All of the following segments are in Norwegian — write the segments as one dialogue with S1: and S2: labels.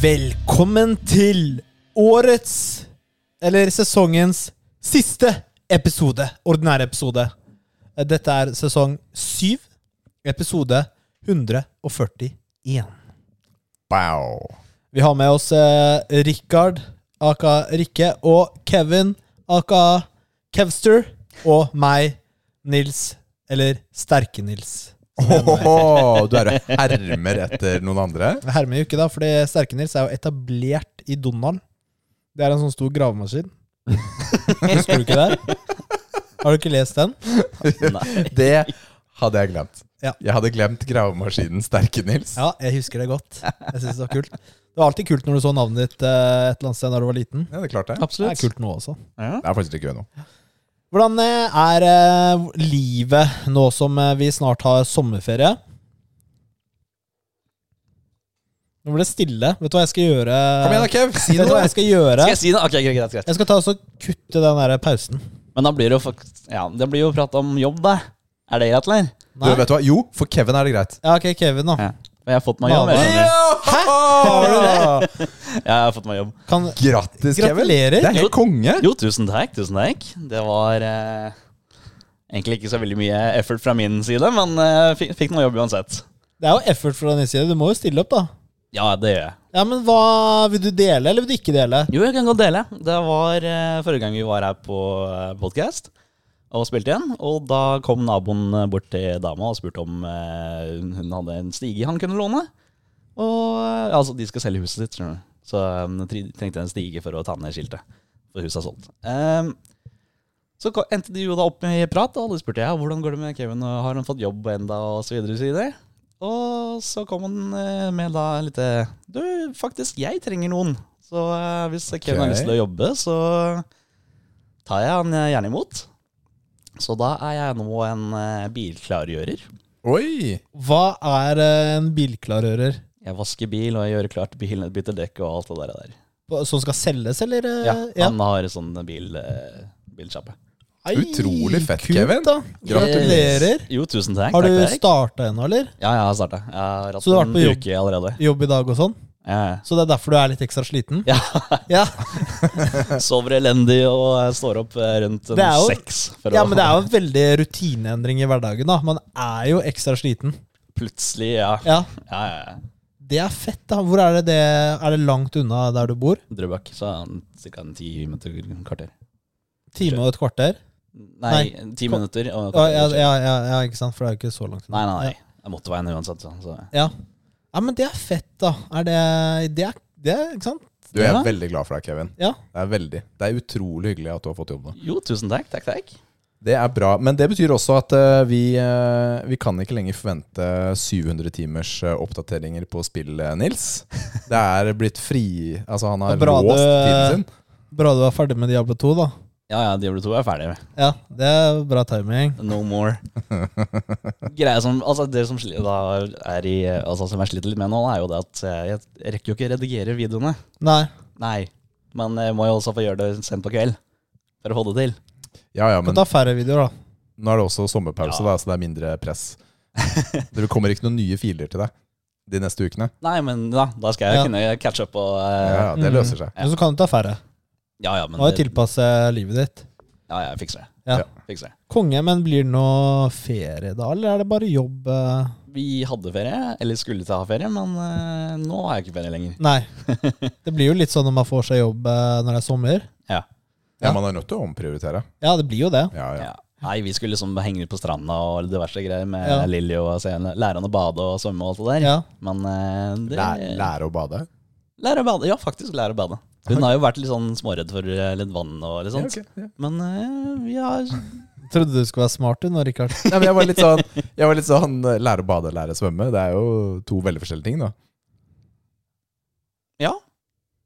S1: Velkommen til årets, eller sesongens, siste episode. Ordinære episode. Eh, Dette er sesong 7, episode 141.
S2: Wow.
S1: Vi har med oss eh, Rikard, aka Rikke, og Kevin, aka Kevster, og meg, Nils, eller Sterke-Nils.
S2: Ohoho, du er og hermer etter noen andre?
S1: Jeg hermer jo ikke, da, fordi Sterke-Nils er jo etablert i Donald. Det er en sånn stor gravemaskin. Husker du ikke det? Har du ikke lest den?
S2: Det hadde jeg glemt.
S1: Ja.
S2: Jeg hadde glemt gravemaskinen Sterke-Nils.
S1: Ja, jeg husker det godt. Jeg synes Det var kult Det var alltid kult når du så navnet ditt eh, et eller annet sted da du var liten.
S2: Ja, det klarte jeg.
S1: Det er
S3: Absolutt.
S1: kult nå også.
S3: Ja.
S2: Det er faktisk litt gøy nå.
S1: Hvordan eh, er eh, livet nå som eh, vi snart har sommerferie? Nå ble det stille. Vet du hva jeg skal gjøre?
S2: Kom igjen da, Kev. Si
S1: Vet du hva jeg skal gjøre?
S3: Skal jeg si det? Ok, greit, greit, greit.
S1: Jeg skal ta og så kutte den der pausen.
S3: Men da blir det jo fakt- ja, det blir jo prat om jobb, da. Er det greit, eller?
S2: Du, vet du hva? Jo, for Kevin er det greit.
S1: Ja, ok, Kevin, da.
S3: Ja. Og jeg har fått meg jobb. Jeg, skjønner.
S2: Hæ?
S3: Ja, jeg har fått meg jobb.
S1: Kan,
S2: Grattis, Kevin.
S1: Gratulerer.
S2: Det er helt konge.
S3: Jo, tusen takk. Tusen takk. Det var eh, egentlig ikke så veldig mye effort fra min side, men eh, fikk, fikk noe jobb uansett.
S1: det er jo effort fra din side. Du må jo stille opp, da.
S3: Ja, det gjør jeg.
S1: Ja, men hva Vil du dele, eller vil du ikke dele?
S3: Jo, jeg kan godt dele. Det var eh, forrige gang vi var her på eh, podcast og spilte igjen. Og da kom naboen eh, bort til dama og spurte om eh, hun- hun hadde en stige han kunne låne. Og eh, altså, de skal selge huset sitt, skjønner du. Så um, trengte jeg en stige for å ta ned skiltet. For huset er solgt. Ehm, så ko- endte de jo da opp med prat, og alle spurte ja, hvordan går det med Kevin, og har han fått jobb enda, og så videre. Og så, videre. Og så kom han eh, med da en lite Du, faktisk, jeg trenger noen. Så eh, hvis Kevin har
S2: Ok.
S3: lyst til å jobbe, så tar jeg han eh, gjerne imot. Så da er jeg nå en eh, bilklargjører.
S2: Oi.
S1: Hva er eh, en bilklarører?
S3: Jeg vasker bil, og jeg gjør klart bilen, bytter dekk og alt det der. der.
S1: Hva- Som skal selges, eller? eh,
S3: Ja, han har sånn bil, eh, bilsjappe.
S1: Ei,
S2: Utrolig fett,
S1: kult,
S2: Kevin.
S1: Da. Gratulerer.
S3: Jo, tusen takk.
S1: Har du
S3: takk, takk.
S1: starta ennå, eller?
S3: Ja, jeg har starta. Jeg har hatt
S1: Så du har vært
S3: en
S1: på jobb?
S3: uke allerede.
S1: Jobb i dag og sånn?
S3: Ja, ja.
S1: Så det er derfor du er litt ekstra sliten?
S3: Ja.
S1: ja.
S3: Sover elendig og eh, står opp eh, rundt en
S1: Det er jo-
S3: seks. for
S1: ja,
S3: å-
S1: men det er jo en veldig rutineendring i hverdagen, da. Man er jo ekstra sliten.
S3: Plutselig, ja. ja.
S1: Ja,
S3: ja, ja.
S1: Det er fett, da. Hvor er det det Er det langt unna der du bor?
S3: Drøbak. Så ca. ti minutter, kvarter.
S1: Time og et kvarter?
S3: Nei, ti minutter.
S1: Ja,
S3: Og kvarter.
S1: ja, ja, ja, ja ikke sant, for det er jo ikke så langt unna.
S3: Nei, nei, nei. Jeg måtte veien uansett. Så. så-
S1: Ja. ja, men det er fett, da. Er det, det, er, det er, Ikke sant?
S2: Du jeg
S3: Ja.
S2: er veldig glad for deg, Kevin.
S1: Ja.
S2: Det er veldig. Det er utrolig hyggelig at du har fått jobb nå.
S3: Jo, tusen takk. Takk, takk.
S2: Det er bra, men det betyr også at eh, vi, eh, vi kan ikke lenger forvente 700 timers eh, oppdateringer på spill, eh, Nils. Det er blitt fri Altså, han har
S1: Det er bra
S2: låst
S1: det-
S2: tiden sin.
S1: Bra du var ferdig med Diablo 2, da.
S3: Ja, ja, Diablo 2 er ferdig.
S1: Ja, det er bra timing.
S3: No more. Greia som, altså Det som, sli- da er i, altså som jeg sliter litt med nå, er jo det at eh, jeg rekker jo ikke å redigere videoene.
S1: Nei.
S3: Nei. Men jeg må jo også få gjøre det sent på kveld. For å få det til.
S2: Ja, ja,
S1: Kan
S2: men
S1: ta færre videoer, da.
S2: nå er det også sommerpause, da,
S3: Ja.
S2: så det er mindre press. Det kommer ikke noen nye filer til deg de neste ukene.
S3: Nei, men da, da skal jeg
S1: Ja.
S3: kunne catch up og eh,
S2: Ja, det
S1: Mm.
S2: løser seg.
S3: Ja.
S1: Men så kan du ta færre.
S3: ja, ja, men
S1: Må jo
S3: det-
S1: tilpasse livet ditt.
S3: ja, ja, jeg fikser det.
S1: Ja.
S2: Ja.
S3: Fikser det.
S1: Konge, men blir det noe ferie da, eller er det bare jobb? eh?
S3: Vi hadde ferie, eller skulle til å ha ferie, men eh, nå har jeg ikke ferie lenger.
S1: Nei. Det blir jo litt sånn når man får seg jobb eh, når det er sommer.
S3: Ja.
S2: Ja, man er nødt til å omprioritere.
S1: Ja, det blir jo det.
S2: Ja, ja.
S3: Ja. Nei, vi skulle liksom henge ut på stranda og diverse greier med
S1: Ja.
S3: Lilly og se henne- lære henne å bade og svømme og alt det der.
S1: Ja.
S3: Men eh, det
S2: Lære, lære å bade.
S3: Lære å bade. Ja, faktisk lære å bade. Hun har jo vært litt sånn småredd for eh, litt vann og litt sånt.
S2: Ja, ok, ja.
S3: Men eh, vi har
S1: Trodde du skulle være smart du nå, Rikard.
S2: Nei, men jeg var litt sånn, jeg var litt sånn eh, Lære å bade, lære å svømme. Det er jo to veldig forskjellige ting, da.
S3: Ja.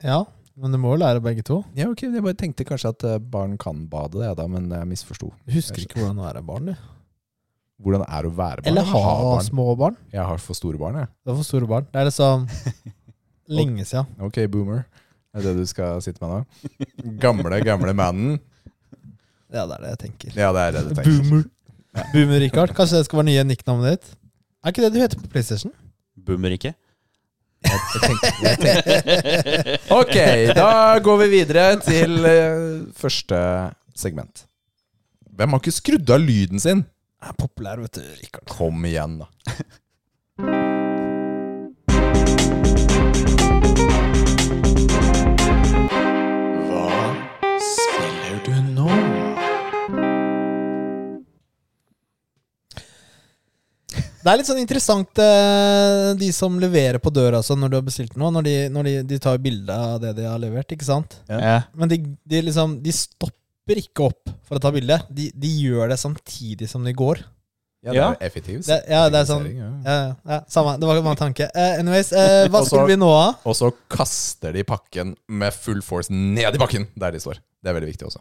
S1: Ja, men du må jo lære begge to.
S2: Ja, ok, Jeg bare tenkte kanskje at eh, barn kan bade, jeg da, men jeg misforsto.
S1: Du husker ikke hvordan det er å være barn, du.
S2: Hvordan det er å være barn?
S1: Eller
S2: Jeg
S1: ha
S2: har barn.
S1: små barn.
S2: Jeg har for store barn, jeg.
S1: Det er for store barn. Det er liksom lenge siden.
S2: Ok, boomer. Er det du skal sitte med nå? Gamle, gamle mannen.
S1: Ja, det er det jeg tenker.
S2: Ja, det er det du tenker.
S1: Boomer. Boomer Richard. Kanskje det skal være nye nicknavnet ditt? Er ikke det du heter på PlayStation?
S3: Boomer ikke.
S2: Jeg tenkte, jeg tenkte. Ok, da går vi videre til eh, første segment. Hvem har ikke skrudd av lyden sin?
S1: Jeg er populær, vet du, Rikard.
S2: Kom igjen, da. Hva spiller du nå?
S1: Det er litt sånn interessant, eh, de som leverer på døra altså, når du har bestilt noe. Når de, når de, de tar bilde av det de har levert, ikke sant?
S3: Ja.
S1: Men de, de, liksom, de stopper ikke opp for å ta bilde. De, de gjør det samtidig som de går.
S2: Ja, det
S3: Ja.
S2: er effektivt.
S1: Det, ja, det er sånn
S2: Ja.
S1: ja, ja, ja, Samme, det var bare en tanke. Eh, anyways, eh, hva
S2: Og så-
S1: skulle vi nå av?
S2: Og så kaster de pakken med full force ned i bakken der de står. Det er veldig viktig også.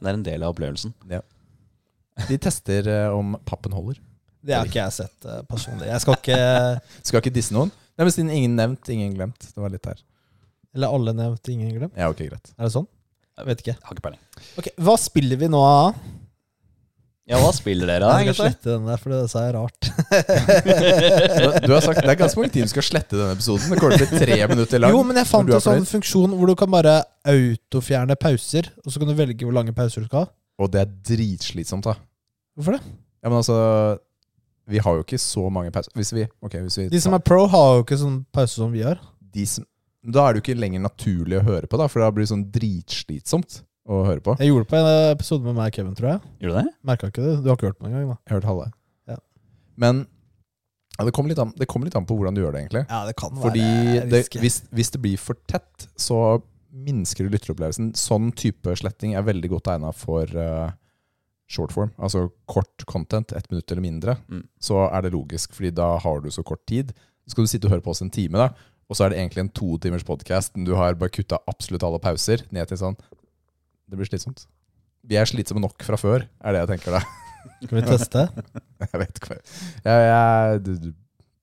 S3: Det er en del av opplevelsen.
S2: De tester eh, om pappen holder.
S1: Det har ikke jeg sett eh, personlig. Jeg skal ikke
S2: Skal ikke disse noen. Nei, men siden ingen nevnt, ingen glemt. Det var litt her.
S1: Eller alle nevnt, ingen glemt.
S2: Ja, ok, greit.
S1: Er det sånn? Jeg vet ikke.
S3: Jeg har ikke peiling.
S1: Ok, Hva spiller vi nå av?
S3: Ja, hva spiller dere da,
S1: jeg skal
S3: gutter?
S1: slette den der, for det sa jeg rart.
S2: Du, du har sagt det er ganske mange timer du skal slette denne episoden. Det kommer til å bli tre minutter lang.
S1: Jo, men jeg fant
S2: når du
S1: en
S2: er
S1: sånn
S2: fornøyd.
S1: funksjon hvor du kan bare autofjerne pauser, og så kan du velge hvor lange pauser du skal ha.
S2: Og det er dritslitsomt, da.
S1: Hvorfor det?
S2: Ja, men altså Vi har jo ikke så mange pauser. Hvis vi, ok, hvis vi
S1: De som er pro, har jo ikke sånn pause som vi har.
S2: de som, Da er det jo ikke lenger naturlig å høre på, da, for da blir det sånn dritslitsomt å høre på.
S1: Jeg gjorde det på en episode med meg og Kevin, tror jeg.
S3: Gjorde du det?
S1: Merka ikke det. Du har ikke hørt på den engang, da.
S2: Jeg hørte halve.
S1: Ja.
S2: Men ja, det kommer litt, an- det kommer litt an på hvordan du gjør det, egentlig.
S1: Ja, det kan
S2: Fordi det, hvis, hvis det blir for tett, så minsker du lytteropplevelsen. Sånn type sletting er veldig godt egna for eh, short form, altså kort content, ett minutt eller mindre.
S3: Mm.
S2: Så er det logisk, fordi da har du så kort tid. Så skal du sitte og høre på oss en time, da. Og så er det egentlig en to timers podkast. Du har bare kutta absolutt alle pauser ned til sånn Det blir slitsomt. Vi er slitsomme nok fra før, er det jeg tenker da.
S1: Skal vi teste?
S2: Jeg vet ikke hva jeg, jeg, du, du,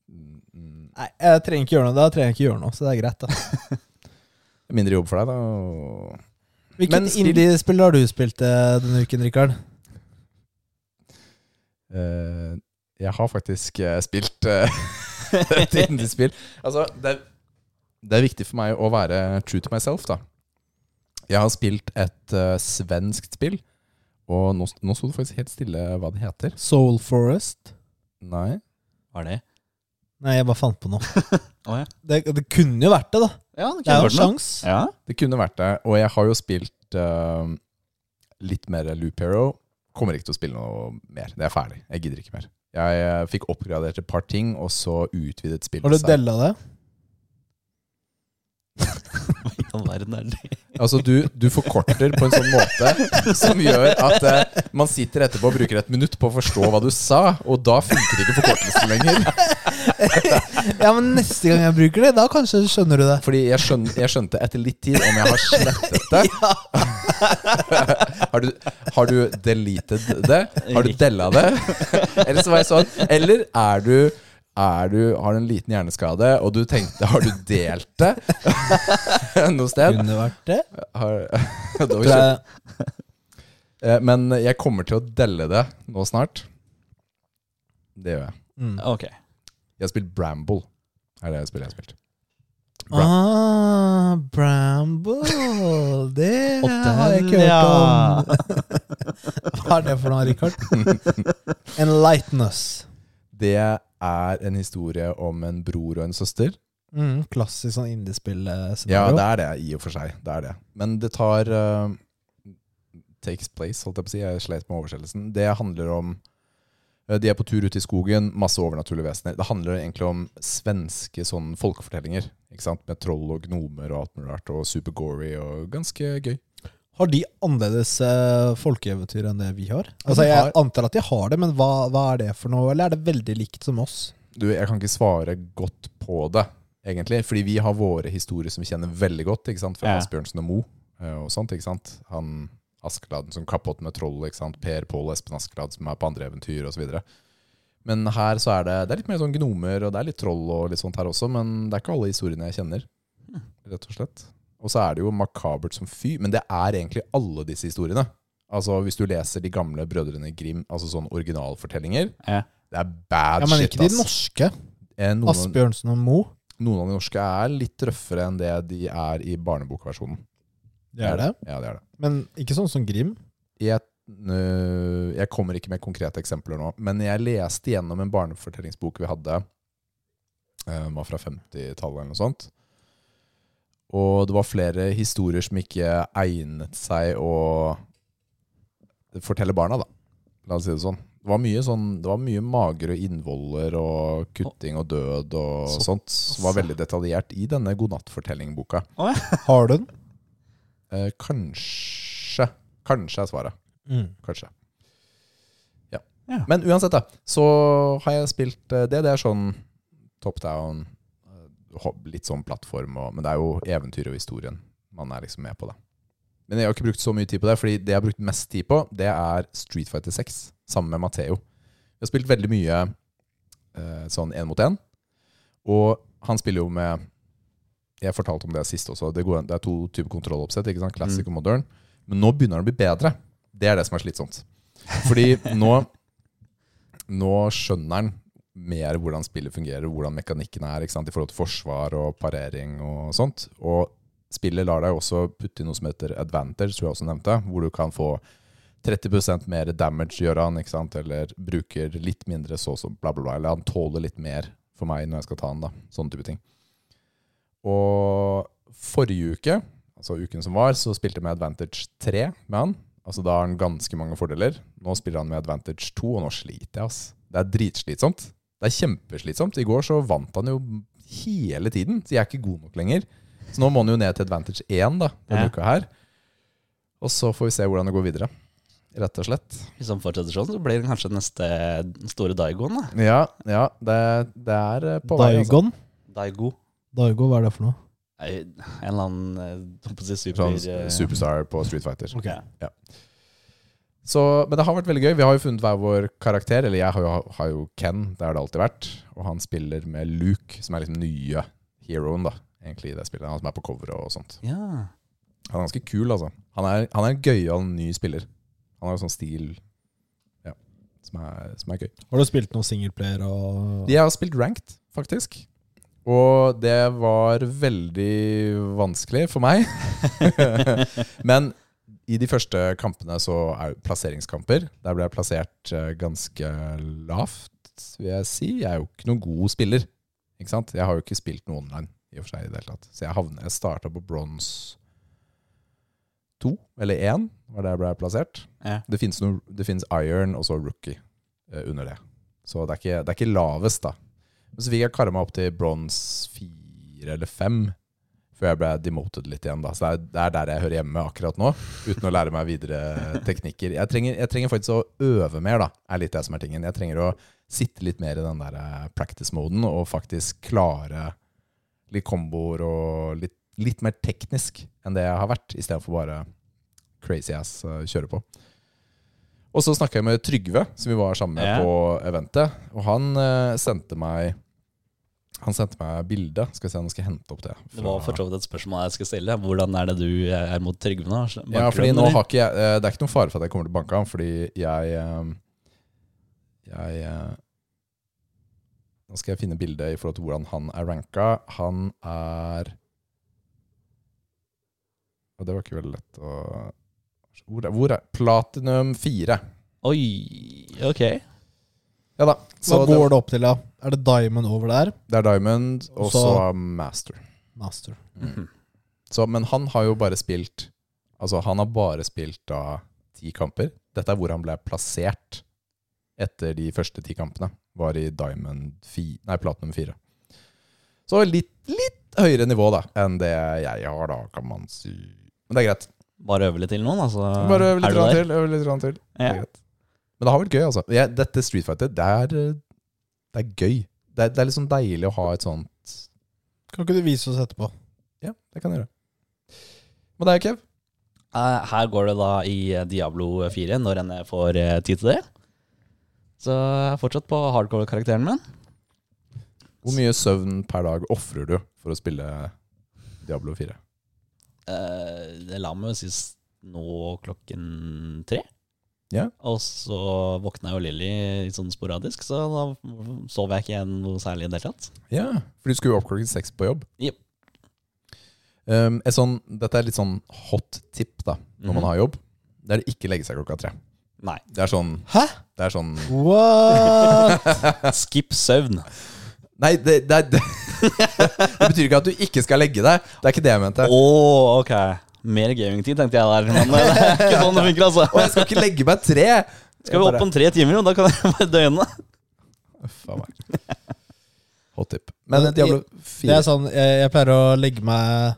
S2: mm,
S1: Nei, jeg trenger ikke gjøre noe. Da trenger jeg ikke gjøre noe, så det er greit, da.
S2: Mindre jobb for deg, da. Men
S1: Hvilket
S2: spill-
S1: indiespill har du spilt eh, denne uken, Rikard?
S2: Eh, jeg har faktisk eh, spilt eh, et indiespill. Altså, det er, det er viktig for meg å være true to myself, da. Jeg har spilt et eh, svenskt spill, og nå, nå sto det faktisk helt stille hva det heter.
S1: Soul Forest?
S2: Nei.
S3: Var det?
S1: Nei, jeg bare fant på noe.
S3: Å, ja.
S1: det, det kunne jo vært det, da.
S3: Ja, det
S1: Det
S3: kunne
S1: er jo
S3: vært
S1: en
S3: noe.
S1: sjans'.
S3: Ja.
S2: Det kunne vært det. Og jeg har jo spilt eh, litt mer Loop Hero. Kommer ikke til å spille noe mer. Det er ferdig. Jeg gidder ikke mer. Jeg eh, fikk oppgradert et par ting, og så utvidet spillet
S1: Har du della det?
S3: Hva i all verden er det?
S2: Altså du, du forkorter på en sånn måte som gjør at eh, man sitter etterpå og bruker et minutt på å forstå hva du sa, og da funker ikke forkortelsen lenger.
S1: Ja, men neste gang jeg bruker det, da kanskje skjønner du det.
S2: Fordi jeg, skjøn, jeg skjønte etter litt tid om jeg har slettet det. Har du, har du deleted det? Har du della det? Eller så var jeg sånn Eller er du er du, har du en liten hjerneskade, og du tenkte Har du delt det noe sted?
S1: Kunne vært det.
S2: Har, det var
S1: Tror
S2: ikke-
S1: jeg,
S2: Eh, Men jeg kommer til å delle det nå snart. Det gjør jeg.
S1: mm.
S3: Ok.
S2: Jeg har spilt Bramble. Er det spillet jeg har spilt. Bra-
S1: Ah, Bramble. Det
S3: Og
S1: har jeg ikke
S3: den,
S1: hørt om. Hva er det for noe, Richard? Enlighten us.
S2: Det er en historie om en bror og en søster.
S1: Mm, klassisk sånn indiespill-scenario.
S2: Ja, det er det, i og for seg. Det er det. Men det tar eh, Takes place, holdt jeg på å si. Jeg slet med oversettelsen. Det handler om eh, de er på tur ute i skogen, masse overnaturlige vesener. Det handler egentlig om svenske sånn folkefortellinger. Ikke sant? Med troll og gnomer og alt mulig rart, og super-gory og ganske gøy.
S1: Har de annerledes eh, folkeeventyr enn det vi har?
S2: Ja,
S1: Altså,
S2: de
S1: Jeg
S2: har-
S1: antar at de har det, men hva, hva er det for noe? Eller er det veldig likt som oss?
S2: du, jeg kan ikke svare godt på det, egentlig. Fordi vi har våre historier som vi kjenner veldig godt, ikke sant? fra
S3: Ja.
S2: Asbjørnsen og Mo eh, og sånt. ikke sant? Han Askeladden som kappåt med troll, ikke sant? Per Pål Espen Askeladd som er på andre eventyr osv. Men her så er det, det er litt mer sånn gnomer og det er litt troll og litt sånt her også, men det er ikke alle historiene jeg kjenner.
S1: Hm.
S2: Rett og slett. Og så er det jo makabert som fy, men det er egentlig alle disse historiene. Altså Hvis du leser de gamle Brødrene Grim, altså sånn originalfortellinger,
S3: Ja.
S2: det er bad
S1: Ja, Men
S2: shit,
S1: ikke de
S2: ass.
S1: norske.
S2: Eh, noen-
S1: Asbjørnsen og Moe.
S2: noen av de norske er litt røffere enn det de er i barnebokversjonen.
S1: Det er det.
S2: Ja, det er det.
S1: Men ikke sånn som Grim.
S2: Jeg, øh, jeg kommer ikke med konkrete eksempler nå, men jeg leste gjennom en barnefortellingsbok vi hadde. øh, Den var fra 50-tallet eller noe sånt. Og det var flere historier som ikke egnet seg å fortelle barna, da. La oss si det sånn. Det var mye, sånn, det var mye mager og innvoller og kutting og død og
S3: Så-
S2: sånt. Som var veldig detaljert i denne godnattfortellingboka.
S1: Har du den?
S2: Eh, kanskje. Kanskje er svaret.
S1: Mm.
S2: Kanskje. Ja.
S3: Ja.
S2: Men uansett, da, så har jeg spilt eh, det. Det er sånn top down, eh, hob- litt sånn plattform, og, men det er jo eventyret og historien man er liksom med på, da. Men jeg har ikke brukt så mye tid på det, fordi det jeg har brukt mest tid på, det er Street Fighter 6 sammen med Matheo. Vi har spilt veldig mye eh, sånn én mot én, og han spiller jo med Jeg fortalte om det sist også. Det, går, an- det er to typer kontrolloppsett, ikke sant? Classic og modern. Men nå begynner han å bli bedre. Det er det som er slitsomt. Fordi nå, nå skjønner han mer hvordan spillet fungerer, hvordan mekanikken er ikke sant? i forhold til forsvar og parering og sånt. Og spillet lar deg også putte inn noe som heter advantage, som jeg også nevnte, hvor du kan få 30 mer damage, gjør han, ikke sant? eller bruker litt mindre så som bla, bla, bla. Eller han tåler litt mer for meg når jeg skal ta han, da. Sånne type ting. Og forrige uke, altså uken som var, så spilte jeg med Advantage 3 med han. Altså Da har han ganske mange fordeler. Nå spiller han med Advantage 2, og nå sliter jeg. ass. Det er dritslitsomt. Det er kjempeslitsomt. I går så vant han jo hele tiden, så jeg er ikke god nok lenger. Så nå må han jo ned til Advantage 1 da, denne
S3: Ja.
S2: uka her. Og så får vi se hvordan det går videre. Rett og slett.
S3: Hvis han fortsetter sånn, så blir han kanskje den neste store Daigoen. Da.
S2: Ja, ja det, det er eh, på vei. altså.
S1: Daigon?
S3: Daigo.
S1: Daigo, hva er det for noe?
S3: Nei, En eller annen eh, holdt på å si super...
S2: Sånn
S3: eh,
S2: superstar på Street Fighter.
S1: Ok.
S2: Så, men det har vært veldig gøy. Vi har jo funnet hver vår karakter. Eller jeg har jo, har jo Ken, det har det alltid vært. Og han spiller med Luke, som er liksom nye heroen da, egentlig i det spillet. Han som er på coveret og sånt.
S3: Ja.
S2: Han er ganske kul, altså. Han er, han er en gøyal ny spiller. Han har jo sånn stil ja, som, er, som er gøy.
S1: Har du spilt noe singleplayer og
S2: Jeg har spilt ranked, faktisk. Og det var veldig vanskelig for meg. Men i de første kampene så er det plasseringskamper. Der ble jeg plassert eh, ganske lavt, vil jeg si. Jeg er jo ikke noen god spiller. Ikke sant? Jeg har jo ikke spilt noe online i og for seg i det hele tatt. Så jeg, havnet- jeg starta på bronse to, eller én, var der jeg ble plassert.
S3: Ja.
S2: Det finnes, noe, det finnes iron og så rookie eh, under det. Så det er, ikke, det er ikke lavest, da. Men så fikk jeg kare meg opp til bronse fire eller fem. Før jeg ble demoted litt igjen. da Så det er, det er der jeg hører hjemme akkurat nå. Uten å lære meg videre teknikker. Jeg trenger, jeg trenger faktisk å øve mer, da. Er litt det som er tingen. Jeg trenger å sitte litt mer i den der eh, practice-moden og faktisk klare litt komboer og litt, litt mer teknisk enn det jeg har vært, istedenfor bare crazy ass eh, kjøre på. Og så snakka jeg med Trygve, som vi var sammen med
S3: Ja.
S2: på eventet. Og han eh, sendte meg Han sendte meg bilde. Skal vi se, nå skal jeg hente opp det.
S3: Det var
S2: fra-
S3: for så vidt et spørsmål jeg skal stille. Hvordan er det du eh, er mot Trygve nå? Banker
S2: Ja, fordi
S3: du,
S2: nå
S3: eller?
S2: har ikke jeg, eh, Det er ikke noen fare for at jeg kommer til å banke ham, fordi jeg eh, Jeg eh, Nå skal jeg finne bildet i forhold til hvordan han er ranka. Han er Og det var ikke veldig lett å Hvor er, hvor er Platinum 4.
S3: Oi, ok.
S2: Ja da.
S1: Hva
S2: Så det,
S1: går det opp til, da? Er det Diamond over der?
S2: det er Diamond, og så
S1: Så-
S2: Master. Mm.
S1: Master.
S3: Mhm.
S2: Så, men han har jo bare spilt Altså han har bare spilt da ti kamper. Dette er hvor han ble plassert etter de første ti kampene. Var i Diamond fi, nei, Platinum 4. Så litt, litt høyere nivå da enn det jeg har, da, kan man si. Men det er greit.
S3: Bare øve litt til noen, altså.
S2: Bare øve
S3: Er
S2: litt
S3: du
S2: rann
S3: der?
S2: til. Øve litt rann til. Det
S3: Ja.
S2: er greit. Men det har vært gøy, altså. Jeg, dette Street Fighter, det er, eh, det er gøy. Det er, det er litt sånn deilig å ha et sånt
S1: Kan ikke du vise oss etterpå?
S2: Ja, det kan jeg gjøre. Men det er jo Kev.
S3: Eh, Her går det da i eh, Diablo 4, når enn jeg får eh, tid til det. Så jeg er fortsatt på hardcore-karakteren min.
S2: Hvor mye søvn per dag ofrer du for å spille Diablo 4?
S3: Eh, Det la meg jo sist nå klokken tre.
S2: Ja.
S3: Og så våkna jo Lilly litt sånn sporadisk, så da sov jeg ikke igjen noe særlig i det hele tatt.
S2: Ja, for du skulle jo opp klokken seks på jobb.
S3: Jep.
S2: Um, et sånn, dette er litt sånn hot tip da, når
S3: Mhm.
S2: man har jobb. Det er å ikke legge seg klokka tre.
S3: Nei.
S2: Det er sånn,
S1: Hæ?
S2: det er sånn
S1: What?
S3: Skip søvn.
S2: Nei, det, det, er- det, det betyr ikke at du ikke skal legge deg. Det er ikke det jeg mente.
S3: Å, ok. Mer gamingtid, tenkte jeg der. Men det er ikke sånn det funker,
S2: Og
S3: altså.
S2: jeg skal ikke legge meg tre!
S3: Skal vi opp om tre timer, jo? Da kan jeg være døgnet.
S2: Faen meg. Hot tip. Men eh, Diablo 4
S1: Det er sånn, jeg, jeg pleier å legge meg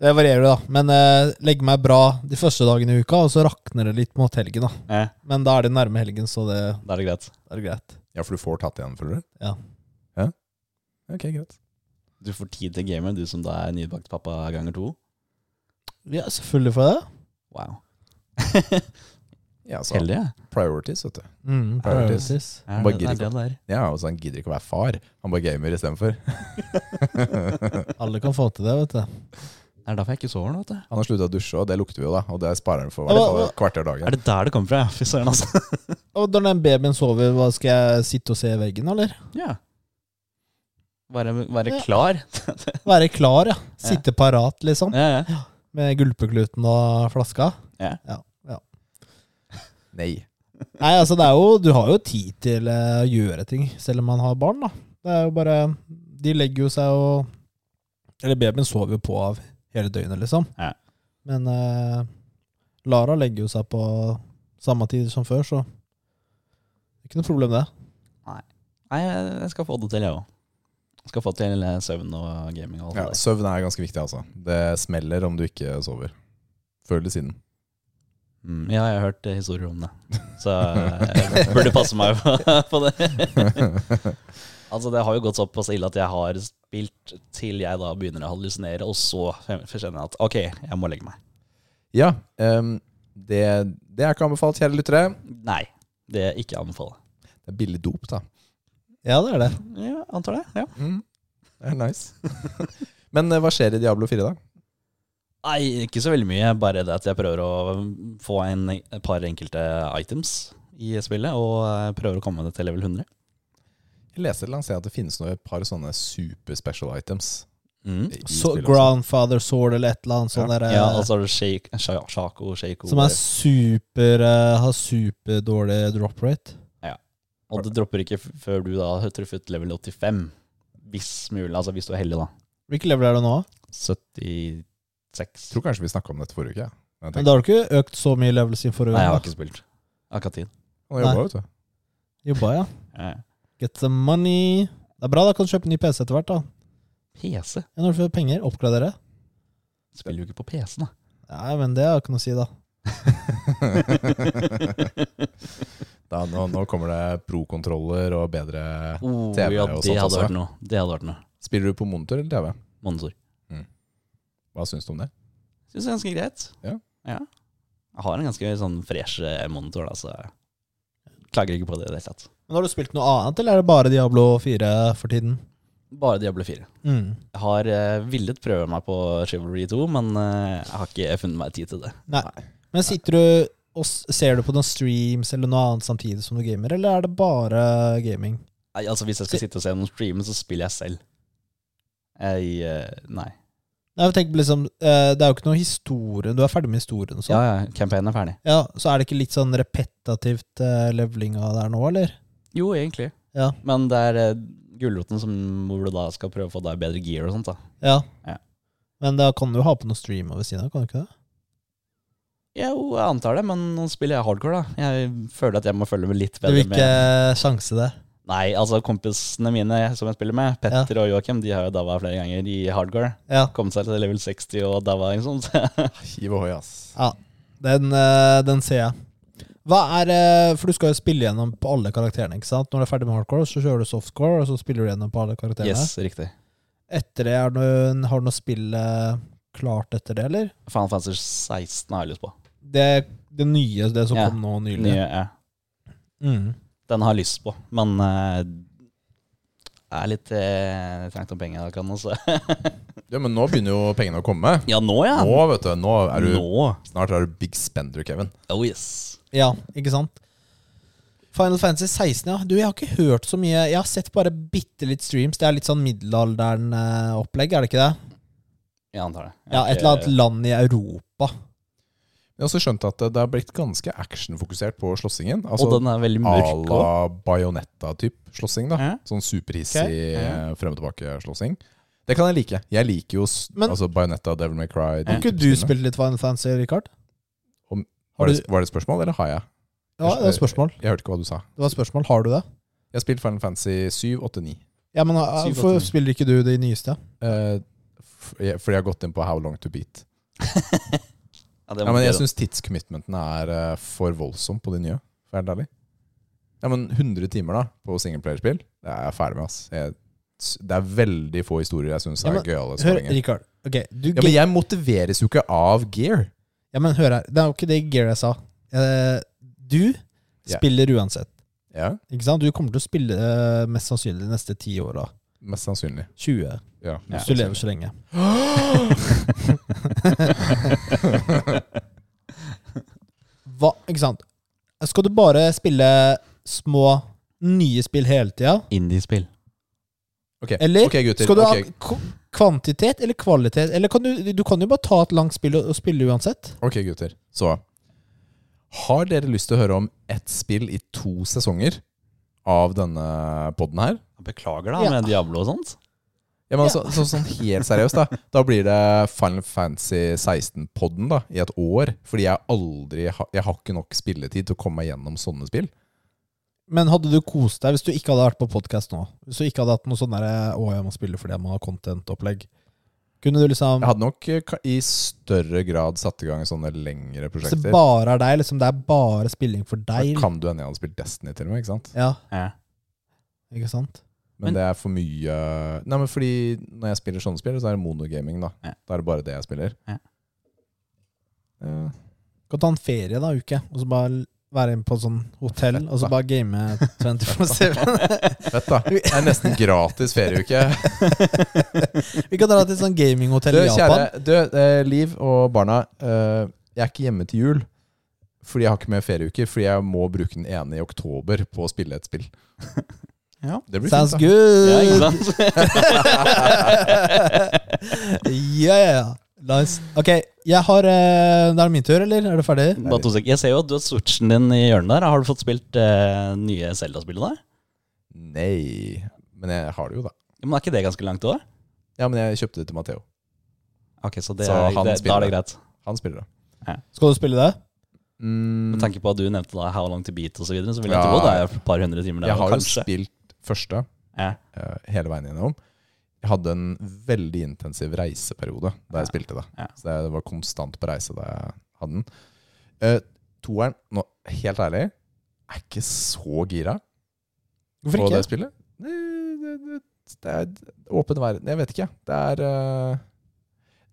S1: Det varierer jo, da. Men eh, legge meg bra de første dagene i uka, og så rakner det litt mot helgen. da
S3: Eh,
S1: Men da er det nærme helgen, så det
S3: da er det greit.
S1: er greit.
S2: Ja, for du får tatt igjen, føler du?
S1: Ja.
S2: ja? Ok, greit.
S3: Du får tid til gamer, du som da er nybakt pappa ganger to.
S1: Ja, selvfølgelig får jeg det.
S3: Wow.
S2: Ja, så
S3: Heldig, jeg.
S2: priorities, vet du.
S1: Mm,
S2: Priorities.
S1: priorities.
S3: Ja,
S2: Bare
S3: det-
S2: gidder
S3: det er det det er.
S2: Ja, og så han gidder ikke å være far. Han bare gamer istedenfor. han
S1: Alle kan få til det, vet du.
S3: Det er derfor jeg ikke sover nå, vet du.
S2: har slutta å dusje, og det lukter vi jo, da. Og det sparer han for
S1: Ja,
S2: hvert
S1: hva-
S2: fall et kvarter
S3: Er
S2: dagen.
S3: det der det kommer fra? ja? Fy søren, altså.
S1: Og når den babyen sover, hva skal jeg sitte og se i veggen, eller?
S3: Ja. Være,
S1: Ja.
S3: være klar.
S1: Være klar, ja. Sitte parat, liksom.
S3: Ja, ja.
S1: Med gulpekluten og flaska.
S3: Ja.
S1: ja. ja.
S2: Nei.
S1: Nei, altså det er jo Du har jo tid til eh, å gjøre ting selv om man har barn, da. Det er jo bare De legger jo seg og Eller babyen sover jo på av hele døgnet, liksom.
S3: Ja.
S1: Men eh, Lara legger jo seg på samme tid som før, så Ikke noe problem, det.
S3: Nei, jeg jeg skal få det til, jeg òg. Skal få til eh, søvn og gaming og alt
S2: Ja,
S3: det der.
S2: søvn er ganske viktig, altså. Det smeller om du ikke sover. Før eller siden.
S3: Mm, ja, jeg har hørt eh, historier om det. Så eh, jeg burde passe meg på, på det. altså, det har jo gått såpass ille at jeg har spilt til jeg da begynner å hallusinere, og så kjenner jeg at ok, jeg må legge meg.
S2: Ja, em, det, det er ikke anbefalt, kjære lyttere.
S3: Nei, det er ikke å anbefale.
S2: Det er billig dop, da.
S1: Ja, det er det.
S3: Ja, antar det. Ja.
S2: Det er nice. Men eh, hva skjer i Diablo 4, da?
S3: Nei, ikke så veldig mye. Bare det at jeg prøver å få en, et par enkelte items i spillet, og eh, prøver å komme det til level 100.
S2: Jeg leser eller ser at det finnes noe, et par sånne super special items.
S3: Mm.
S2: i
S1: So,
S2: spillet også.
S1: grandfather sword eller et eller annet sånt der, eh,
S3: Ja, og så har du shake, sha- Shaco, Shaco
S1: som er super eh, har superdårlig drop rate.
S3: Og det dropper ikke f- før du da har truffet level 85. Hvis mulig, altså hvis du er heldig, da.
S1: Hvilke level er det nå?
S3: 76.
S2: Jeg tror kanskje vi snakka om dette forrige uke. Ja.
S1: Men
S2: Men jeg tenker,
S1: da har du ikke økt så mye levels i forrige
S3: Nei, jeg har
S1: gang?
S3: ikke spilt. Jeg har ikke hatt tid.
S2: han har jobbet, vet du.
S1: Jobba, ja.
S3: Eh,
S1: Get some money. Det er bra, da kan du kjøpe ny PC etter hvert. da.
S3: PC?
S1: Ja, Når du får penger, oppgradere.
S3: Spiller jo ikke på PC, da.
S1: Nei, men det har ikke noe å si, da.
S2: Da, nå, nå kommer det pro-kontroller og bedre
S3: Oh,
S2: TV
S3: ja,
S2: og
S3: det
S2: sånt
S3: hadde
S2: også.
S3: vært noe. Det hadde vært noe.
S2: Spiller du på monitor eller TV?
S3: Monsor.
S2: Hva syns du om det?
S3: Syns det er ganske greit.
S2: Ja.
S3: Jeg har en ganske sånn fresh eh, monitor, da, så jeg klager ikke på det i det hele tatt.
S1: Men Har du spilt noe annet, eller er det bare Diablo 4 for tiden?
S3: Bare Diablo 4.
S1: Mm.
S3: Jeg har eh, villet prøve meg på Chivalry 2, men eh, jeg har ikke funnet meg tid til det.
S1: Nei. Men sitter du og s- ser du på noen streams eller noe annet samtidig som du gamer, eller er det bare gaming?
S3: Nei, altså Hvis jeg skal sitte og se noen streame, så spiller jeg selv. Jeg, eh, nei.
S1: Nei, jeg tenker liksom, eh, Det er jo ikke noe historie Du er ferdig med historien, og
S3: Ja,
S1: sånn.
S3: ja, campaignen er ferdig.
S1: Ja, så er det ikke litt sånn repetativt eh, levelinga der nå, eller?
S3: Jo, egentlig.
S1: Ja.
S3: Men det er eh, gulroten som hvor du da skal prøve å få deg bedre gear og sånt. da.
S1: Ja.
S3: Ja.
S1: Men da kan du jo ha på noe stream ved siden av, kan du ikke det?
S3: Jo, jeg antar det, men nå spiller jeg hardcore, da. Jeg føler at jeg må følge med litt
S1: Du
S3: bedre
S1: vil ikke
S3: med
S1: sjanse det?
S3: Nei, altså kompisene mine som jeg spiller med, Petter og Joakim, de har jo daua flere ganger i hardcore.
S1: Ja.
S3: Kommet seg til level 60 og daua, liksom. Så
S2: Hiv ohoi, ass.
S1: Den, eh, den ser jeg. Hva er, eh, for Du skal jo spille gjennom på alle karakterene. ikke sant? Når du er ferdig med hardcore, så kjører du softcore, og så spiller du gjennom på alle karakterene.
S3: yes, riktig.
S1: Etter det, er du, Har du noe spill eh, klart etter det, eller?
S3: Final Fantasy 16 har jeg lyst på.
S1: Det, det nye, det som
S3: Ja.
S1: kom nå nylig.
S3: Nye, ja.
S1: Mm.
S3: Den har jeg lyst på, men eh, jeg er litt eh, trengt om penger akkurat nå, så
S2: Ja, men nå begynner jo pengene å komme.
S3: Ja, nå, ja.
S2: Nå, vet du. Nå er du,
S3: Nå.
S2: snart er du big spender, Kevin.
S3: Oh yes.
S1: Ja, ikke sant? Final Fantasy 16, ja. Du, jeg har ikke hørt så mye. Jeg har sett bare bitte litt streams. Det er litt sånn middelalderen-opplegg, er det ikke det?
S3: Jeg antar det. Jeg
S1: Ja,
S3: har
S1: Et
S3: ikke-
S1: eller annet land i Europa.
S2: Jeg har også skjønt at det har blitt ganske actionfokusert på slåssingen. Altså,
S3: og den er veldig
S2: à
S3: mørk òg.
S2: la Bajonetta-type slåssing. da
S3: Ja.
S2: Sånn superhissig
S3: Ok, ja, ja.
S2: eh, frem og tilbake-slåssing. Det kan jeg like. Jeg liker jo s-
S1: Men-
S2: altså Bajonetta, Devil May Cry de
S1: Har ikke
S2: type
S1: du
S2: spillene.
S1: spilt litt Final Fantasy, Richard?
S2: Var
S1: har
S2: det, var det spørsmål, eller har jeg?
S1: Ja, det var et spørsmål.
S2: Jeg hørte ikke hva du sa.
S1: Det var et spørsmål. Har du det?
S2: Jeg har spilt Final Fantasy 7, 8, 9.
S1: Ja, men uh,
S3: Syv,
S1: Hvorfor
S3: åtte.
S1: spiller ikke du de nyeste?
S2: Eh, f- jeg- fordi jeg har gått inn på How Long To Beat.
S3: Ja, det
S2: Ja,
S3: må
S2: men jeg
S3: gjøre.
S2: syns tidscommitmenten er eh, for voldsom på de nye. For å være helt ærlig. Ja, men 100 timer da på singleplayerspill, det er jeg ferdig med. ass jeg, s- Det er veldig få historier jeg syns
S1: Ja,
S2: er
S1: men
S2: gøyale. så
S1: Hør,
S2: lenge.
S1: Richard. Ok, du
S2: Ja, men jeg motiveres jo ikke av gear.
S1: Ja, men hør her. Det er jo ikke det Gear jeg sa. Eh, Du
S2: Ja.
S1: spiller uansett.
S2: Ja,
S1: Ikke sant? Du kommer til å spille eh, mest sannsynlig de neste ti åra.
S2: Mest sannsynlig.
S1: 20,
S2: Ja, altså.
S3: Ja.
S1: hvis du lever så lenge. Hva, ikke sant? Skal du bare spille små, nye spill hele tida?
S3: Indiespill.
S2: Ok,
S1: Eller
S2: ok, gutter.
S1: skal du
S2: ok.
S1: ha k kvantitet eller kvalitet? Eller kan du, du kan jo bare ta et langt spill og, og spille uansett.
S2: Ok, gutter. Så har dere lyst til å høre om ett spill i to sesonger av denne podden her?
S3: Beklager, da,
S1: Ja.
S3: med Diablo og sånt.
S2: Ja, men altså, så, sånn helt seriøst, da. Da blir det Final Fantasy 16-podden da, i et år. Fordi jeg aldri har, jeg har ikke nok spilletid til å komme meg gjennom sånne spill.
S1: Men hadde du kost deg hvis du ikke hadde vært på podkast nå? Hvis du ikke hadde hatt noe sånn derre 'Å, jeg må spille fordi jeg må ha content-opplegg'? Kunne du liksom
S2: Jeg hadde nok eh, ka- i større grad satt i gang sånne lengre
S1: Hvis det
S2: prosjekter.
S1: bare er deg, liksom det er bare spilling for
S2: Da
S1: deg
S2: kan du hende jeg hadde spilt Destiny til og med, ikke sant?
S1: Ja,
S3: Ja.
S1: ikke sant?
S2: Men,
S3: Men-
S2: det er for mye Nei, men fordi når jeg spiller sånne spill, så er det monogaming, da.
S3: Ja.
S2: Da er det bare det jeg spiller.
S3: Ja.
S2: Eh,
S1: Kan ta en ferie da, uke, og så bare l- være inne på sånn hotell,
S2: Fett,
S1: og så
S2: da.
S1: bare game 24-7.
S2: Fett, da. Det er nesten gratis ferieuke.
S1: Vi kan dra til sånn
S2: Du,
S1: gaminghotell i
S2: kjære
S1: Japan.
S2: du, eh, Liv og barna. eh, jeg er ikke hjemme til jul. Fordi jeg har ikke med ferieuker. Fordi jeg må bruke den ene i oktober på å spille et spill.
S3: Ja.
S2: Det blir
S1: Sounds
S2: fint, da.
S3: ja, ikke
S1: good!
S3: sant?
S1: yeah! Nice. Ok, jeg har eh, Det er min tur, eller? Er du ferdig?
S3: Bare to sek- Jeg ser jo at du har switchen din i hjørnet der. Har du fått spilt eh, nye Zelda-spillet der?
S2: Nei. Men jeg har det jo, da.
S3: Ja, men er ikke det ganske langt òg?
S2: Ja, men jeg kjøpte det til Matheo.
S3: Ok, så det,
S2: Så
S3: er-
S2: han
S3: det, da
S2: spiller
S3: er det
S2: det.
S3: greit.
S2: Han spiller det.
S1: Skal du spille det?
S2: Mm,
S3: Med tanke på at du nevnte da How Long To Beat osv., så, videre, så vil jeg
S2: Ja.
S3: tro det er et par hundre timer der.
S2: jeg har jo
S3: kanskje.
S2: spilt første.
S3: Ja.
S2: eh, hele veien gjennom. Jeg hadde en veldig intensiv reiseperiode da jeg spilte det.
S3: Ja.
S2: Så jeg var konstant på reise da jeg hadde den. Eh, toeren, nå, helt ærlig, er ikke så gira
S1: Hvorfor ikke?
S2: på det spillet. Det, det, det, det er åpen verden. Jeg vet ikke. Det er eh,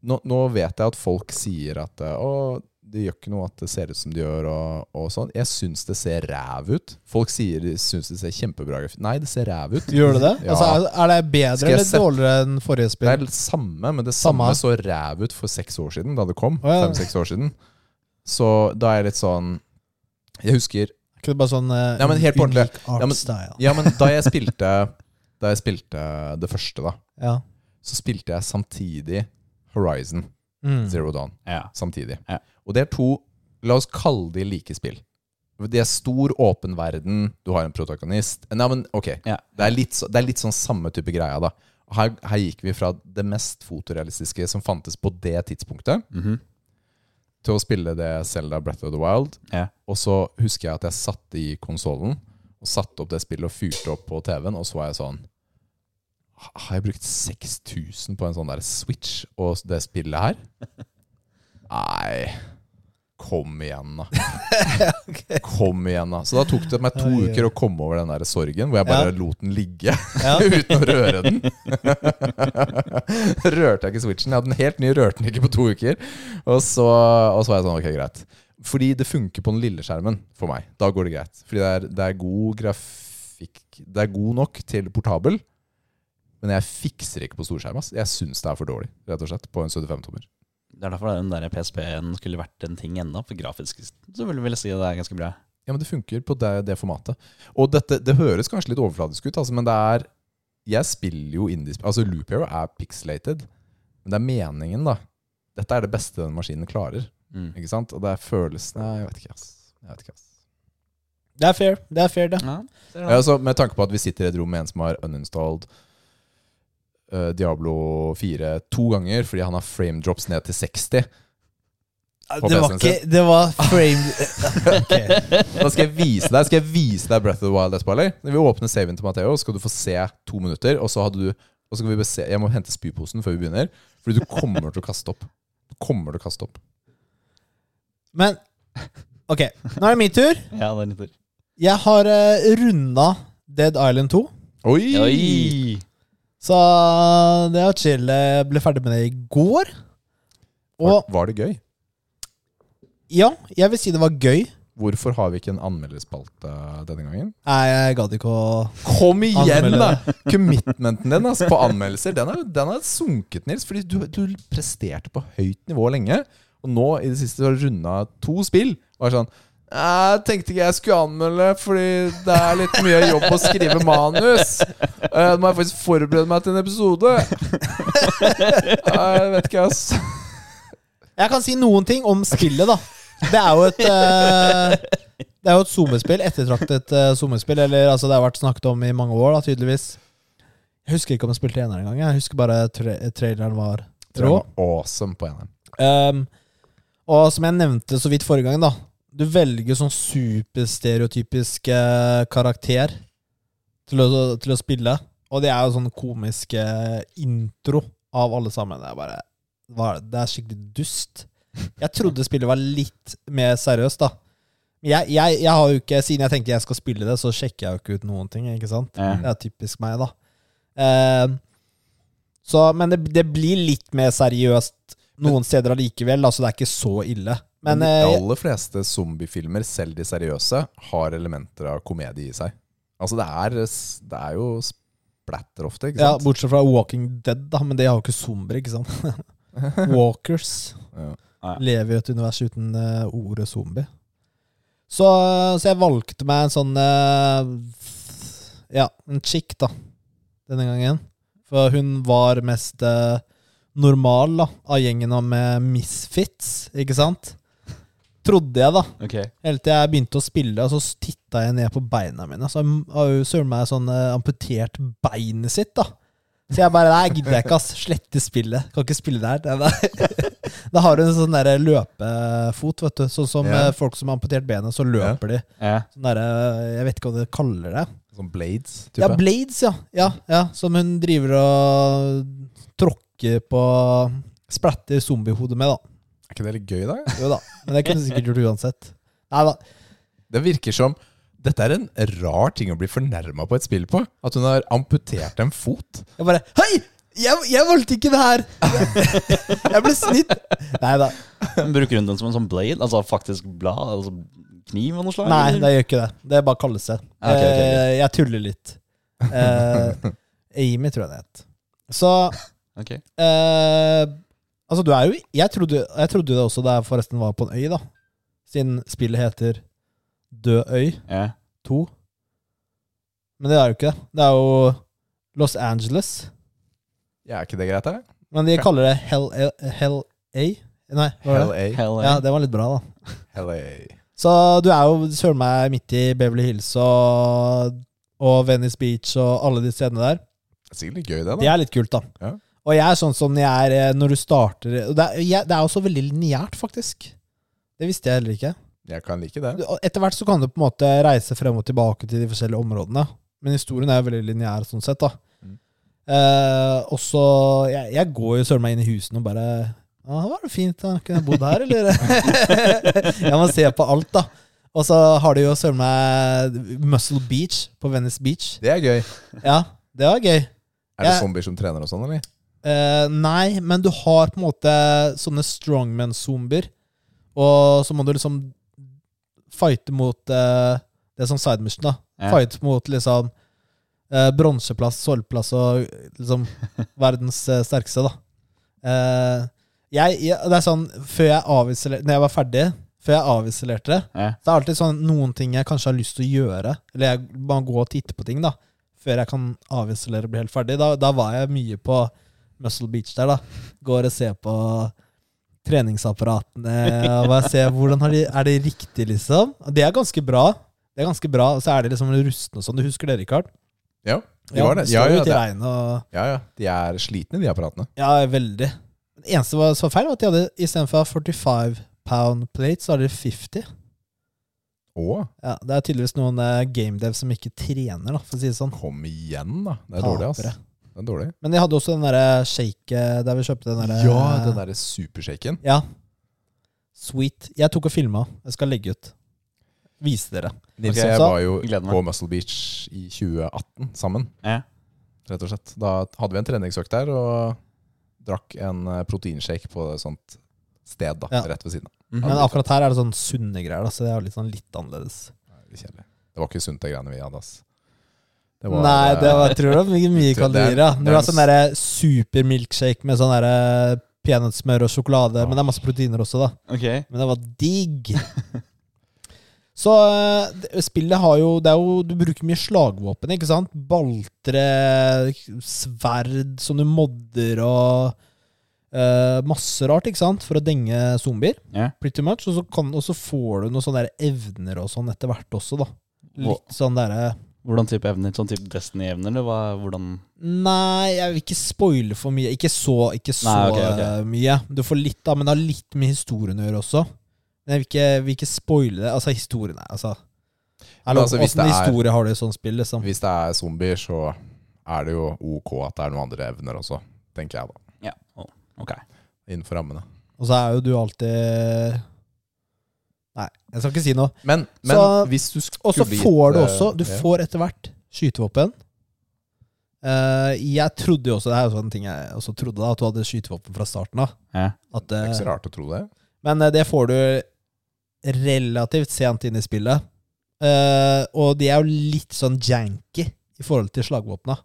S2: nå, nå vet jeg at folk sier at eh, å, det gjør ikke noe at det ser ut som det gjør, og, og sånn. Jeg syns det ser ræv ut. Folk sier de syns det ser kjempebra ut. Nei, det ser ræv ut.
S1: Gjør du det?
S2: Ja.
S1: Altså, er- er det
S2: Skal
S1: bedre
S2: jeg
S1: eller
S2: sette-
S1: dårligere enn forrige
S2: Det
S1: spill?
S2: er det samme, men det
S1: Samme.
S2: samme, så ræv ut for seks år siden, da det kom.
S1: Å, ja.
S2: Fem-seks år siden. Så da er jeg litt sånn Jeg husker
S1: Er ikke det bare sånn uh,
S2: Ja, men helt på ordentlig.
S1: unik art
S2: Ja, men-
S1: style?
S2: Ja, men da jeg spilte Da jeg spilte det første, da,
S1: Ja.
S2: så spilte jeg samtidig Horizon
S1: Mm.
S2: Zero Dawn.
S3: Ja.
S2: Samtidig.
S3: Ja.
S2: Og det er to La oss kalle de like spill. Det er stor, åpen verden, du har en protagonist Nei, men ok.
S3: Ja.
S2: Det er, litt, så- det er litt sånn samme type greia, da. Her, her gikk vi fra det mest fotorealistiske som fantes på det tidspunktet,
S3: Mhm.
S2: til å spille det Zelda Breath of the Wild.
S3: Ja.
S2: Og så husker jeg at jeg satt i konsollen og satte opp det spillet og fyrte opp på TV-en, og så var jeg sånn Har jeg brukt 6000 på en sånn der Switch og det spillet her? Nei Kom igjen, da. Kom igjen, da. Så da tok det meg to
S1: Oi, oi.
S2: uker å komme over den der sorgen, hvor jeg bare
S1: Ja.
S2: lot den ligge
S1: Ja.
S2: uten å røre den. Rørte jeg ikke switchen. Jeg hadde den helt ny, rørte den ikke på to uker. Og så, og så var jeg sånn, ok, greit. Fordi det funker på den lille skjermen for meg. Da går det greit. Fordi det er, det er god grafikk Det er god nok til portabel, men jeg fikser ikke på storskjerm. ass. Jeg syns det er for dårlig, rett og slett, på en 75-tommer.
S3: Det er derfor den der PSP-en skulle vært en ting ennå, for grafisk så vil jeg si at det er ganske bra.
S2: Ja, men det funker på det, det formatet. Og dette, det høres kanskje litt overfladisk ut, altså, men det er Jeg spiller jo indiespill Altså, Loop Hero er pixelated, men det er meningen, da. Dette er det beste den maskinen klarer.
S3: Mm.
S2: Ikke sant? Og det er følelsen Nei, jeg vet ikke, ass. Jeg vet ikke, ass.
S1: Det er fair, det er fair, det.
S3: Ja.
S2: Ja, altså, med tanke på at vi sitter i et rom med en som har uninstalled eh, Diablo 4 to ganger fordi han har frame drops ned til 60. På
S1: Det var
S2: PC-en
S1: ikke Det var frame Ok.
S2: Da skal jeg vise deg Skal jeg vise deg Breath of the Wild etterpå, eller? Når vi åpner saven til Matheo, skal du få se to minutter, og så hadde du og så skal vi bare se, Jeg må hente spyposen før vi begynner, fordi du kommer til å kaste opp. Du kommer til å kaste opp.
S1: Men OK, nå er det min tur.
S3: ja, det er litt tur.
S1: Jeg har uh, runda Dead Island 2,
S2: Oi!
S3: Oi!
S1: så det var chill. Jeg ble ferdig med det i går.
S2: Var,
S1: Og
S2: var det gøy?
S1: ja, jeg vil si det var gøy.
S2: Hvorfor har vi ikke en anmelderspalte denne gangen?
S1: Nei, jeg gadd ikke å
S2: Kom igjen,
S1: Anmelde
S2: da! Commitmenten din altså, på anmeldelser Den har den har sunket, Nils. Fordi du, du presterte på høyt nivå lenge. Og nå i det siste har du runda to spill. Og er sånn jeg tenkte ikke jeg skulle anmelde, fordi det er litt mye jobb å skrive manus. Eh, Nå må jeg faktisk forberede meg til en episode. Nei, Jeg vet ikke, ass.
S1: Jeg kan si noen ting om spillet, da. Det er jo et eh, Det er jo et zoomespill. Ettertraktet uh, zoomespill. Eller altså, det har vært snakket om i mange år, da, tydeligvis. Jeg husker ikke om jeg spilte eneren engang. Jeg husker bare tra traileren var rå.
S2: Tror jeg var Awesome på eneren.
S1: Um, og som jeg nevnte så vidt forrige gang, da. Du velger sånn superstereotypisk eh, karakter til å, til å spille. Og det er jo sånn komisk eh, intro av alle sammen. Det er bare hva er det? Det er skikkelig dust. Jeg trodde spillet var litt mer seriøst, da. Men Jeg, jeg, jeg har jo ikke, Siden jeg tenkte jeg skal spille det, så sjekker jeg jo ikke ut noen ting. ikke sant?
S3: Ja.
S1: Det er typisk meg, da. Eh, så, men det, det blir litt mer seriøst noen steder allikevel. Altså, det er ikke så ille. Men
S2: Men de
S1: eh,
S2: aller fleste zombiefilmer, selv de seriøse, har elementer av komedie i seg. Altså, det er, det er jo splatter ofte, ikke
S1: ja,
S2: sant?
S1: bortsett fra Walking Dead, da. Men det har jo ikke zombier, ikke sant? Walkers
S2: Ja.
S1: lever i et univers uten eh, ordet zombie. Så, eh, så jeg valgte meg en sånn eh, Ja, en chick, da. Denne gangen. For hun var mest eh, normal da, av gjengen med misfits, ikke sant? Trodde jeg, da.
S3: Ok.
S1: Helt til jeg begynte å spille, og så titta jeg ned på beina mine. Så jeg har jo søren meg sånn eh, amputert beinet sitt, da. Så jeg bare Nei, gidder jeg ikke, ass. Slette spillet. Kan ikke spille det her. Det er- det er- Da har du en sånn derre løpefot, vet du. Sånn som
S2: Ja.
S1: eh, folk som har amputert benet, så løper de.
S3: Ja.
S1: Sånn derre Jeg vet ikke hva de kaller det.
S2: Sånn Blades,
S1: Ja,
S2: type.
S1: Blades, ja. ja. Ja, Som hun driver og tråkker på Splatter zombiehodet med, da.
S2: er ikke det litt gøy, da?
S1: Jo da. Men det kunne hun sikkert gjort uansett. Nei da.
S2: Det virker som dette er en rar ting å bli fornærma på et spill på. At hun har amputert en fot.
S1: Jeg bare Hei! Jeg, jeg valgte ikke det her! jeg ble snytt! Nei da.
S3: Men Bruker hun den som en sånn blade? Altså faktisk blad? Altså kniv av noe slag?
S1: Nei,
S3: eller?
S1: det gjør ikke det. Det er bare kalles det.
S3: Ok, ok, ok.
S1: Eh, Jeg tuller litt. Eh, Amy, tror jeg det het. Så
S3: Ok.
S1: eh, Altså, du er jo Jeg trodde, jeg trodde det også da jeg forresten var på en øy, da. Siden spillet heter Død øy
S3: Ja.
S1: 2. Men det er jo ikke det. Det er jo Los Angeles.
S2: Ja, er ikke det greit, da?
S1: Men de kaller det Hell, Hell A. Nei, hva var det?
S2: LA.
S3: Hell
S1: Ja,
S3: yeah.
S1: det var litt bra, da.
S2: LA.
S1: Så du er jo søren meg midt i Beverly Hills og, og Venice Beach og alle de stedene der.
S2: Det er sikkert litt gøy, det,
S1: Det
S2: da.
S1: er litt kult, da.
S2: Ja.
S1: Og jeg er sånn som jeg er eh, når du starter og Det er, jeg, det er også veldig lineært, faktisk. Det visste jeg heller ikke.
S2: Jeg kan like det.
S1: Du- og Etter hvert så kan du på en måte reise frem og tilbake til de forskjellige områdene. Men historien er jo veldig lineær sånn sett, da.
S2: Mm.
S1: Eh, og så jeg, jeg går jo søren meg inn i husene og bare Ja, ah, var det fint, da. Kunne jeg bodd her, eller? jeg må se på alt, da. Og så har de jo søren meg Muscle Beach på Venice Beach.
S2: Det er gøy.
S1: Ja, det var gøy.
S2: Er det
S1: Ja.
S2: zombier som trener og sånn, eller?
S1: Eh, nei, men du har på en måte sånne strongman-zombier. Og så må du liksom fighte mot eh, Det er sånn sidemission, da.
S3: Ja.
S1: Fighte mot liksom eh, bronseplass, sølvplass og liksom verdens eh, sterkeste, da. Eh, jeg, jeg, det er sånn, før jeg avviselerte, Når jeg var ferdig, før jeg avisolerte det,
S3: Ja.
S1: så er det alltid sånn noen ting jeg kanskje har lyst til å gjøre. Eller jeg bare gå og titte på ting, da. Før jeg kan avisolere og bli helt ferdig. Da, da var jeg mye på Muscle Beach der, da. Går og ser på treningsapparatene og jeg ser hvordan har de, Er det riktig, liksom? Og Det er ganske bra. Det er ganske bra, Og så er det liksom rustne og sånn. Du husker det, Rikard?
S2: Ja, de var det. Ja,
S1: står
S2: ja,
S1: ute i
S2: det-
S1: regnet og
S2: ja, ja. De er slitne, de apparatene.
S1: Ja, veldig. Det eneste var- som var feil, var at de hadde istedenfor 45 pound plate, så hadde de 50.
S2: Å,
S1: Ja, det er tydeligvis noen eh, gamedev som ikke trener, da, for å si det sånn.
S2: kom igjen, da. Det er dårlig, ass.
S1: Tapere.
S2: Det er dårlig.
S1: Men de hadde også den derre shake eh, der vi kjøpte den derre
S2: Ja, den derre supershaken.
S1: Ja. Sweet. Jeg tok og filma. Jeg skal legge ut. Vise dere.
S2: Nils og
S3: Ok,
S2: Altså, jeg
S1: så-
S2: var jo
S3: gleder meg.
S2: på Muscle Beach i 2018 sammen,
S3: Ja.
S2: rett og slett. Da hadde vi en treningsøkt der og drakk en eh, proteinshake på et sånt sted da,
S1: Ja.
S2: rett ved siden av.
S1: Men
S2: det-
S1: akkurat her er det sånn sunne greier, da, så det er jo litt, sånn litt annerledes.
S2: Det er kjedelig. Det var ikke sunt, de greiene vi hadde, ass. Det var,
S1: Nei, det var, jeg tror det var mye, mye
S2: Det er-
S1: kalorier. Ja.
S2: det
S1: Når
S2: er
S1: du
S2: en
S1: har sånn derre super milkshake med sånn derre peanøttsmør og sjokolade, men det er masse proteiner også, da.
S3: Ok.
S1: Men det var digg. Så eh, det- spillet har jo, det er jo Du bruker mye slagvåpen, ikke sant? Baltre, sverd som du modder og eh, masse rart, ikke sant? For å denge zombier.
S3: Ja.
S1: Pretty much. Og så, kan, og så får du noen sånne der evner og sånn etter hvert også, da. Litt sånn derre
S3: Hvordan type evner? Sånn type Destiny-evner, eller hva, hvordan
S1: Nei, jeg vil ikke spoile for mye. Ikke så, ikke så
S3: Nei, ok, ok.
S1: eh, mye. Du får litt, da, men det har litt med historien å gjøre også. Men jeg vil ikke, vil ikke spoile det. Altså, historien er altså Eller
S2: altså, hvis
S1: åssen
S2: det er-
S1: historie har du i sånt spill, liksom?
S2: eh, Hvis det er zombier, så er det jo ok at det er noen andre evner også, tenker jeg da.
S3: Ja. Å, Oh, ok.
S2: Innenfor rammene.
S1: Og så er jo du alltid Nei, jeg skal ikke si noe.
S2: Men, men
S1: Så-
S2: hvis du skulle
S1: Og så
S2: gitt,
S1: får du
S2: eh,
S1: også Du
S2: ja.
S1: får etter hvert skytevåpen. Eh, jeg trodde jo også Det er jo sånn ting jeg også trodde, da, at du hadde skytevåpen fra starten av.
S3: Ja.
S1: At,
S2: Det er
S1: eh,
S2: ikke så rart å tro det.
S1: Men eh, det får du relativt sent inn i spillet. Eh, og de er jo litt sånn janky i forhold til slagvåpna.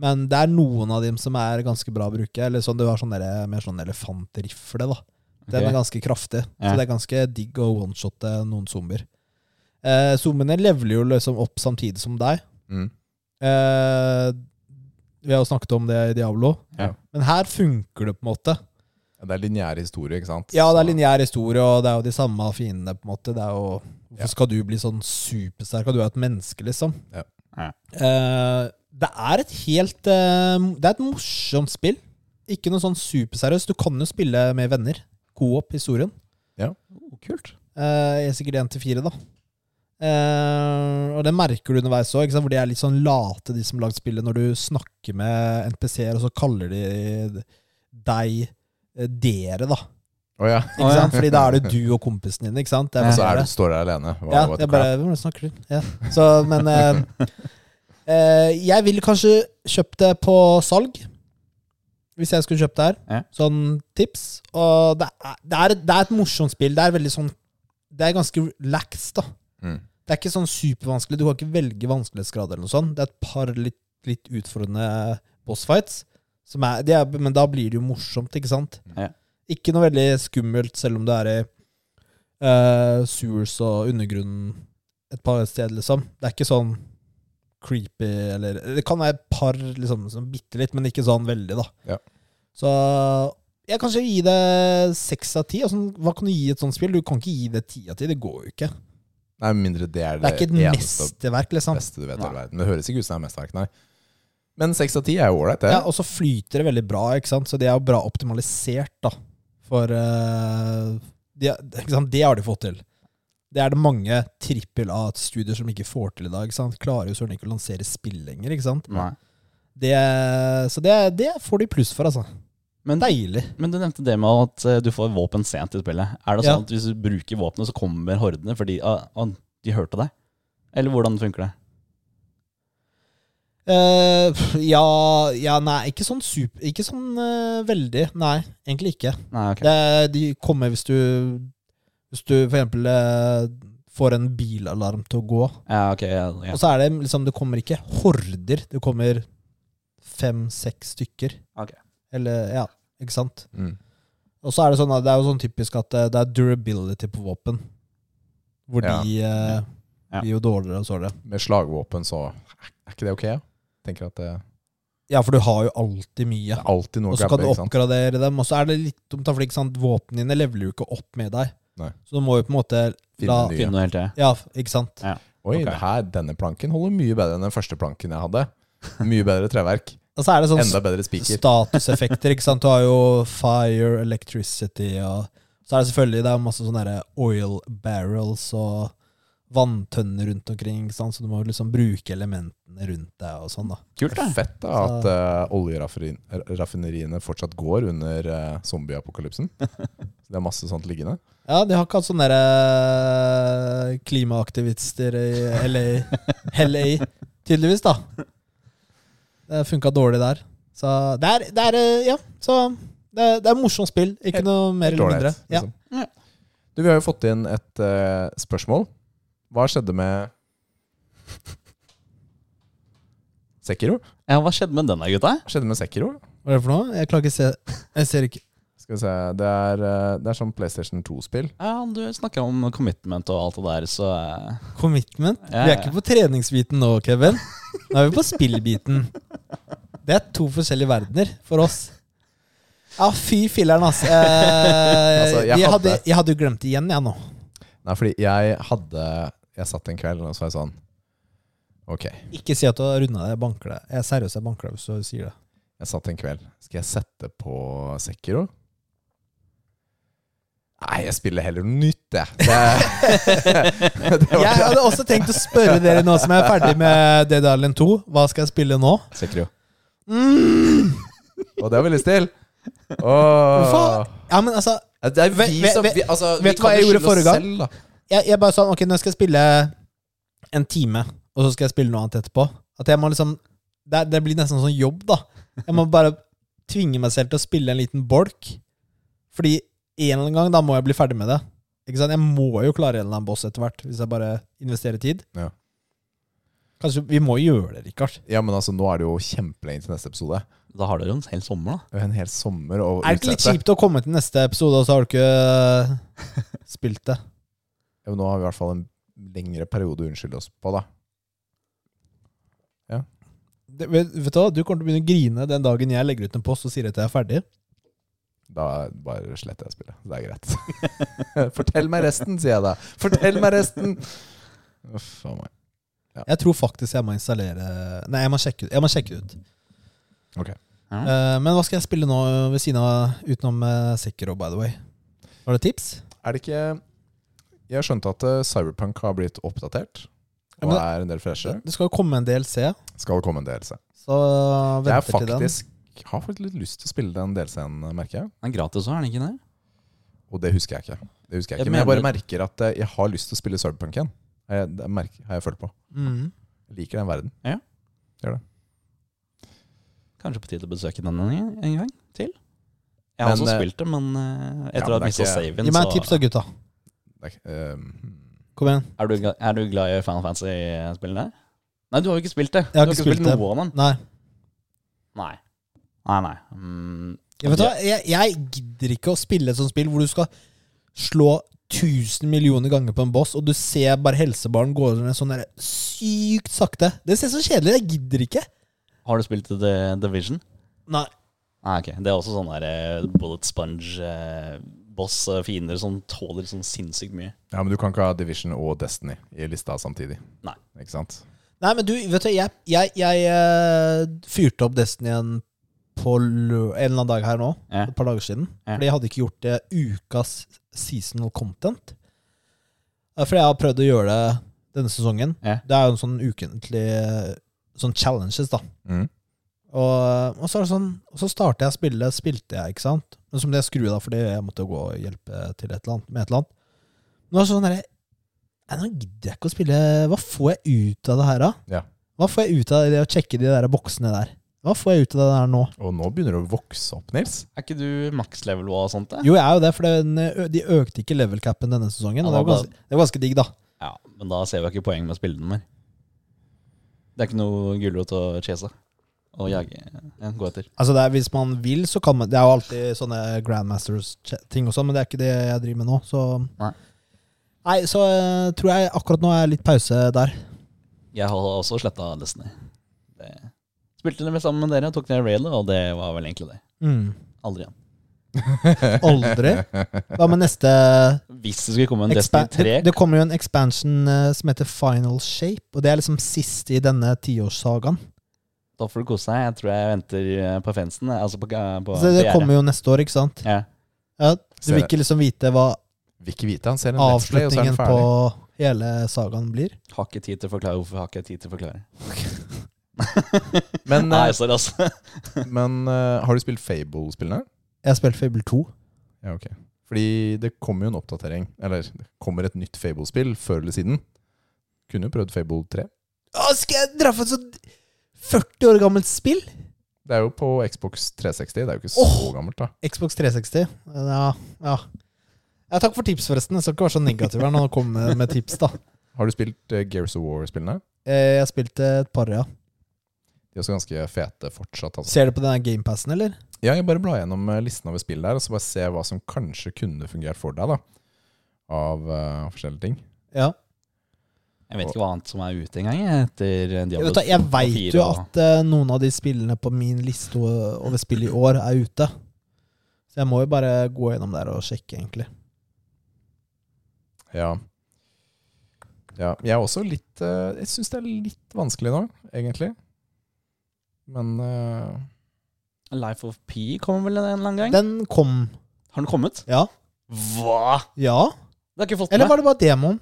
S1: Men det er noen av dem som er ganske bra å bruke. Eller sånn, du har sånn derre- mer sånn elefantrifle, da. Den
S3: Ok.
S1: er ganske kraftig.
S3: Ja.
S1: Så det er ganske digg å one-shotte noen zombier. Eh, zombiene leveler jo liksom opp samtidig som deg.
S2: Mm.
S1: Eh, vi har jo snakket om det i Diablo.
S3: Ja.
S1: Men her funker det på en måte.
S2: Ja, Det er lineær historie, ikke sant?
S1: Ja, det er
S2: Så-
S1: lineær historie, og det er jo de samme fiendene, på en måte. Det er jo,
S2: Ja.
S1: hvorfor skal du bli sånn supersterk? og Du er jo et menneske, liksom.
S2: Ja.
S3: Ja.
S1: Eh, det er et helt eh, Det er et morsomt spill. Ikke noe sånn superseriøst. Du kan jo spille med venner. Gå opp historien.
S3: Oh, kult.
S1: Eh, jeg er sikkert én til fire, da. Eh, og det merker du underveis òg, hvor de er litt sånn late, de som har lagd spillet, når du snakker med NPC-er, og så kaller de deg eh, dere, da.
S2: Å ja.
S1: Ikke sant? Fordi da er det du og kompisen din, ikke sant? Det
S2: Og
S1: er
S2: så er
S1: bare
S2: du, står du der alene. Hva-
S1: ja,
S2: what the
S1: jeg bare Hvordan snakker du? Ja. Så, men eh, eh, Jeg ville kanskje kjøpt det på salg, hvis jeg skulle kjøpt det her.
S3: Ja.
S1: Sånn tips. Og det er, det, er, det er et morsomt spill. Det er veldig sånn Det er ganske lax, da.
S2: crap? Mm.
S1: Det er ikke sånn supervanskelig. Du kan ikke velge vanskelighetsgrad eller noe sånt. Det er et par litt, litt utfordrende bossfights. Som er, det er, men da blir det jo morsomt, ikke sant?
S3: Ja.
S1: Ikke noe veldig skummelt, selv om du er i eh, sewers og undergrunnen et par steder, liksom. Det er ikke sånn creepy eller Det kan være et par, liksom, sånn bitte litt, men ikke sånn veldig, da.
S2: Ja.
S1: Så jeg kan ikke gi det seks av ti. Altså, hva kan du gi et sånt spill? Du kan ikke gi det ti av ti. Det går jo ikke.
S2: Nei, med mindre det er det,
S1: Det er ikke et
S2: eneste og
S1: mesterverk, liksom.
S2: beste du vet i
S3: Nei.
S2: hele verden. Men det høres ikke ut som det er mesterverk, nei. Men seks av ti er jo ålreit, det.
S1: Ja, og så flyter det veldig bra, ikke sant? så de er jo bra optimalisert da, for eh, de, ikke sant? Det har de fått til. Det er det mange trippel A-studier som ikke får til i dag. ikke sant? Klarer jo søren ikke å lansere spill lenger. ikke sant?
S3: Nei.
S1: Det, så det, det får de pluss for, altså.
S3: Men,
S1: Deilig.
S3: men du nevnte det med at eh, du får våpen sent i spillet. Er det
S1: Ja.
S3: sånn at hvis du bruker våpenet, så kommer hordene fordi ah, ah, de hørte deg? Eller hvordan funker det?
S1: Eh, ja, ja, nei, ikke sånn super... Ikke sånn eh, veldig. Nei, egentlig ikke.
S3: Nei, ok.
S1: Det, de kommer hvis du Hvis du for eksempel eh, får en bilalarm til å gå,
S3: Ja, ok. Ja, ja.
S1: og så er det liksom Det kommer ikke horder. Det kommer fem-seks stykker.
S3: Ok.
S1: Eller Ja, ikke sant?
S2: Mm.
S1: Og så er det sånn at det er jo sånn typisk at eh, det er durability på våpen. Hvor
S2: Ja.
S1: de eh,
S3: Ja.
S1: blir jo dårligere og sårere.
S2: Med slagvåpen så er ikke det ok? Ja? Tenker at det,
S1: Ja, for du har jo alltid
S2: det
S1: mye.
S2: er alltid noe
S1: Og så kan
S2: grabber,
S1: du
S2: ikke sant?
S1: oppgradere dem, og så er det litt omtrent fordi ikke sant, våpnene dine leveler jo ikke opp med deg.
S2: Nei.
S1: Så du må jo på en måte
S2: Finne
S1: la
S2: nye.
S3: Finne noe helt til.
S1: Ja, ikke sant?
S2: Oi,
S3: Ok.
S2: det her, denne planken holder mye bedre enn den første planken jeg hadde. Mye bedre treverk.
S1: Og så er det sånn
S2: Enda bedre spiker.
S1: statuseffekter, ikke sant? Du har jo fire, electricity og Så er det selvfølgelig det er masse sånne der oil barrels og vanntønner rundt omkring, ikke sant? så du må jo liksom bruke elementene rundt deg og sånn, da.
S3: Kult, da.
S2: Fett da at eh, oljeraffineriene fortsatt går under eh, zombieapokalypsen. Så det er masse sånt liggende.
S1: Ja, de har ikke hatt sånne der, eh, klimaaktivister i LA, LA tydeligvis, da. Det funka dårlig der. Så det er, det er eh, Ja, så det er, det er morsomt spill. Ikke
S2: Helt-
S1: noe mer eller mindre.
S2: Helt ålreit,
S1: Ja.
S2: liksom.
S3: Ja.
S2: Du, vi har jo fått inn et eh, spørsmål. Hva skjedde med Sekiro?
S3: Ja, hva skjedde med den da, gutta?
S2: Hva skjedde med Sekiro?
S1: Hva er det for noe? Jeg klarer ikke se Jeg ser ikke
S2: Skal vi se, Det er, eh, det er sånn PlayStation 2-spill.
S3: Ja, du snakker om commitment og alt det der, så eh,
S1: Commitment?
S3: Ja,
S1: Vi
S3: ja.
S1: er ikke på treningsbiten nå, Kevin. Nå er vi på spillbiten. Det er to forskjellige verdener for oss. Ja, fy filleren, ass. Eh,
S2: Altså, jeg
S1: jeg,
S2: hadde-
S1: hadde, jeg hadde jo glemt det igjen, jeg nå.
S2: Nei, fordi jeg hadde Jeg satt en kveld og så var jeg sånn Ok, jeg
S1: Ikke si at du har runda deg. Jeg banker deg. Jeg er seriøs, jeg banker deg hvis du sier det.
S2: satt en kveld. Skal jeg sette på Sekiro? Nei, jeg spiller heller noe nytt, jeg. Det, det
S1: Jeg
S2: var
S1: hadde også tenkt å spørre dere nå som jeg er ferdig med Dead Island 2, hva skal jeg spille nå?
S2: Sekiro.
S1: Mm.
S2: Og det var veldig stille.
S1: Hva? Ja, men altså,
S2: Ja, Det er
S1: Vet-
S2: vi
S1: vet-
S2: som
S1: vet-
S2: vi, altså,
S1: vet
S2: vi
S1: du hva
S2: kan
S1: jeg gjorde
S2: jo skylde oss
S1: forrige gang?
S2: selv, da.
S1: jeg, jeg bare sånn, ok, nå skal jeg spille en time, og så skal jeg spille noe annet etterpå. At jeg må liksom, det, er- det blir nesten sånn jobb, da. Jeg må bare tvinge meg selv til å spille en liten bolk. Fordi en eller annen gang da må jeg bli ferdig med det. Ikke sant? Jeg må jo klare en eller annen boss etter hvert, hvis jeg bare investerer tid.
S2: Ja.
S1: Kanskje vi må gjøre det, Rikard.
S2: Ja, men altså, nå er det jo kjempelenge til neste episode.
S3: da har dere jo en hel sommer, da.
S2: Det er jo en hel sommer å
S1: Er det ikke litt
S2: utsette.
S1: kjipt å komme til neste episode, og så har du ikke eh, spilt det?
S2: Ja, men nå har vi i hvert fall en lengre periode å unnskylde oss på, da.
S1: det vet, vet du hva, du kommer til å begynne å grine den dagen jeg legger ut en post og sier at jeg er ferdig.
S2: Da bare sletter jeg spillet. Det er greit. Fortell meg resten, sier jeg da. Fortell meg resten! Uff a meg.
S1: Jeg tror faktisk jeg må installere Nei, jeg må sjekke, ut- jeg må sjekke det ut.
S2: Ok.
S3: Ja.
S1: Eh, men hva skal jeg spille nå eh, ved siden av utenom uh, Sekiro, by the way? Var det tips?
S2: Er det ikke Jeg skjønte at eh, Cyberpunk har blitt oppdatert.
S1: Ja,
S2: Og
S1: men-
S2: er en del freshere.
S1: Det skal jo komme en DLC,
S2: Skal komme en DLC.
S1: så venter
S2: Jeg
S1: til den.
S2: faktisk, har faktisk litt lyst til å spille den DLC-en, merker jeg.
S3: Den er gratis òg, er den ikke det?
S2: Og det husker jeg ikke. Det husker jeg
S3: Jeg
S2: ikke men jeg bare
S3: mener-
S2: merker at eh, jeg har lyst til å spille Cyberpunk igjen. Har Jeg, det merker, har jeg følt på.
S1: Mm.
S2: Jeg liker den verden.
S3: Kanskje på tide å besøke den en, en gang til? Jeg
S2: Men,
S3: har også
S2: eh,
S3: spilt det, men eh,
S2: ja,
S3: etter
S2: men
S3: å ha
S2: det er
S3: mista
S2: ikke-
S3: saven,
S1: Gi meg et tips
S3: så
S1: da, gutta.
S2: Det er ikke- eh, hmm.
S1: Kom igjen.
S3: er du, gla- er du glad i Final Fantasy-spillene? Nei, du har jo ikke spilt det.
S1: Jeg har
S3: du
S1: ikke spilt det.
S3: noe av dem.
S1: Nei.
S3: Nei. Nei, nei. Mm,
S1: Jeg, vet du hva, jeg, jeg gidder ikke å spille et sånt spill hvor du skal slå 1000 millioner ganger på en boss, og du ser bare helsebaren gå ned sånn der sykt sakte. Det ser så kjedelig ut. Jeg gidder ikke.
S3: har du spilt The Division?
S1: Nei.
S3: Nei, ok. Det er også sånn der eh, bullet sponge-boss, eh, fiender som tåler sånn sinnssykt mye.
S2: Ja, men du kan ikke ha Division og Destiny i lista samtidig.
S3: Nei.
S2: Ikke sant?
S1: Nei, men du, vet du, jeg, jeg, jeg eh, fyrte opp Destiny igjen på lø en eller annen dag her nå,
S3: Ja.
S1: et par dager siden.
S3: Ja.
S1: Fordi jeg hadde ikke gjort det ukas seasonal content. Eh, Fordi jeg har prøvd å gjøre det denne sesongen.
S3: Ja.
S1: Det er jo en sånn ukentlig eh, sånn challenges, da.
S2: Mm.
S1: Og, og så er det sånn Og så starter jeg å spille, spilte jeg, ikke sant? Men så måtte jeg skru av fordi jeg måtte gå og hjelpe til et eller annet, med et eller annet. Men det var sånn derre Nei, nå gidder jeg ikke å spille Hva får jeg ut av det her, da?
S2: Ja.
S1: Hva får jeg ut av det å sjekke de der boksene der? Hva får jeg ut av det der nå?
S2: Og nå begynner det å vokse opp, Nils.
S3: Er ikke du maks level og sånt? Det?
S1: Jo, jeg er jo det, for den, ø, de økte ikke level capen denne sesongen. Og det
S3: Ja,
S1: var ganske, det var ganske digg, da.
S3: Ja, men da ser vi jo ikke poenget med å spille den mer. Det er ikke noe gulrot å chase. å jage ja, Gå etter.
S1: Altså det er, Hvis man vil, så kan man Det er jo alltid sånne Grandmasters-ting og sånn, men det er ikke det jeg driver med nå, så
S3: Nei.
S1: Nei, så eh, tror jeg akkurat nå er litt pause der.
S3: Jeg har også sletta Destiny. Det. Spilte det med sammen med dere, tok ned railet, og det var vel egentlig det.
S1: Mm.
S3: Aldri igjen.
S1: Aldri. Hva med neste
S3: Hvis det skulle komme en
S1: expa-
S3: Destiny 3
S1: det, det kommer jo en expansion eh, som heter Final Shape, og det er liksom siste i denne tiårssagaen.
S3: Da får du kose deg. Jeg tror jeg venter eh, på fansen. Altså på, eh, på
S1: Så det,
S3: PR.
S1: kommer jo neste år, ikke sant?
S3: ja.
S1: Ja, du
S2: Ser
S1: vil
S2: det.
S1: ikke liksom vite hva
S2: Vil ikke vite. Han ser en Let's Play, og så er
S1: avslutningen
S2: han
S1: på
S2: ferdig.
S1: hele sagaen blir.
S3: Har ikke tid til å forklare hvorfor. Har ikke tid til å forklare.
S2: Men,
S3: Nei,
S2: eh,
S3: sorry, altså.
S2: men eh, har du spilt Fable-spillene?
S1: Jeg har spilt Fable 2.
S2: Ja, ok. Fordi det kommer jo en oppdatering. Eller det kommer et nytt Fable-spill før eller siden. Kunne jo prøvd Fable 3.
S1: Å, skal jeg dra for et sånt 40 år gammelt spill?
S2: Det er jo på Xbox 360. Det er jo ikke så
S1: Åh!
S2: gammelt, da.
S1: Xbox 360. Ja, ja. ja takk for tips, forresten. Jeg skal ikke være så negativ her når jeg kommer med- med tips, da.
S2: Har du spilt eh, Gears of War-spillene?
S1: Eh, Jeg spilte et par, ja.
S2: De er også ganske fete fortsatt. Altså.
S1: Ser du på den gamepassen, eller?
S2: Ja, jeg bare blar gjennom eh, listen over spill der, og så bare se hva som kanskje kunne fungert for deg, da. Av eh, forskjellige ting.
S1: Ja.
S3: Jeg vet ikke hva annet som er ute engang, jeg, etter
S1: Jeg
S3: Diablo
S1: vet, da, jeg
S3: 2 og 4
S1: vet jo
S3: og-
S1: at eh, noen av de spillene på min liste o- over spill i år er ute. Så jeg må jo bare gå gjennom der og sjekke, egentlig.
S2: Ja. ja jeg er også litt eh, Jeg syns det er litt vanskelig nå, egentlig. Men eh,
S3: Life of P kommer vel en eller annen gang?
S1: Den kom,
S3: Har den kommet?
S1: ja.
S3: Hva?!
S1: Ja.
S3: Det har ikke fått
S1: Eller
S3: med.
S1: var det bare demoen?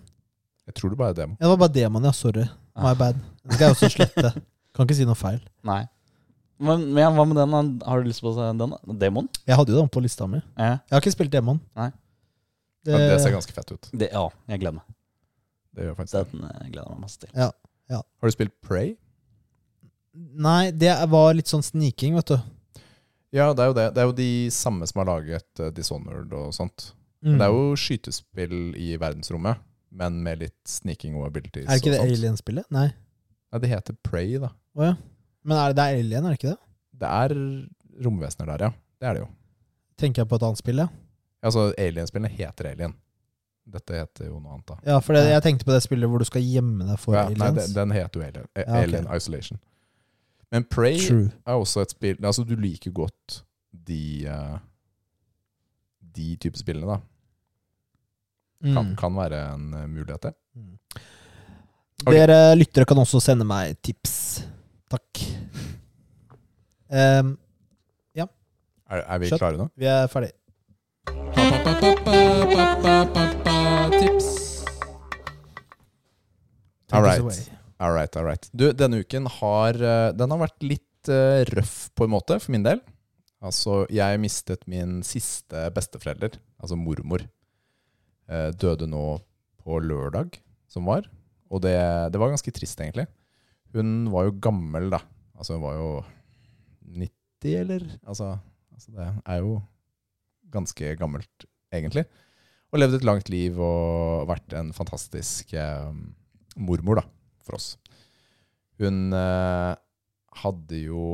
S2: jeg tror det bare er demo.
S1: Ja, det var bare demoen, ja. Sorry. My
S3: Ah.
S1: bad. Den skal jeg også slette. Kan ikke si noe feil.
S3: Nei. Men, men hva med den? da? Har du lyst på den? da? Demon?
S1: Jeg hadde jo den på lista mi.
S3: Ja.
S1: Jeg har ikke spilt demoen.
S3: Nei.
S1: Det,
S2: Ja, det ser ganske fett ut.
S3: Det, ja, jeg gleder meg.
S2: Det gjør faktisk det.
S3: Den eh, gleder jeg meg masse til.
S2: Har du spilt Prey?
S1: Nei, det var litt sånn sniking, vet du.
S2: Ja, det er jo det. Det er jo de samme som har laget eh, Dishonored og sånt.
S1: Mm.
S2: Det er jo skytespill i verdensrommet, men med litt sneaking og abilities.
S1: Er det ikke
S2: og
S1: det
S2: sånt.
S1: Alien-spillet? Nei.
S2: Nei, det heter Prey, da.
S1: Å ja. Men er det, det er Alien, er det ikke det?
S2: Det er romvesener der, ja. Det er det jo.
S1: Tenker jeg på et annet spill, ja.
S2: Altså, Alien-spillene heter Alien. Dette heter jo noe annet, da.
S1: Ja, for det, jeg tenkte på det spillet hvor du skal gjemme deg for
S2: Ja, nei,
S1: aliens.
S2: den, den heter jo Alien, eh,
S1: Ja, ok.
S2: Alien Isolation. Men Prey
S1: True.
S2: er også et spill Altså, du liker godt de eh, De type spillene, da. Kan,
S1: Mm.
S2: kan være en eh, mulighet, det. Ok.
S1: Dere lyttere kan også sende meg tips. Takk. Em,
S2: Er, er vi
S1: Skjønt.
S2: klare nå?
S1: vi er ferdig.
S2: All
S1: Take us
S2: right.
S1: away.
S2: All right, all right. Du, denne uken har eh, Den har vært litt eh, røff, på en måte, for min del. Altså, jeg mistet min siste besteforelder, altså mormor. Eh, Døde nå på lørdag, som var. Og det, det var ganske trist, egentlig. Hun var jo gammel, da. Altså, hun var jo 90, eller? Altså, altså det er jo ganske gammelt, egentlig. Og levde et langt liv og vært en fantastisk eh, mormor, da for oss. Hun eh, hadde jo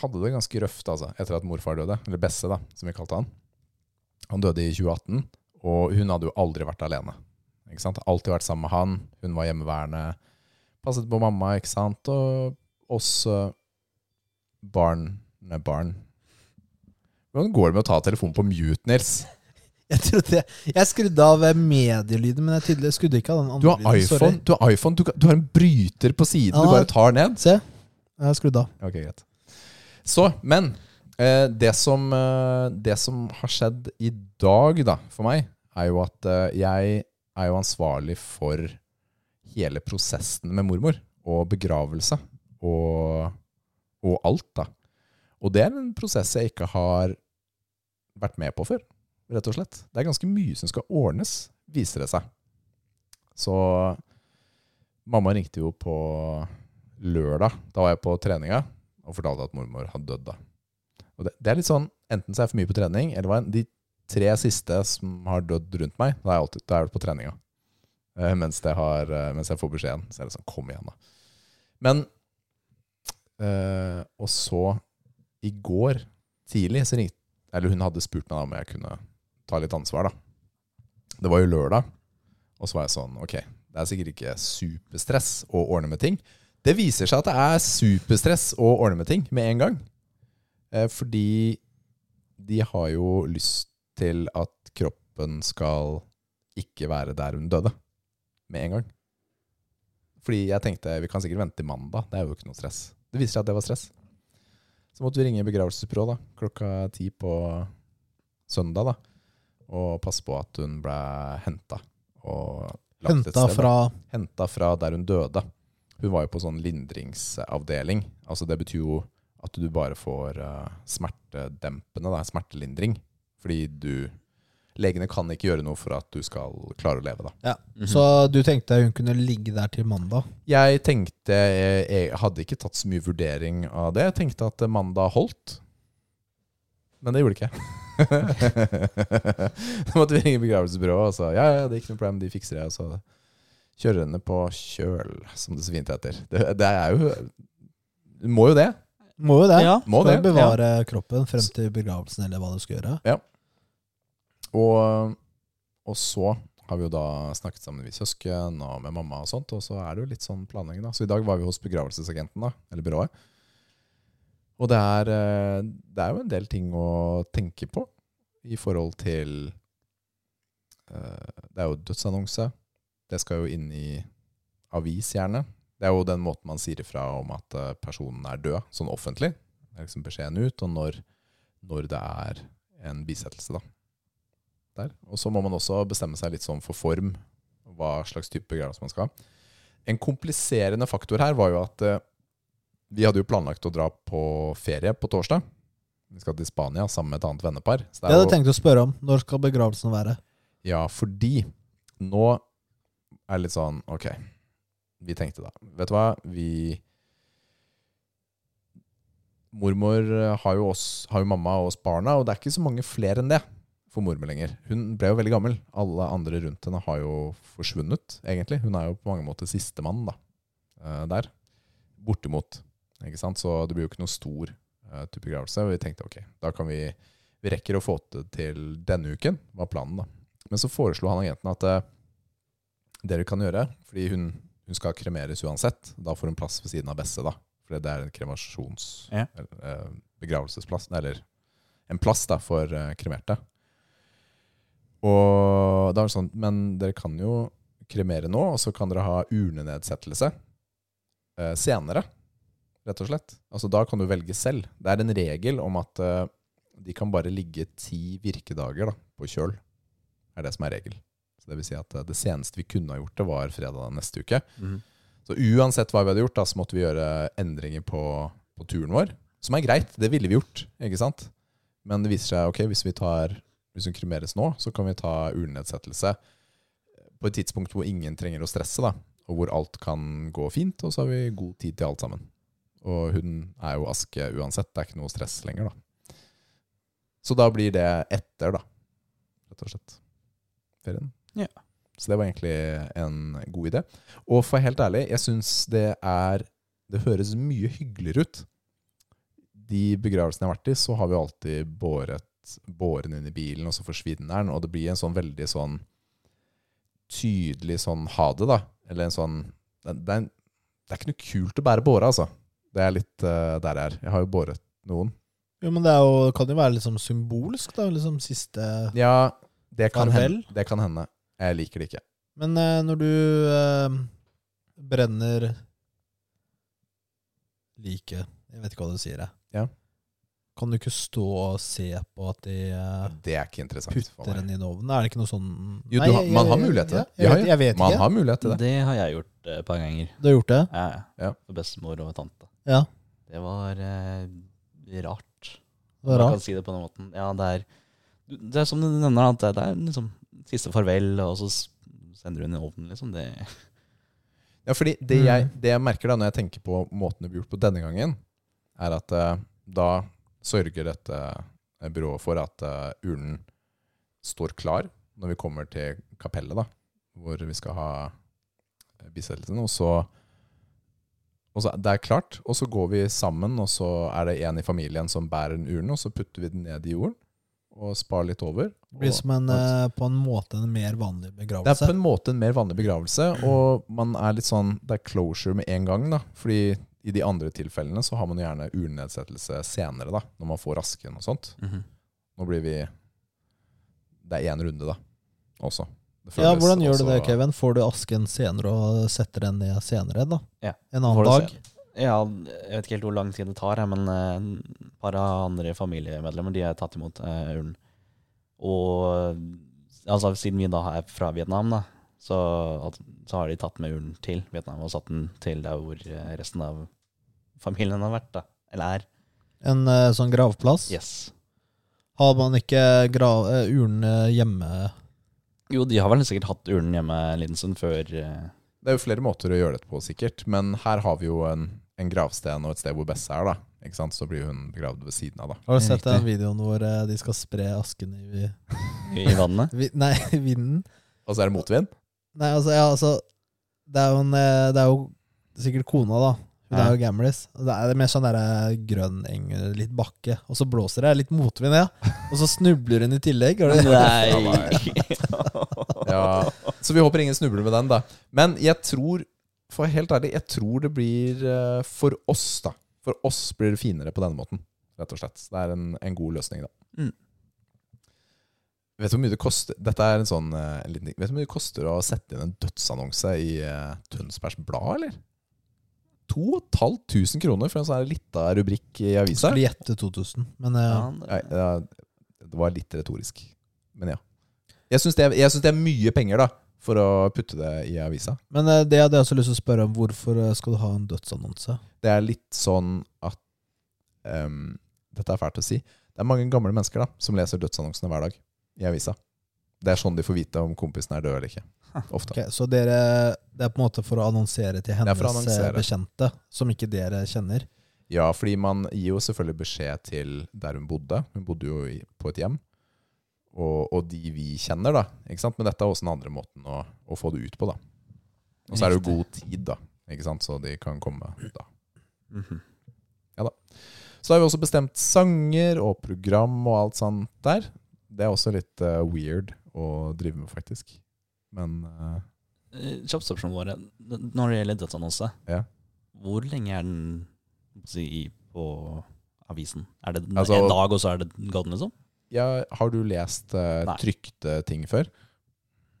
S2: hadde det ganske røft altså, etter at morfar døde, eller Besse, da, som vi kalte han. Han døde i 2018, og hun hadde jo aldri vært alene. Ikke sant? Alltid vært sammen med han. Hun var hjemmeværende, passet på mamma, ikke sant, og oss eh, barn Nei, barn. Hvordan går det med å ta telefonen på mute, Nils?
S1: Jeg trodde jeg, jeg skrudde av eh, medielyden, men jeg tydelig skrudde ikke av den
S2: Du
S1: andre
S2: har iPhone, du har, iPhone, du, kan- du har en bryter på siden du
S1: Ja.
S2: bare tar ned.
S1: Se, jeg har skrudd av.
S2: Ok, greit. Så, men eh, det, som, eh, det som har skjedd i dag da, for meg, er jo at eh, jeg er jo ansvarlig for hele prosessen med mormor, og begravelse, og, og alt da. Og det er en prosess jeg ikke har vært med på før, rett og slett. Det er ganske mye som skal ordnes, viser det seg. Så mamma ringte jo på lørdag, da var jeg på treninga, og fortalte at mormor hadde dødd. da. Og det, det er litt sånn, Enten så er jeg for mye på trening, eller hva enn. De tre siste som har dødd rundt meg, da har jeg alltid da har jeg vært på treninga. Eh, mens, det har, eh, mens jeg får beskjeden. Så er det sånn, kom igjen, da. Men Eh, og så, i går tidlig, så ringte Eller hun hadde spurt meg da om jeg kunne ta litt ansvar, da. Det var jo lørdag, og så var jeg sånn Ok, det er sikkert ikke superstress å ordne med ting. Det viser seg at det er superstress å ordne med ting med en gang. Eh, fordi de har jo lyst til at kroppen skal ikke være der hun døde med en gang. Fordi jeg tenkte vi kan sikkert vente til mandag. Det er jo ikke noe stress. Det viser seg at det var stress. Så måtte vi ringe begravelsesbyrået da, klokka ti på søndag da, og passe på at hun ble henta. og lagt et
S1: Henta
S2: sted, da.
S1: fra
S2: Henta fra der hun døde. Hun var jo på sånn lindringsavdeling. Altså Det betyr jo at du bare får eh, smertedempende, da, smertelindring. Fordi du Legene kan ikke gjøre noe for at du skal klare å leve, da.
S1: Ja.
S3: Mhm.
S1: Så du tenkte hun kunne ligge der til mandag?
S2: Jeg tenkte Jeg, jeg hadde ikke tatt så mye vurdering av det. Jeg tenkte at eh, mandag holdt, men det gjorde det ikke. da måtte vi ringe begravelsesbyrået og sa ja, ja, det er ikke noe problem, de fikser det. Og så kjører henne på kjøl, som det så fint heter. Det, det er jo Du må jo det.
S1: Må jo det.
S3: Ja.
S2: Må
S1: skal
S2: det.
S1: jo bevare kroppen frem til begravelsen, eller hva du skal gjøre.
S2: Og, og så har vi jo da snakket sammen med søsken og med mamma og sånt, og så er det jo litt sånn planlegging, da. Så i dag var vi hos begravelsesagenten, da, eller byrået. Og det er, eh, det er jo en del ting å tenke på i forhold til eh, Det er jo dødsannonse. Det skal jo inn i avis, gjerne. Det er jo den måten man sier ifra om at eh, personen er død, sånn offentlig. Det er liksom beskjeden ut, og når, når det er en bisettelse, da der. Og så må man også bestemme seg litt sånn for form, hva slags type begravelse man skal ha. En kompliserende faktor her var jo at eh, vi hadde jo planlagt å dra på ferie på torsdag. Vi skal til Spania sammen med et annet vennepar. Så det
S1: Jeg
S2: er
S1: hadde
S2: jo,
S1: tenkt å spørre om når skal begravelsen være.
S2: ja, fordi nå er det litt sånn Ok, vi tenkte da Vet du hva, vi Mormor eh, har jo, oss, har jo mamma og oss barna, og det er ikke så mange flere enn det for mormor lenger. Hun ble jo veldig gammel. Alle andre rundt henne har jo forsvunnet, egentlig. Hun er jo på mange måter sistemann da, eh, der. Bortimot. Ikke sant? Så det blir jo ikke noe stor eh, type begravelse. Og vi tenkte ok, da kan vi Vi rekker å få det til denne uken, var planen, da. Men så foreslo han agenten at eh, det dere kan gjøre Fordi hun, hun skal kremeres uansett. Da får hun plass ved siden av Besse, da. For det er en kremasjons...
S3: Ja.
S2: eh, begravelsesplass, eller en plass da, for eh, kremerte. Og da var det sånn Men dere kan jo kremere nå, og så kan dere ha urnenedsettelse eh, senere, rett og slett. Altså da kan du velge selv. Det er en regel om at eh, de kan bare ligge ti virkedager da, på kjøl er det som er regel. Så det vil si at eh, det seneste vi kunne ha gjort det, var fredag neste uke.
S3: Mhm.
S2: Så uansett hva vi hadde gjort, da, så måtte vi gjøre endringer på, på turen vår. Som er greit, det ville vi gjort, ikke sant? Men det viser seg, ok, hvis vi tar hvis hun kremeres nå, så kan vi ta urnedsettelse på et tidspunkt hvor ingen trenger å stresse, da, og hvor alt kan gå fint, og så har vi god tid til alt sammen. Og hun er jo aske uansett, det er ikke noe stress lenger, da. Så da blir det etter, da, rett og slett, ferien.
S3: Ja.
S2: Så det var egentlig en god idé. Og for å være helt ærlig, jeg syns det er Det høres mye hyggeligere ut. De begravelsene jeg har vært i, så har vi alltid båret båren inn i bilen, og så forsvinner den, og det blir en sånn veldig sånn tydelig sånn ha det, da. Eller en sånn Det, det, er, en, det er ikke noe kult å bære båre, altså. Det er litt eh, der jeg er. Jeg har jo båret noen.
S1: Jo, men det er jo, kan jo være liksom symbolsk, da. Liksom siste
S2: Ja, det kan,
S1: Farvel.
S2: hende, det kan hende. Jeg liker det ikke.
S1: Men eh, når du eh, brenner liket Jeg vet ikke hva du sier, jeg.
S2: Ja.
S1: Kan du ikke stå og se på at de eh,
S2: Det er ikke interessant for
S1: putter
S2: meg.
S1: den inn i ovnen? Er det ikke noe sånn
S2: Jo,
S1: Nei,
S2: du har,
S1: jeg-
S2: man har
S1: jeg-
S2: mulighet til det.
S1: ja, Jeg, vet- jeg vet
S2: man
S1: ikke.
S2: har mulighet til det.
S3: Det har jeg gjort eh, et par ganger.
S1: Du har gjort det?
S3: Ja,
S2: Ja.
S3: For bestemor og tante.
S1: Ja.
S3: Det var eh, rart.
S1: Det var
S3: Man
S1: rart.
S3: kan si det på den måten. Ja, det er, det er som du nevner, at det- det er liksom siste farvel, og så s- sender hun i ovnen, liksom. Det,
S2: Ja, fordi det
S1: Mm.
S2: jeg, det jeg merker da når jeg tenker på måten det blir gjort på denne gangen, er at eh, da sørger dette byrået for at eh, urnen står klar når vi kommer til eh, kapellet, da, hvor vi skal ha bisettelsen. Og så, Og så Det er klart, og så går vi sammen, og så er det en i familien som bærer en urne, og så putter vi den ned i jorden og spar litt over.
S1: Det blir
S2: og-
S1: som en, eh, på en måte en mer vanlig
S2: det er på
S1: begravelse.
S2: en måte en mer vanlig begravelse,
S1: Mm.
S2: og man er litt sånn, det er closure med en gang. da, fordi i de andre tilfellene så har man jo gjerne urnedsettelse senere, da, når man får asken og sånt.
S3: Mhm.
S2: Nå blir vi Det er én runde, da, også. Det
S1: Ja,
S2: føles
S1: Hvordan gjør du
S2: også-
S1: det, Kevin? Får du asken senere og setter den ned senere? da?
S3: Ja.
S1: En
S3: Får
S1: annen
S3: du
S1: dag?
S3: Ja, jeg vet ikke helt hvor lang tid det tar, jeg, men eh, et par av andre familiemedlemmer de har tatt imot eh, urnen. Og altså, siden vi da er fra Vietnam, da, så, at, så har de tatt med urnen til Vietnam og satt den til der hvor eh, resten av familien har vært. da, Eller er.
S1: En eh, sånn gravplass?
S3: Yes.
S1: Har man ikke grav, eh, urne hjemme?
S3: Jo, de har vel sikkert hatt urnen hjemme en liten stund før eh,
S2: Det er jo flere måter å gjøre dette på, sikkert. Men her har vi jo en, en gravsten og et sted hvor Besse er, da. Ikke sant? Så blir hun begravd ved siden av, da.
S1: Har du sett
S3: Riktig.
S1: den videoen hvor eh, de skal spre asken i vi,
S3: i vannet.
S1: vi, Nei, i vinden?
S2: Og så er det motvind.
S1: Nei, altså, ja, altså det, er jo en, eh, det er jo sikkert kona, da. Hun
S3: Ja.
S1: er jo gamlis. Det er mer sånn der, eh, grønn eng, litt bakke, og så blåser det. Litt motvind, ja. Og så snubler hun i tillegg. Har du-
S3: Nei.
S2: Ja, så vi håper ingen snubler med den, da. Men jeg tror, for å være helt ærlig, jeg tror det blir eh, for oss, da. For oss blir det finere på denne måten, rett og slett. Det er en, en god løsning, da.
S3: Mm.
S2: Vet du hvor mye det koster Dette er en sånn eh, en liten, Vet du hvor mye det koster å sette inn en dødsannonse i eh, Tønsbergs Blad, eller? 2500 kroner for en sånn her lita rubrikk i avisa.
S1: Skulle gjette 2000, men eh,
S3: Ja,
S2: Nei, ja, det var litt retorisk. Men ja. Jeg syns det, er- jeg syns det er mye penger da for å putte det i avisa.
S1: Men eh, det hadde jeg også lyst til å spørre om. Hvorfor eh, skal du ha en dødsannonse?
S2: Det er litt sånn at ehm, Dette er fælt å si. Det er mange gamle mennesker da som leser dødsannonsene hver dag i avisa. Det er sånn de får vite om kompisen er død eller ikke. Ofte.
S1: Ok, så dere, det er på en måte for å annonsere til
S2: er
S1: hennes
S2: for å annonsere.
S1: eh, bekjente, som ikke dere kjenner?
S2: Ja, fordi man gir jo selvfølgelig beskjed til der hun bodde. Hun bodde jo i, på et hjem. Og, og de vi kjenner, da. Ikke sant? Men dette er også den andre måten å, å få det ut på, da. Og så er det jo god tid, da. Ikke sant? Så de kan komme da.
S3: Mhm.
S2: Så har vi også bestemt sanger og program og alt sånt der. Det er også litt eh, weird å drive med, faktisk. Men eh,
S3: Eh, Kjappspørsmål våre. N- Når det gjelder dødsannonse,
S2: Ja.
S3: hvor lenge er den si, i- på avisen? Er det n-
S2: Altså-
S3: en dag, og så er det gått, liksom?
S2: ja, har du lest eh,
S3: Nei.
S2: trykte ting før?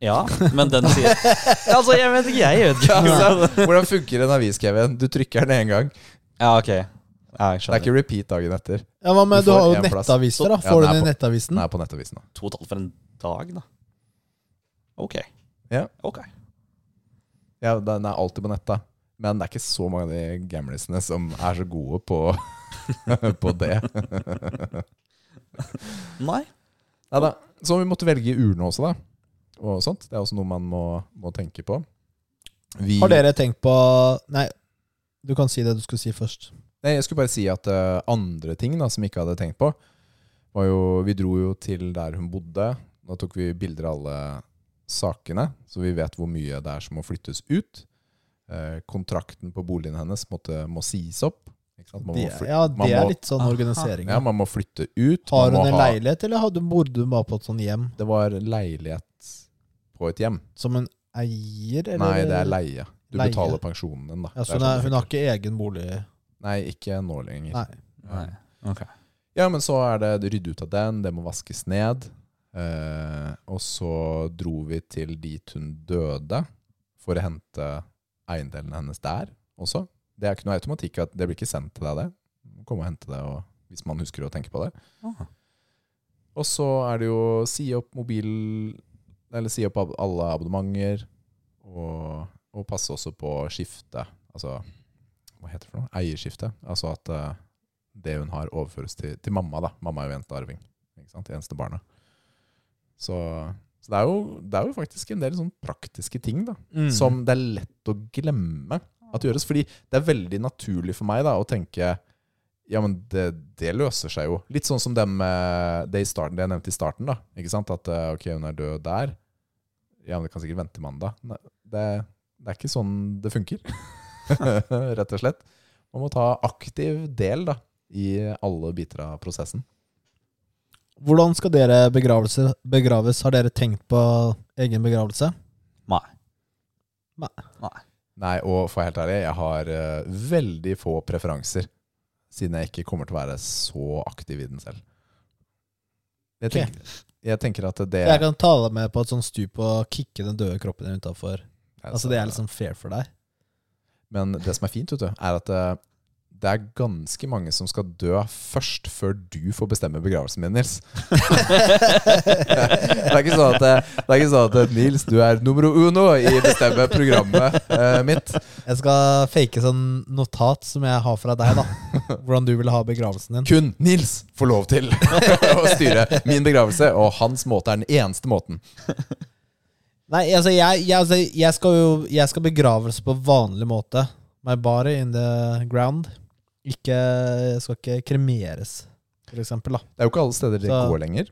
S3: Ja, men den sier Altså, jeg vet ikke, jeg vet
S2: Ja,
S3: ikke.
S2: altså, hvordan funker en avis, Kevin? Du trykker den én gang.
S3: Ja, ok. Ja, jeg
S2: Det er
S3: skjønner.
S2: ikke repeat dagen etter.
S1: Ja, hva med,
S2: Du
S1: du,
S2: får
S1: har jo
S2: en plass.
S1: nettaviser, da.
S2: Ja,
S1: Får du
S2: den er
S1: den i
S2: på-
S1: nettavisen?
S2: Den er på nettavisen. da.
S3: To tall for en dag, da. Ok.
S2: Ja.
S3: Ok.
S2: Ja, den er alltid på nettet. Men det er ikke så mange av de gamlisene som er så gode på, på det.
S3: Nei.
S2: Neida. Så vi måtte velge urne også, da. Og sånt. Det er også noe man må, må tenke på. Vi,
S1: Har dere tenkt på Nei, du kan si det du skulle si først.
S2: Nei, jeg skulle bare si at eh, andre ting da, som vi ikke hadde tenkt på, var jo Vi dro jo til der hun bodde. Da tok vi bilder av alle sakene, så vi vet hvor mye det er som må flyttes ut. Eh, kontrakten på boligen hennes måtte, må sies opp. Ikke sant? Man
S1: Det,
S2: må fly-
S1: ja,
S2: man
S1: det er
S2: må-
S1: litt sånn
S3: Aha.
S1: organisering.
S2: Ja, man må flytte ut.
S1: Har
S2: man
S1: hun
S2: må
S1: en
S2: ha-
S1: leilighet, eller hadde, bodde hun bare på et sånt hjem?
S2: Det var leilighet på et hjem.
S1: Som hun eier, eller?
S2: Nei, det er leie. Du
S1: Leie.
S2: betaler pensjonen din, da.
S1: Ja,
S2: Det
S1: så
S2: er
S1: hun,
S2: sånn
S1: er,
S2: det
S1: hun har ikke egen bolig?
S2: funker. Nei, ikke nå lenger.
S1: Nei.
S3: Nei. Ok.
S2: Ja, men så er det rydde ut av den, det må vaskes ned. Eh, og så dro vi til dit hun døde, for å hente eiendelene hennes der også. Det er ikke noe automatikk, at det blir ikke sendt til deg, det. Du må Komme og hente det, og, hvis man husker å tenke på det.
S3: Ah.
S2: Og så er det jo å si opp mobil Eller si opp ab- alle abonnementer. Og, og passe også på skifte. Altså Hva heter det for noe? Eierskifte. Altså at eh, det hun har, overføres til, til mamma. da Mamma er jo enestearving. Ikke sant? Eneste barnet. Så, så det, er jo, det er jo faktisk en del sånn praktiske ting da
S3: Mm.
S2: som det er lett å glemme at det gjøres. Fordi det er veldig naturlig for meg da, å tenke ja, men det, det løser seg jo. Litt sånn som dem, eh, det, i starten, det jeg nevnte i starten. da, ikke sant? At eh, ok, hun er død der. Ja, men det kan sikkert vente til mandag. Nei, det, det er ikke sånn det funker. rett og slett. Man må ta aktiv del da, i alle biter av prosessen.
S1: Hvordan skal dere begravelse, begraves? Har dere tenkt på egen begravelse?
S3: Nei.
S2: Nei, og for å være helt ærlig, jeg har eh, veldig få preferanser, siden jeg ikke kommer til å være så aktiv i den selv. Jeg
S1: Ok.
S2: tenker, jeg tenker at det
S1: Jeg kan ta deg med på et sånt stup og kicke den døde kroppen din utafor.
S2: Nei,
S1: Altså,
S2: så-
S1: det er liksom fair for deg.
S2: Men det som er fint, vet du, er at eh, det er ganske mange som skal dø først, før du får bestemme begravelsen min, Nils. det, er ikke sånn at, eh, det er ikke sånn at eh, Nils, du er numero uno i å bestemme programmet eh, mitt.
S1: Jeg skal fake sånn notat som jeg har fra deg, da. Hvordan du vil ha begravelsen din.
S2: Kun Nils får lov til å styre min begravelse, og hans måte er den eneste måten.
S1: Nei, altså, jeg, jeg, altså, jeg skal jo Jeg skal begravelse på vanlig måte. My body in the ground. Ikke Jeg skal ikke kremeres, for eksempel, da.
S2: Det er jo ikke alle steder det
S1: Så-
S2: går lenger,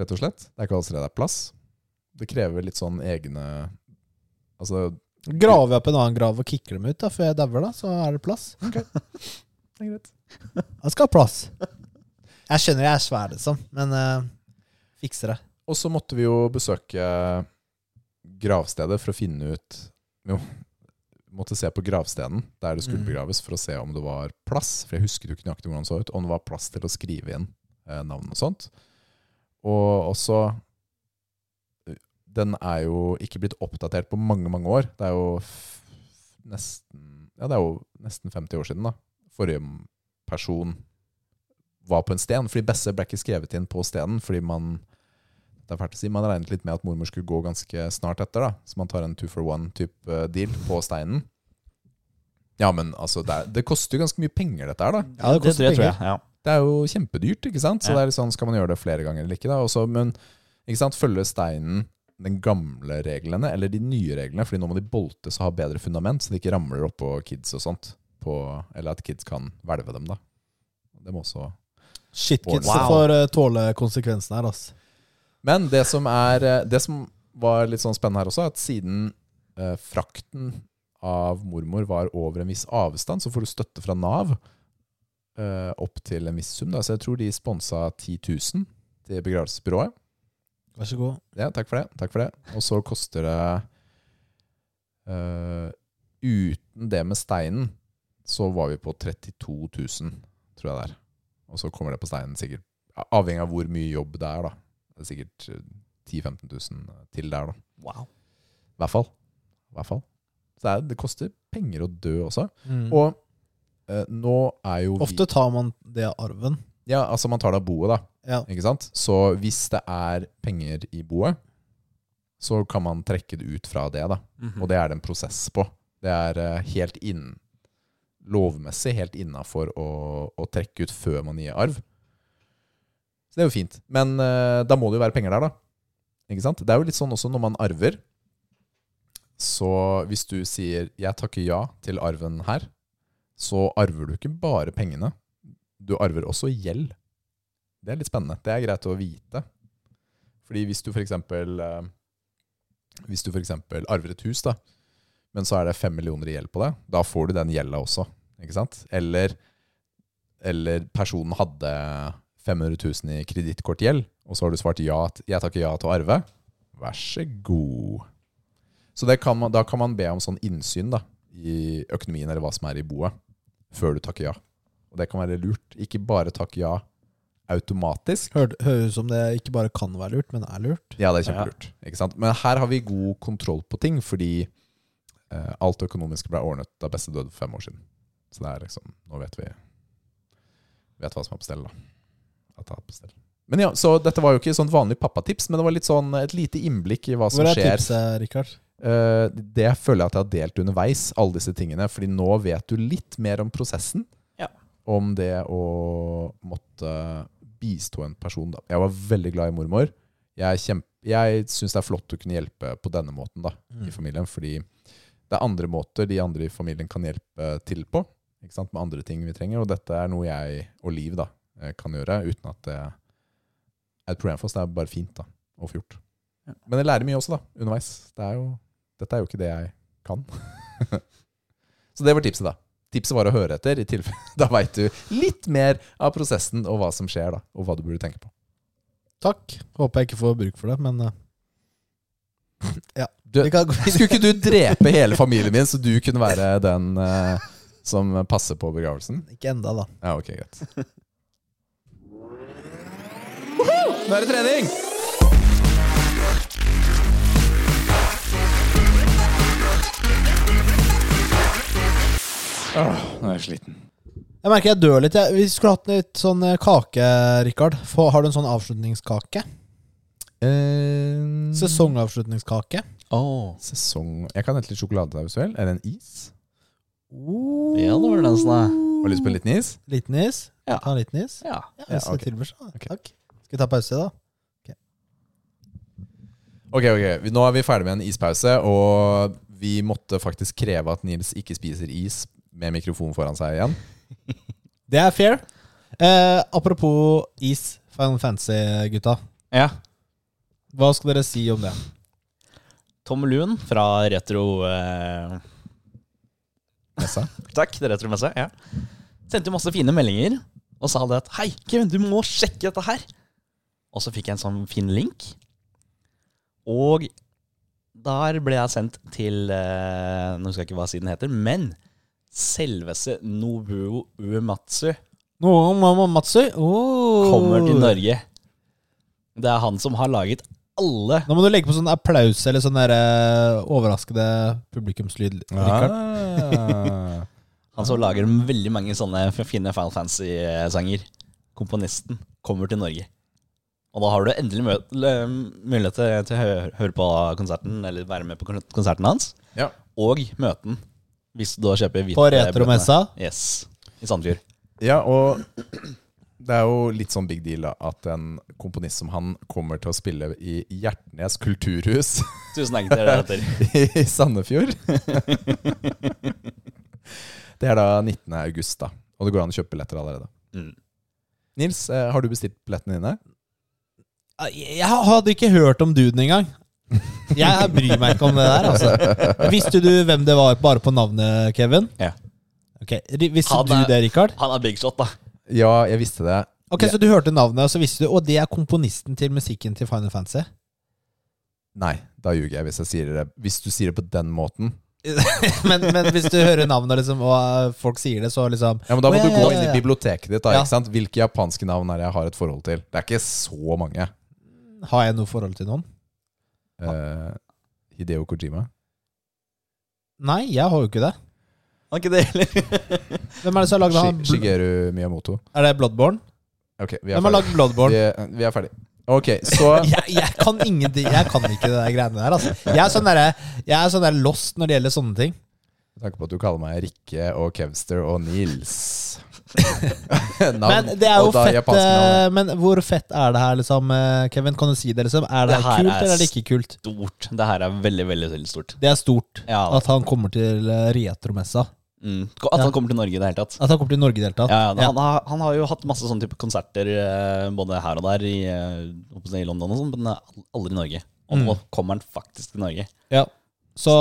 S2: rett og slett. Det er ikke alle steder det er plass. Det krever litt sånn egne Altså,
S1: Graver jeg opp en annen grav og kicker dem ut da før jeg dauer, da, så er det plass.
S2: det er greit.
S1: Jeg skal ha plass. Jeg skjønner jeg er svær, liksom, men eh, fikser det.
S2: Og så måtte vi jo besøke gravstedet for å finne ut Jo, måtte se på gravstenen der det skulle
S1: Mm.
S2: begraves, for å se om det var plass. For jeg husket jo ikke nøyaktig hvordan det så ut. Om det var plass til å skrive inn eh, navn og sånt. Og også eh, Den er jo ikke blitt oppdatert på mange, mange år. Det er jo f nesten Ja, det er jo nesten 50 år siden, da. Forrige person var på en sten, fordi Besse ble ikke skrevet inn på stenen, fordi man det er fælt å si, man regnet litt med at mormor skulle gå ganske snart etter, da. Så man tar en two for one-type deal på steinen. Ja, men altså, det, er, det koster jo ganske mye penger, dette her, da.
S1: Ja, det koster
S3: tror jeg, tror
S1: penger.
S3: jeg. Ja.
S2: Det er jo kjempedyrt, ikke sant? Så
S3: Ja.
S2: det er litt sånn, skal man gjøre det flere ganger eller ikke? da? Også, men ikke sant? følger steinen den gamle reglene, eller de nye reglene? Fordi nå må de boltes og ha bedre fundament, så de ikke ramler oppå kids og sånt. På, eller at kids kan hvelve dem, da. Det må også
S1: Shitkids
S3: Wow.
S1: får eh, tåle konsekvensen her, altså.
S2: Men det som, er, eh, det som var litt sånn spennende her også, er at siden eh, frakten av mormor var over en viss avstand, så får du støtte fra Nav eh, opp til en viss sum. Da. Så jeg tror de sponsa 10 000 til begravelsesbyrået.
S1: Vær så god.
S2: Ja, takk for det. Takk for det. Og så koster det eh, Uten det med steinen, så var vi på 32 000, tror jeg det er. Og så kommer det på steinen sikkert Avhengig av hvor mye jobb det er, da. Det er sikkert eh, 10 000-15 000 til der, da.
S3: Wow.
S2: I hvert fall. I hvert fall. Så det, er, det koster penger å dø også.
S1: Mm.
S2: Og eh, nå er jo vi-
S1: Ofte tar man det av arven.
S2: Ja, altså man tar det av boet, da.
S1: Ja.
S2: Ikke sant? Så hvis det er penger i boet, så kan man trekke det ut fra det. da.
S3: Mhm.
S2: Og det er det en prosess på. Det er eh, helt innen lovmessig helt innafor å, å trekke ut før man gir arv. Så det er jo fint. Men eh, da må det jo være penger der, da. Ikke sant? Det er jo litt sånn også når man arver. Så hvis du sier 'jeg takker ja til arven her', så arver du ikke bare pengene. Du arver også gjeld. Det er litt spennende. Det er greit å vite. Fordi hvis du for eksempel eh, Hvis du for eksempel arver et hus, da, men så er det fem millioner i gjeld på det, da får du den gjelda også. Ikke sant? Eller, eller personen hadde 500 000 i kredittkortgjeld, og så har du svart ja til, jeg takker ja til å arve. Vær så god. Så det kan man, da kan man be om sånn innsyn da, i økonomien eller hva som er i boet, før du takker ja. Og det kan være lurt. Ikke bare takk ja automatisk,
S1: Hør, høres ut som det ikke bare kan være lurt, men er lurt.
S2: ja, det er kjempelurt. Ikke sant? Men her har vi god kontroll på ting, fordi eh, alt det økonomiske ble ordnet da Beste døde for fem år siden. Så det er liksom, nå vet vi vet hva som er på stell, da. At det er på stell. Men ja, Så dette var jo ikke sånn vanlig pappatips, men det var litt sånn et lite innblikk i hva som
S1: Hvor er
S2: skjer.
S1: tipset, Rikard?
S2: Eh, det føler jeg at jeg har delt underveis, alle disse tingene. Fordi nå vet du litt mer om prosessen.
S3: Ja.
S2: Om det å måtte bistå en person. Da. Jeg var veldig glad i mormor. Jeg, er kjempe- jeg syns det er flott å kunne hjelpe på denne måten da,
S1: Mm.
S2: i familien. Fordi det er andre måter de andre i familien kan hjelpe til på. Ikke sant? Med andre ting vi trenger. Og dette er noe jeg og Liv da, eh, kan gjøre uten at det er et problem for oss. Det er bare fint da, å få gjort.
S3: Ja.
S2: Men jeg lærer mye også da, underveis. Det er jo dette er jo ikke det jeg kan. Så det var tipset, da. Tipset var å høre etter. i tilfelle. Da veit du litt mer av prosessen og hva som skjer, da, og hva du burde tenke på.
S1: Takk. Håper jeg ikke får bruk for det, men eh, Ja.
S2: Du-
S1: vi kan gå videre.
S2: Skulle ikke du drepe hele familien min, så du kunne være den eh, som passer på begravelsen?
S1: Ikke enda, da.
S2: Ja, ok, greit. Nå er det trening! Åh, nå er jeg sliten.
S1: Jeg merker jeg dør litt. Jeg. Vi skulle hatt litt sånn eh, kake, Rikard. Få- Har du en sånn avslutningskake?
S3: Mm.
S1: Sesongavslutningskake.
S2: Ehm, Sesong Jeg kan hente litt sjokoladesaus, vel? Er det en is?
S3: Ja, det var den sånn som er.
S2: Har du lyst på en liten is?
S1: Liten is?
S3: Ja.
S1: Ta en liten is?
S3: Ja.
S1: Ja,
S2: Ja,
S1: hvis det
S2: ok.
S1: tilbyr seg.
S2: Ok.
S1: Takk. Skal vi ta pause, da?
S2: Ok, ok. Vi- Nå er vi ferdig med en ispause, og vi måtte faktisk kreve at Nils ikke spiser is med mikrofon foran seg igjen.
S1: Det er fair. Eh, apropos is, Final Fantasy-gutta.
S3: ja.
S1: Hva skal dere si om det?
S3: Tom Luen fra Retro... Eh,
S2: Nessa?
S3: Takk, det er retromesse. Ja. Sendte jo masse fine meldinger og sa det at Hei, Kevin, du må sjekke dette her. Og så fikk jeg en sånn fin link. Og der ble jeg sendt til eh, Nå husker jeg ikke hva siden heter, men selveste Nobuo Uematsu
S1: Noe om mamma Matsu. Oh.
S3: kommer til Norge. Det er han som har laget alle
S1: Nå må du legge på sånn applaus eller sånn der, eh, overraskende publikumslyd. Rikard.
S2: Ah.
S3: Han som Altså, lager veldig mange sånne fine Final Fantasy-sanger. Komponisten kommer til Norge. Og da har du endelig mø- l- mulighet til, til å hø- høre på konserten, eller være med på kon- konserten hans.
S2: Ja.
S3: Og møten, hvis du da kjøper hvite
S1: På retromessa.
S3: billettene. Yes. I Sandefjord.
S2: ja, og det er jo litt sånn big deal da, at en komponist som han kommer til å spille i Hjertnes kulturhus
S3: Tusen takk til dere deretter.
S2: i Sandefjord. Det er da 19. august, da. Og det går an å kjøpe billetter allerede.
S3: Mm.
S2: Nils, eh, har du bestilt billettene dine?
S1: Ah, Jeg hadde ikke hørt om duden engang. Jeg bryr meg ikke om det der. Altså. Visste du hvem det var bare på navnet, Kevin?
S3: Ja.
S1: Ok, ri- Visste
S3: Han
S1: du
S3: er-
S1: det, Rikard?
S3: Han er big shot, da.
S2: Ja, jeg visste det.
S1: Ok, Så du hørte navnet, og så visste du Og det er komponisten til musikken til Final Fantasy?
S2: Nei, da ljuger jeg hvis jeg sier det. Hvis du sier det på den måten.
S1: men, men hvis du hører navnet liksom, og eh, folk sier det, så liksom
S2: Ja, men Da må
S1: Å,
S2: du
S1: ja,
S2: gå
S1: ja,
S2: inn
S1: ja.
S2: i biblioteket ditt. da,
S1: Ja.
S2: ikke sant? Hvilke japanske navn er det jeg har et forhold til? Det er ikke så mange.
S1: Har jeg noe forhold til noen?
S2: Eh, Hideo Kojima.
S1: Nei, jeg har jo ikke det.
S3: Han er ikke det heller.
S1: Hvem er det som har lagd han?
S2: Shi- Shigeru Miyamoto.
S1: Er det Bloodborne?
S2: Ok, vi er
S1: Hvem har
S2: ferdig.
S1: lagd Bloodborne?
S2: Vi, er- vi er ferdig. Ok, så
S1: Jeg, jeg kan ingenting. Jeg kan ikke det der greiene der. Altså. Jeg er sånn derre jeg er sånn der lost når det gjelder sånne ting.
S2: Med tanke på at du kaller meg Rikke og Kevster og Nils. Navn,
S1: Men det er jo
S2: og da
S1: fett
S2: japanske navn.
S1: eh, Men hvor fett er det her, liksom? eh, Kevin, kan du si det, liksom? Er det,
S3: Det
S1: her
S3: her
S1: kult,
S3: er
S1: eller er det ikke kult?
S3: Stort. Det her er veldig, veldig, veldig stort.
S1: Det er stort
S3: Ja.
S1: at han kommer til eh, retromessa.
S3: Mm. At han kommer til Norge i det hele tatt.
S1: At han kommer til Norge i det hele tatt.
S3: Ja, ja, Han, har, han har jo hatt masse sånne type konserter eh, både her og der i, eh, oppe i London og sånn, men eh, aldri i Norge. Og nå kommer han faktisk til Norge.
S1: Ja. Så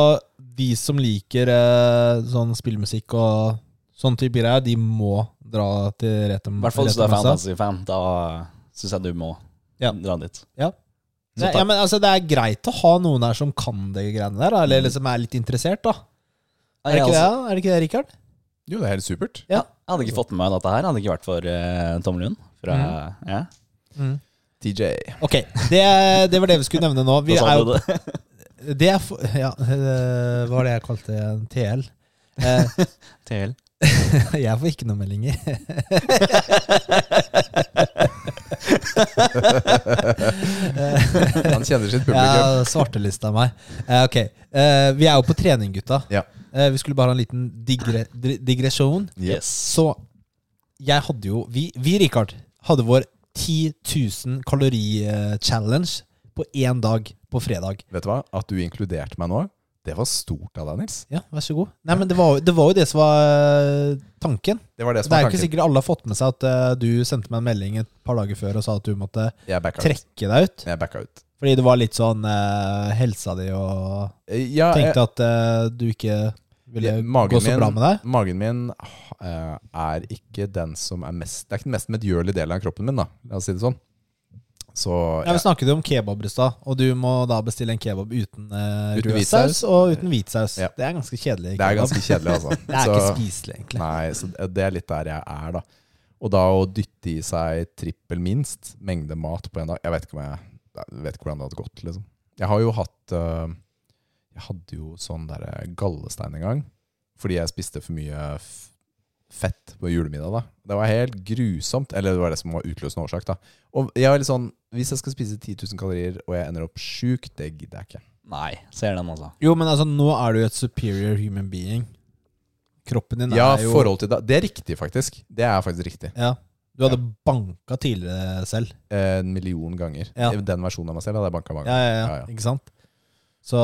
S1: de som liker eh, sånn spillmusikk og sånn type greier, de må dra til Retum.
S3: I hvert fall hvis du er altså.
S1: Retumessa.
S3: fantasy-fan. Da syns jeg du må
S1: Ja.
S3: dra dit.
S1: Ja.
S3: Så
S1: Nei,
S3: takk.
S1: ja, men altså, det er greit å ha noen her som kan de greiene der, da, eller liksom er litt interessert, da. Er det
S3: Mm. jeg,
S1: ikke det,
S3: altså,
S1: da? er det, ikke det Rikard?
S2: Jo, det er helt supert.
S1: Ja.
S3: jeg hadde ikke fått med meg dette her, hadde det ikke vært for uh, Tom Lund. Fra, ja.
S2: TJ.
S1: Ok, det, det var det vi skulle nevne nå. Vi
S3: Da sa
S1: er jo,
S3: du det.
S1: det er for, ja, eh, hva var det jeg kalte en TL? Eh,
S3: TL.
S1: jeg får ikke noen meldinger.
S2: Han kjenner sitt publikum.
S1: Ja, svartelista meg. Eh, ok, eh, vi er jo på trening, gutta.
S2: Ja.
S1: Eh, vi skulle bare ha en liten digre, dri- digresjon.
S3: Yes.
S1: Så jeg hadde jo Vi, vi Rikard, hadde vår 10 000 kalori-challenge eh, på én dag på fredag.
S2: Vet du hva? At du inkluderte meg nå, det var stort av deg, Nils.
S1: Ja, vær så god. Nei, men det var, jo- det var jo det som var eh, tanken.
S2: Det var det
S1: Det
S2: som
S1: er jo
S2: var
S1: ikke
S2: tanken.
S1: sikkert alle har fått med seg at eh, du sendte meg en melding et par dager før og sa at du måtte
S2: Jeg backa ut.
S1: trekke deg ut.
S2: Jeg backa ut.
S1: Fordi det var litt sånn eh, helsa di og
S2: Ja, jeg,
S1: Tenkte at eh, du ikke Vil det
S2: Ja, magen
S1: gå så
S2: min-
S1: bra med deg?
S2: Magen min eh, er ikke den som er mest Det er ikke den mest medgjørlige delen av kroppen min, da. La oss si det sånn. Så
S1: Ja, Vi snakket jo om kebab i stad, og du må da bestille en kebab uten, eh,
S2: Uten
S1: rød
S2: hvit
S1: saus
S2: saus.
S1: og uten hvit saus.
S2: Ja.
S1: Det er ganske kjedelig.
S2: det er
S1: kebab.
S2: ganske kjedelig, altså.
S1: det er ikke
S2: Så-
S1: spiselig, egentlig.
S2: Nei, så det- det er litt der jeg er, da. Og da å dytte i seg trippel minst mengde mat på en dag Jeg vet ikke, om jeg, jeg vet ikke hvordan det hadde gått, liksom. Jeg har jo hatt øh, Jeg hadde jo sånn derre gallestein en gang fordi jeg spiste for mye f- fett på julemiddag, da. Det var helt grusomt. Eller det var det som var utløsende årsak, da. Og jeg var litt sånn Hvis jeg skal spise 10 000 kalorier, og jeg ender opp sjuk, det gidder jeg ikke.
S3: Nei, ser den, altså.
S1: Jo, men altså, nå er du jo et superior human being. Kroppen din
S2: Ja,
S1: er jo
S2: forhold til da Det er riktig, faktisk. Det er faktisk riktig.
S1: Ja. Du hadde banka tidligere selv.
S2: eh, en million ganger.
S1: Ja.
S2: Den versjonen av meg selv hadde jeg banka mange
S1: Ja,
S2: ganger.
S1: ja, ja.
S2: Ja, ja.
S1: Ikke sant? Så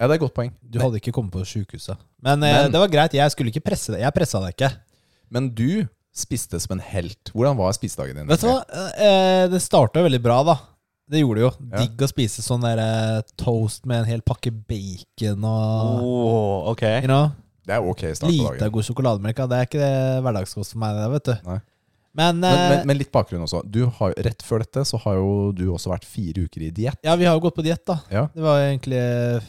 S2: Ja, det er et godt poeng.
S1: du hadde ikke kommet på sjukehuset. Men, eh,
S2: Men-
S1: det var greit. Jeg skulle ikke presse deg. Jeg pressa deg ikke.
S2: Men du spiste som en helt. Hvordan var spisedagen din?
S1: Vet du hva? Eh, det starta veldig bra, da. Det gjorde det jo.
S2: Ja.
S1: Digg å spise sånn der eh, toast med en hel pakke bacon og
S3: Oh, ok.
S1: you know,
S2: Det er ok start på
S1: Lite
S2: dagen.
S1: god sjokolademelk. ja. Det er ikke det hverdagskost for meg, det, vet du.
S2: Nei.
S1: Men,
S2: Men,
S1: eh,
S2: men, men litt bakgrunn også. Du har, rett før dette så har jo du også vært fire uker i diett.
S1: ja, vi har jo gått på diett, da.
S2: Ja.
S1: Det var egentlig eh,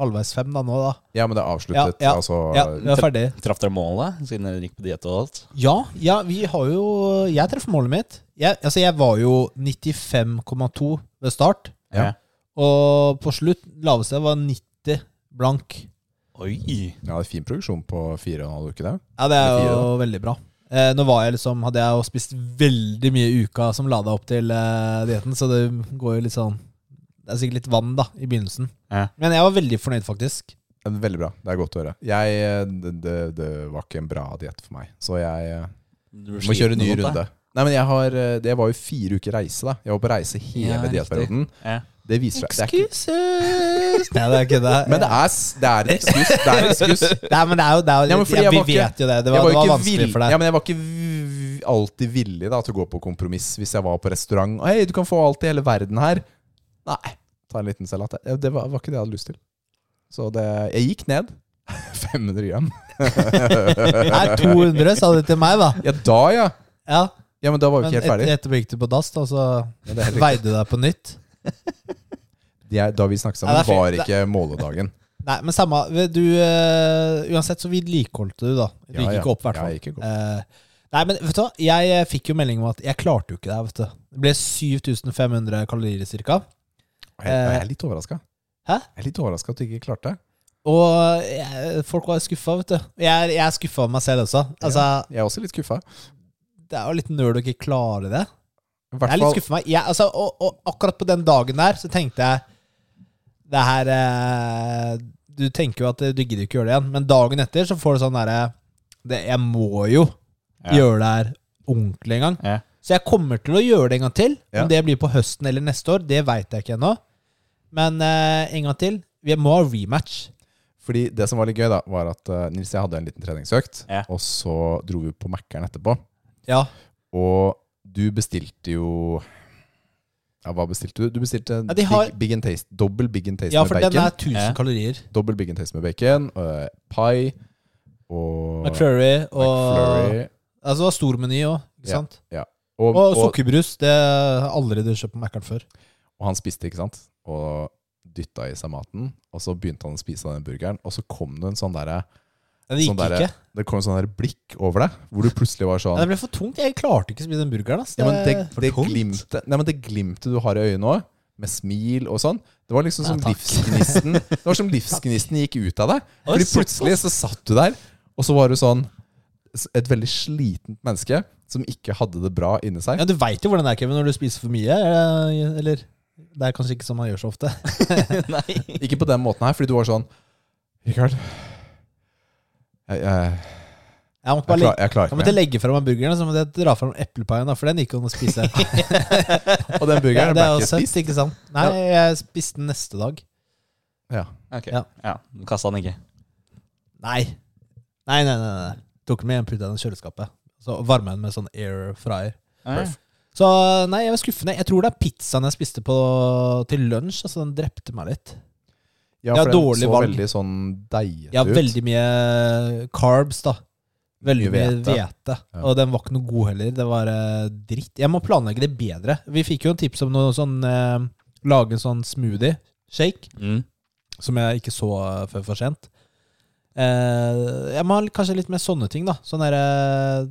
S1: halvveis fem da nå, da.
S2: ja, men det er avsluttet.
S1: Ja, ja,
S2: altså,
S1: Ja, vi er ferdig.
S3: Traff dere målet, siden dere gikk på diett og alt?
S1: Ja, ja, vi har jo Jeg traff målet mitt. Jeg, altså, jeg var jo 95,2 ved start.
S2: Ja.
S1: Og på slutt, laveste var 90 blank.
S3: Oi.
S2: Ja, det er fin progresjon på fire og en halv uke, det.
S1: Ja, det er
S2: Det er
S1: jo veldig bra. Eh, nå var jeg liksom, hadde jeg jo spist veldig mye i uka som lada opp til eh, dietten, så det går jo litt sånn Det er sikkert litt vann da, i begynnelsen.
S3: Ja.
S1: Men jeg var veldig fornøyd, faktisk.
S2: Ja, men Veldig bra. Det er godt å høre. Jeg, det, det, det var ikke en bra diett for meg, så jeg eh,
S3: Du
S2: må kjøre ny runde. Nei, men jeg har, eh, Det var jo fire uker reise, da. Jeg var på reise hele
S3: Ja, riktig.
S2: diettperioden.
S3: Ja.
S2: Det viser seg det er ikke-
S1: Excuses! Nei, det er ikke det.
S2: Men det er, s- det er en ekskus. Det er en ekskus.
S1: Nei, men det er jo, det er jo
S2: Ja, men fordi
S1: ja, Vi
S2: jeg var ikke-
S1: vet jo det. Det var,
S2: Jeg var
S1: det
S2: jo
S1: var
S2: ikke
S1: vanskelig
S2: vill-
S1: for deg.
S2: Ja, men jeg var ikke v- alltid villig da, til å gå på kompromiss hvis jeg var på restaurant. Og hei, du kan få alt i hele verden her. Nei. Ta en liten salat. Ja, Det var, var ikke det jeg hadde lyst til. Så det, jeg gikk ned. 500 gram.
S1: Nei, 200 sa det til meg, da.
S2: Ja, da ja.
S1: Ja,
S2: Ja, men da var vi
S1: Men
S2: ikke helt
S1: et,
S2: ferdig.
S1: etterpå gikk du på dass, da, så
S2: Ja, det er helt riktig.
S1: veide du deg på nytt.
S2: Jeg, da vi snakket sammen,
S1: Ja, det er
S2: var
S1: fint.
S2: ikke måledagen.
S1: Nei, men samme du, eh, Uansett så vedlikeholdte du, da. Du
S2: Ja,
S1: gikk
S2: ja.
S1: ikke opp, i hvert fall.
S2: Jeg gikk ikke opp.
S1: Eh, nei, men vet du hva? Jeg eh, fikk jo melding om at jeg klarte jo ikke det her, vet du. Det ble 7500 kalorier cirka.
S2: Og Jeg, jeg er litt overraska.
S1: Eh, Hæ?
S2: Jeg er litt overraska at du ikke klarte det.
S1: Og eh, folk var skuffa, vet du. Jeg, er- jeg er skuffa over meg selv også. Altså,
S2: Jeg er også litt skuffa.
S1: Det er jo litt nerd å ikke klare det.
S2: I
S1: Jeg
S2: hvert
S1: er litt
S2: fall
S1: skuffet meg. Jeg, altså, og, og akkurat på den dagen der så tenkte jeg Det her eh, Du tenker jo at du gidder ikke gjøre det igjen, men dagen etter så får du sånn derre det- Jeg må jo
S3: Ja.
S1: gjøre det her ordentlig en gang.
S3: Ja.
S1: Så jeg kommer til å gjøre det en gang til.
S2: Ja.
S1: Om det blir på høsten eller neste år, det veit jeg ikke ennå. Men eh, en gang til. Vi må ha rematch.
S2: Fordi det som var litt gøy, da, var at eh, Nils og jeg hadde en liten treningsøkt.
S3: Ja.
S2: Og så dro vi på Mækkern etterpå.
S1: Ja.
S2: Og du bestilte jo Ja, hva bestilte du? Du bestilte en
S1: Ja, de har-
S2: big, big and taste, dobbel big and taste
S1: ja,
S2: med
S1: for
S2: bacon.
S1: den er 1000
S3: Ja.
S1: kalorier.
S2: Dobbel big and taste med bacon, øh, pie og
S1: McFlurry og
S2: McFlurry.
S1: Altså, det var stor meny òg, ikke
S2: Ja.
S1: sant?
S2: Og,
S1: Og
S2: og, og,
S1: sukkerbrus. Det har aldri du kjøpt på Mækkern før.
S2: han spiste, ikke sant? Og dytta i seg maten. Og så begynte han å spise den burgeren, og så kom det en sånn derre
S1: Men det gikk
S2: sånn derre-
S1: ikke.
S2: Det kom en sånn der blikk over deg, hvor du plutselig var sånn
S1: Ja, Det ble for tungt. Jeg klarte ikke å spise den burgeren. Ass.
S2: Ja, men det,
S1: Det-
S2: det,
S3: tungt.
S2: glimtet, nei, men det glimtet du har i øynene òg, med smil og sånn Det var liksom
S1: Ja,
S2: som
S1: takk.
S2: livsgnisten Det var som livsgnisten gikk ut av deg. Fordi
S3: såpass.
S2: plutselig så satt du der, og så var du sånn s- Et veldig slitent menneske som ikke hadde det bra inni seg.
S1: ja, du veit jo hvordan det er, Kevin, når du spiser for mye. eh, Eller det er kanskje ikke som man gjør så ofte.
S3: Nei.
S2: Ikke på den måten her, fordi du var sånn Rikard, jeg, jeg,
S1: Jeg måtte bare
S2: jeg, klar,
S1: legge,
S2: jeg klarer
S1: jeg
S2: ikke
S1: måtte
S2: mer.
S1: legge frem meg burgeren, og så måtte jeg dra frem eplepaien, da, for den gikk an å spise.
S2: Og den
S1: Ja,
S2: burgeren
S1: det
S2: ble
S1: er jo
S2: ikke
S1: søtt,
S2: spist.
S1: ikke sant? Nei, jeg spiste den neste dag.
S2: Ja.
S3: Ok.
S1: Ja.
S3: Ja. Du kasta den ikke.
S1: Nei. Nei, nei, nei. nei. Tok den med hjem, putta den i kjøleskapet. Så varma den med sånn air fryer.
S2: Perf.
S1: Så nei, jeg var skuffende. Jeg tror det er pizzaen jeg spiste på, til lunsj. Altså, den drepte meg litt.
S2: Ja,
S1: Ja,
S2: for den
S1: dårlig
S2: så
S1: valg.
S2: veldig sånn deigete
S1: Jeg har
S2: ut.
S1: veldig mye carbs, da. Veldig mye
S2: Mye
S1: hvete.
S2: hvete. Ja.
S1: Og den var ikke noe god heller. Det var eh, dritt. Jeg må planlegge det bedre. Vi fikk jo en tips om noe sånn eh, Lage en sånn smoothie shake,
S2: Mm.
S1: som jeg ikke så eh, før for sent. Eh, jeg må ha litt- kanskje litt mer sånne ting, da. Sånn derre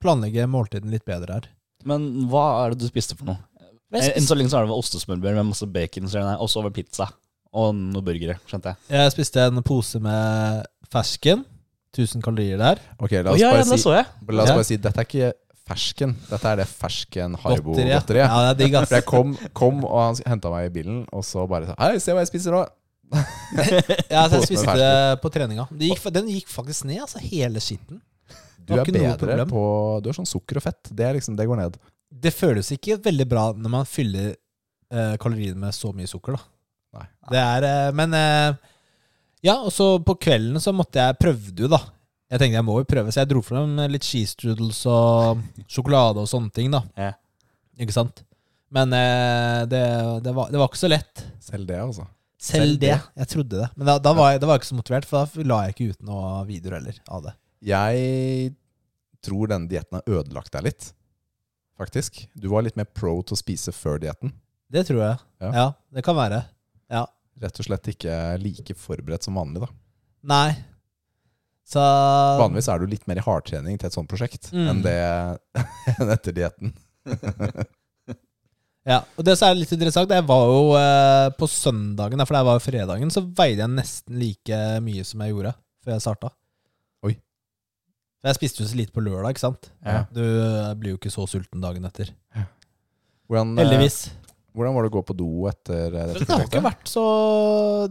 S1: Planlegge måltiden litt bedre her.
S3: Men hva er det du spiste for noe? Eh,
S1: Jeg
S3: Enn
S1: spiste,
S3: så lenge så er det vel ostesmørbrød med masse bacon, så det er- og så var det pizza. Og noen burgere, skjønte jeg.
S1: jeg spiste en pose med fersken. 1000 kalorier der.
S2: Ok, la
S3: Å,
S2: oss
S3: ja, ja,
S2: bare
S3: det
S2: si
S3: så jeg.
S2: Men La oss
S1: Ja.
S2: bare si, dette er ikke fersken. Dette er det
S1: Godteri.
S2: fersken
S1: Ja, det
S2: Haribo-godteriet.
S1: er digg, ass.
S2: For jeg kom, kom og han henta meg i bilen, og så bare sa Hei, se hva jeg spiser nå.
S1: Ja, altså, jeg
S2: Pose med
S1: spiste det på treninga. Det gikk, den gikk faktisk ned, altså. Hele skitten.
S2: Du
S1: Har
S2: er
S1: ikke noe
S2: bedre
S1: problem.
S2: på Du er sånn sukker og fett. Det, er liksom, det går ned.
S1: Det føles ikke veldig bra når man fyller eh, kaloriene med så mye sukker, da.
S2: Nei.
S1: Det er eh, Men eh, Ja, og så på kvelden så måtte jeg Prøvde jo, da. Jeg tenkte jeg må jo prøve, så jeg dro frem litt cheese strudels og sjokolade og sånne ting, da.
S3: Ja.
S1: Ikke sant? Men eh, det, det, var, det var ikke så lett.
S2: Selv det, altså.
S1: Selv,
S2: Selv
S1: det.
S2: det.
S1: Jeg trodde det. Men da, da, var jeg, da var jeg ikke så motivert, for da la jeg ikke ut noen videoer heller av det.
S2: Jeg tror denne dietten har ødelagt deg litt, faktisk. Du var litt mer pro til å spise før dietten.
S1: Det tror jeg.
S2: Ja.
S1: ja det kan være. Ja.
S2: Rett og slett ikke like forberedt som vanlig, da.
S1: Nei. Så
S2: Vanligvis er du litt mer i hardtrening til et sånt prosjekt
S1: Mm.
S2: enn det enn etter dietten.
S1: Ja, og det som er litt interessant, jeg var jo eh, på søndagen, da, for det var jo fredagen, så veide jeg nesten like mye som jeg gjorde før jeg starta.
S2: Oi.
S1: For jeg spiste jo så lite på lørdag, ikke sant?
S2: Ja.
S1: Du eh, blir jo ikke så sulten dagen etter.
S2: Hvordan, eh,
S1: Heldigvis.
S2: hvordan var det å gå på do etter eh,
S1: Det
S2: dette
S1: har ikke
S2: prosjektet?
S1: vært så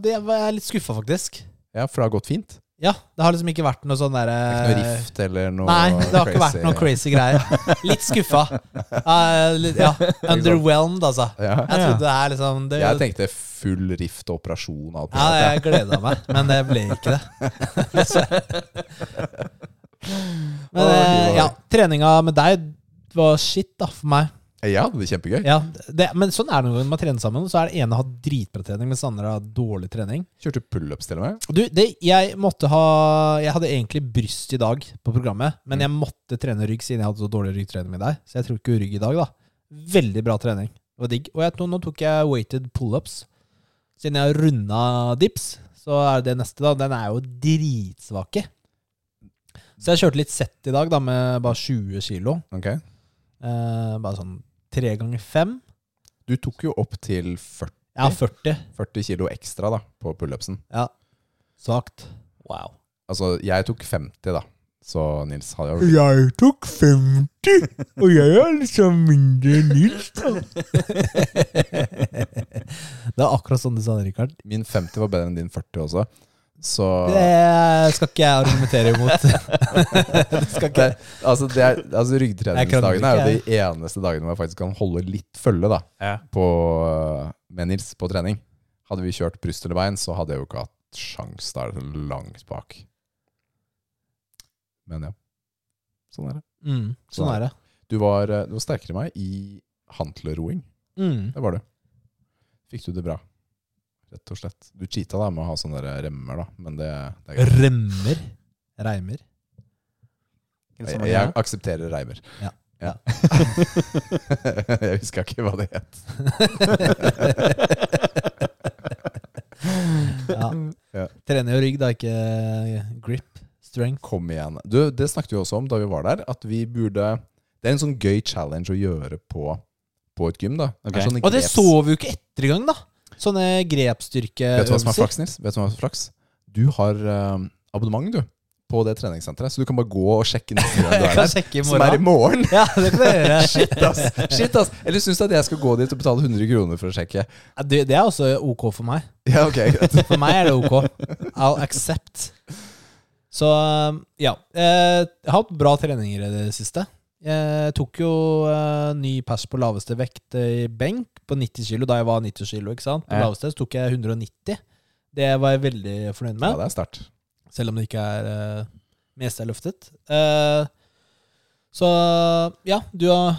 S1: det, Jeg er litt skuffa, faktisk.
S2: Ja, for det har gått fint?
S1: Ja, det har liksom ikke vært noe sånn derre
S2: Ikke noe rift eller noe
S1: Nei, det har ikke vært noe crazy greier. Litt skuffa. Eh, litt- ja, underwhelmed, altså.
S2: Ja.
S1: Jeg trodde det er liksom det,
S2: Jeg tenkte full rift og operasjon og alt
S1: Ja,
S2: mulig.
S1: jeg gleda meg, men det ble ikke det. men eh, ja, treninga med deg var shit da, for meg.
S2: Jeg hadde det kjempegøy.
S1: Ja, det, men sånn er det når man trener sammen. Så er det ene har dritbra trening, mens den andre har dårlig trening.
S2: Kjørte pullups til og med.
S1: Du, det, jeg måtte ha Jeg hadde egentlig bryst i dag på programmet, men jeg måtte trene rygg siden jeg hadde så dårlig ryggtrening med deg. Så jeg tok jo rygg i dag, da. Veldig bra trening. Det var digg. Og jeg, nå, nå tok jeg weighted pullups. Siden jeg har runda dips, så er det neste, da. Den er jo dritsvake. Så jeg kjørte litt sett i dag, da, med bare 20 kilo.
S2: Ok.
S1: Eh, bare sånn tre ganger fem.
S2: Du tok jo opp til 40,
S1: Jeg har 40.
S2: 40 kilo ekstra da, på pullupsen.
S1: Ja. Svakt.
S3: Wow.
S2: Altså, jeg tok 50 da. Så Nils hadde jo
S1: Jeg tok 50, og jeg er liksom mindre enn Nils, da. det er akkurat sånn du sa det, Rikard.
S2: Min 50 var bedre enn din 40 også. Så
S1: Det skal ikke jeg argumentere imot. det skal ikke
S2: det, altså, det er,
S1: Jeg
S2: altså ryggtreningsdagene er
S1: krangler
S2: jo
S1: ikke,
S2: de eneste dagene hvor jeg faktisk kan holde litt følge da,
S3: Ja.
S2: på, med Nils på trening. Hadde vi kjørt bryst eller bein, så hadde jeg jo ikke hatt sjans. Da er det så langt bak. Men ja, sånn er det.
S1: mm, Sånn er det.
S2: Du var, eh, du var sterkere enn meg i hantleroing.
S1: Mm.
S2: Det var du. Fikk du det bra, rett og slett. Du cheata da med å ha sånne der remmer, da, men det, det er greit.
S1: Remmer. Reimer.
S2: Jeg, jeg aksepterer reimer.
S1: Ja.
S2: Ja. jeg huska ikke hva det het.
S1: Ja.
S2: Ja.
S1: Trener jo rygg, da, ikke grip. Strength.
S2: Kom igjen. Du, det snakket vi også om da vi var der, at vi burde Det er en sånn gøy challenge å gjøre på, på et gym, da. Det er
S3: Ok.
S2: sånne
S1: Og det
S2: greps-
S1: så vi jo ikke etter i gang, da. Sånne
S2: Vet du hva som er
S1: grepsstyrkeøvelser.
S2: flaks, Nils? Vet du hva som er flaks? Du har eh, abonnement, du, på det treningssenteret, så du kan bare gå og sjekke neste gang du
S1: Jeg
S2: er
S1: kan
S2: der.
S1: sjekke i
S2: Som er i
S1: morgen.
S2: morgen!
S1: Ja, det kan jeg gjøre.
S2: Shit, ass! Shit, ass. Eller syns du at jeg skal gå dit og betale 100 kroner for å sjekke?
S1: Ja, Det, det er også ok for meg.
S2: Ja, ok, greit.
S1: For meg er det ok. I'll accept. Så um, ja. eh, Jeg har hatt bra treninger i det siste. Jeg tok jo eh, ny pers på laveste vekt eh, i benk på 90 kilo da jeg var 90 kilo. ikke sant? På
S3: Ja.
S1: laveste så tok jeg 190. Det var jeg veldig fornøyd
S2: Ja,
S1: med.
S2: det er sterkt.
S1: Selv om det ikke er eh, meste jeg har løftet. Eh, så ja, du har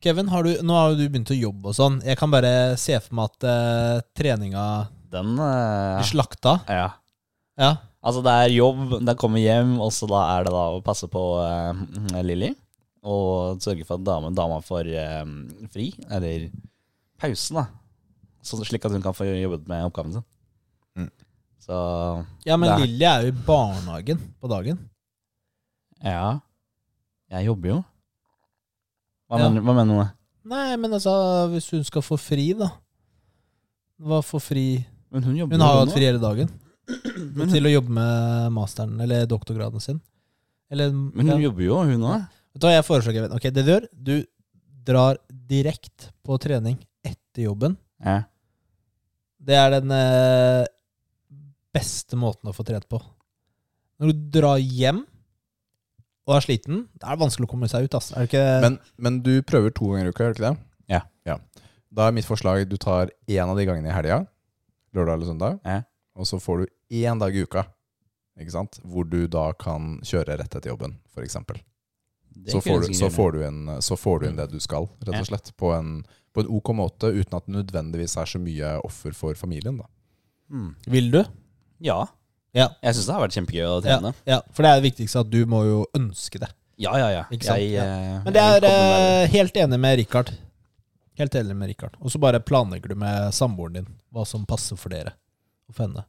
S1: Kevin, har du, nå har jo du begynt å jobbe og sånn. Jeg kan bare se for meg at eh, treninga
S3: Den eh,
S1: De slakta.
S3: Ja.
S1: Ja.
S3: Altså, det er jobb, det er komme hjem, og så da er det da å passe på eh, Lilly. Og sørge for at dame, dama får eh, fri, eller pause, da. Så slik at hun kan få jobbet med oppgaven sin.
S2: Mm.
S3: Så
S1: ja, men
S3: Det er-
S1: Lilly er jo i barnehagen på dagen.
S3: ja. Jeg jobber jo. Hva,
S1: Ja.
S3: mener, hva mener du med det?
S1: Nei, men altså, hvis hun skal få fri, da. Hva få fri
S3: Men hun jobber
S1: Hun har jo
S3: jo
S1: hatt
S3: nå.
S1: fri hele dagen.
S3: Men hun-
S1: Til å jobbe med masteren, eller doktorgraden sin. Eller
S3: Men
S1: ja.
S3: hun jobber jo, hun òg.
S1: Vet du hva jeg foreslår, Kevin? Ok, det du gjør, du drar direkte på trening etter jobben.
S3: Ja.
S1: Det er den eh, beste måten å få trent på. Når du drar hjem og er sliten, det er det vanskelig å komme seg ut, ass. Er det ikke
S2: Men, men du prøver to ganger i uka, gjør du ikke det?
S3: Ja.
S2: Da er mitt forslag du tar én av de gangene i helga, lørdag eller søndag,
S3: Ja.
S2: og så får du én dag i uka, ikke sant? hvor du da kan kjøre rett etter jobben, f.eks.
S3: Det
S2: Så,
S3: kunne
S2: får du-
S3: sikkert
S2: så,
S3: gjøre.
S2: får du inn- så får du inn det du skal, rett
S3: Ja.
S2: og slett, på en, på en OK måte, uten at det nødvendigvis er så mye offer for familien. da.
S3: Mm.
S1: Vil du?
S3: Ja.
S1: Ja.
S3: Jeg syns det har vært kjempegøy å
S1: Ja,
S3: trene.
S1: ja, for det er det viktigste, at du må jo ønske det.
S3: Ja, ja, ja.
S1: Ikke sant?
S3: Jeg,
S1: Ja.
S3: eh,
S1: Men det
S3: jeg
S1: er
S3: kommer meg-
S1: eh, helt enig med Richard. Helt enig med Richard. Og så bare planlegger du med samboeren din hva som passer for dere og for henne.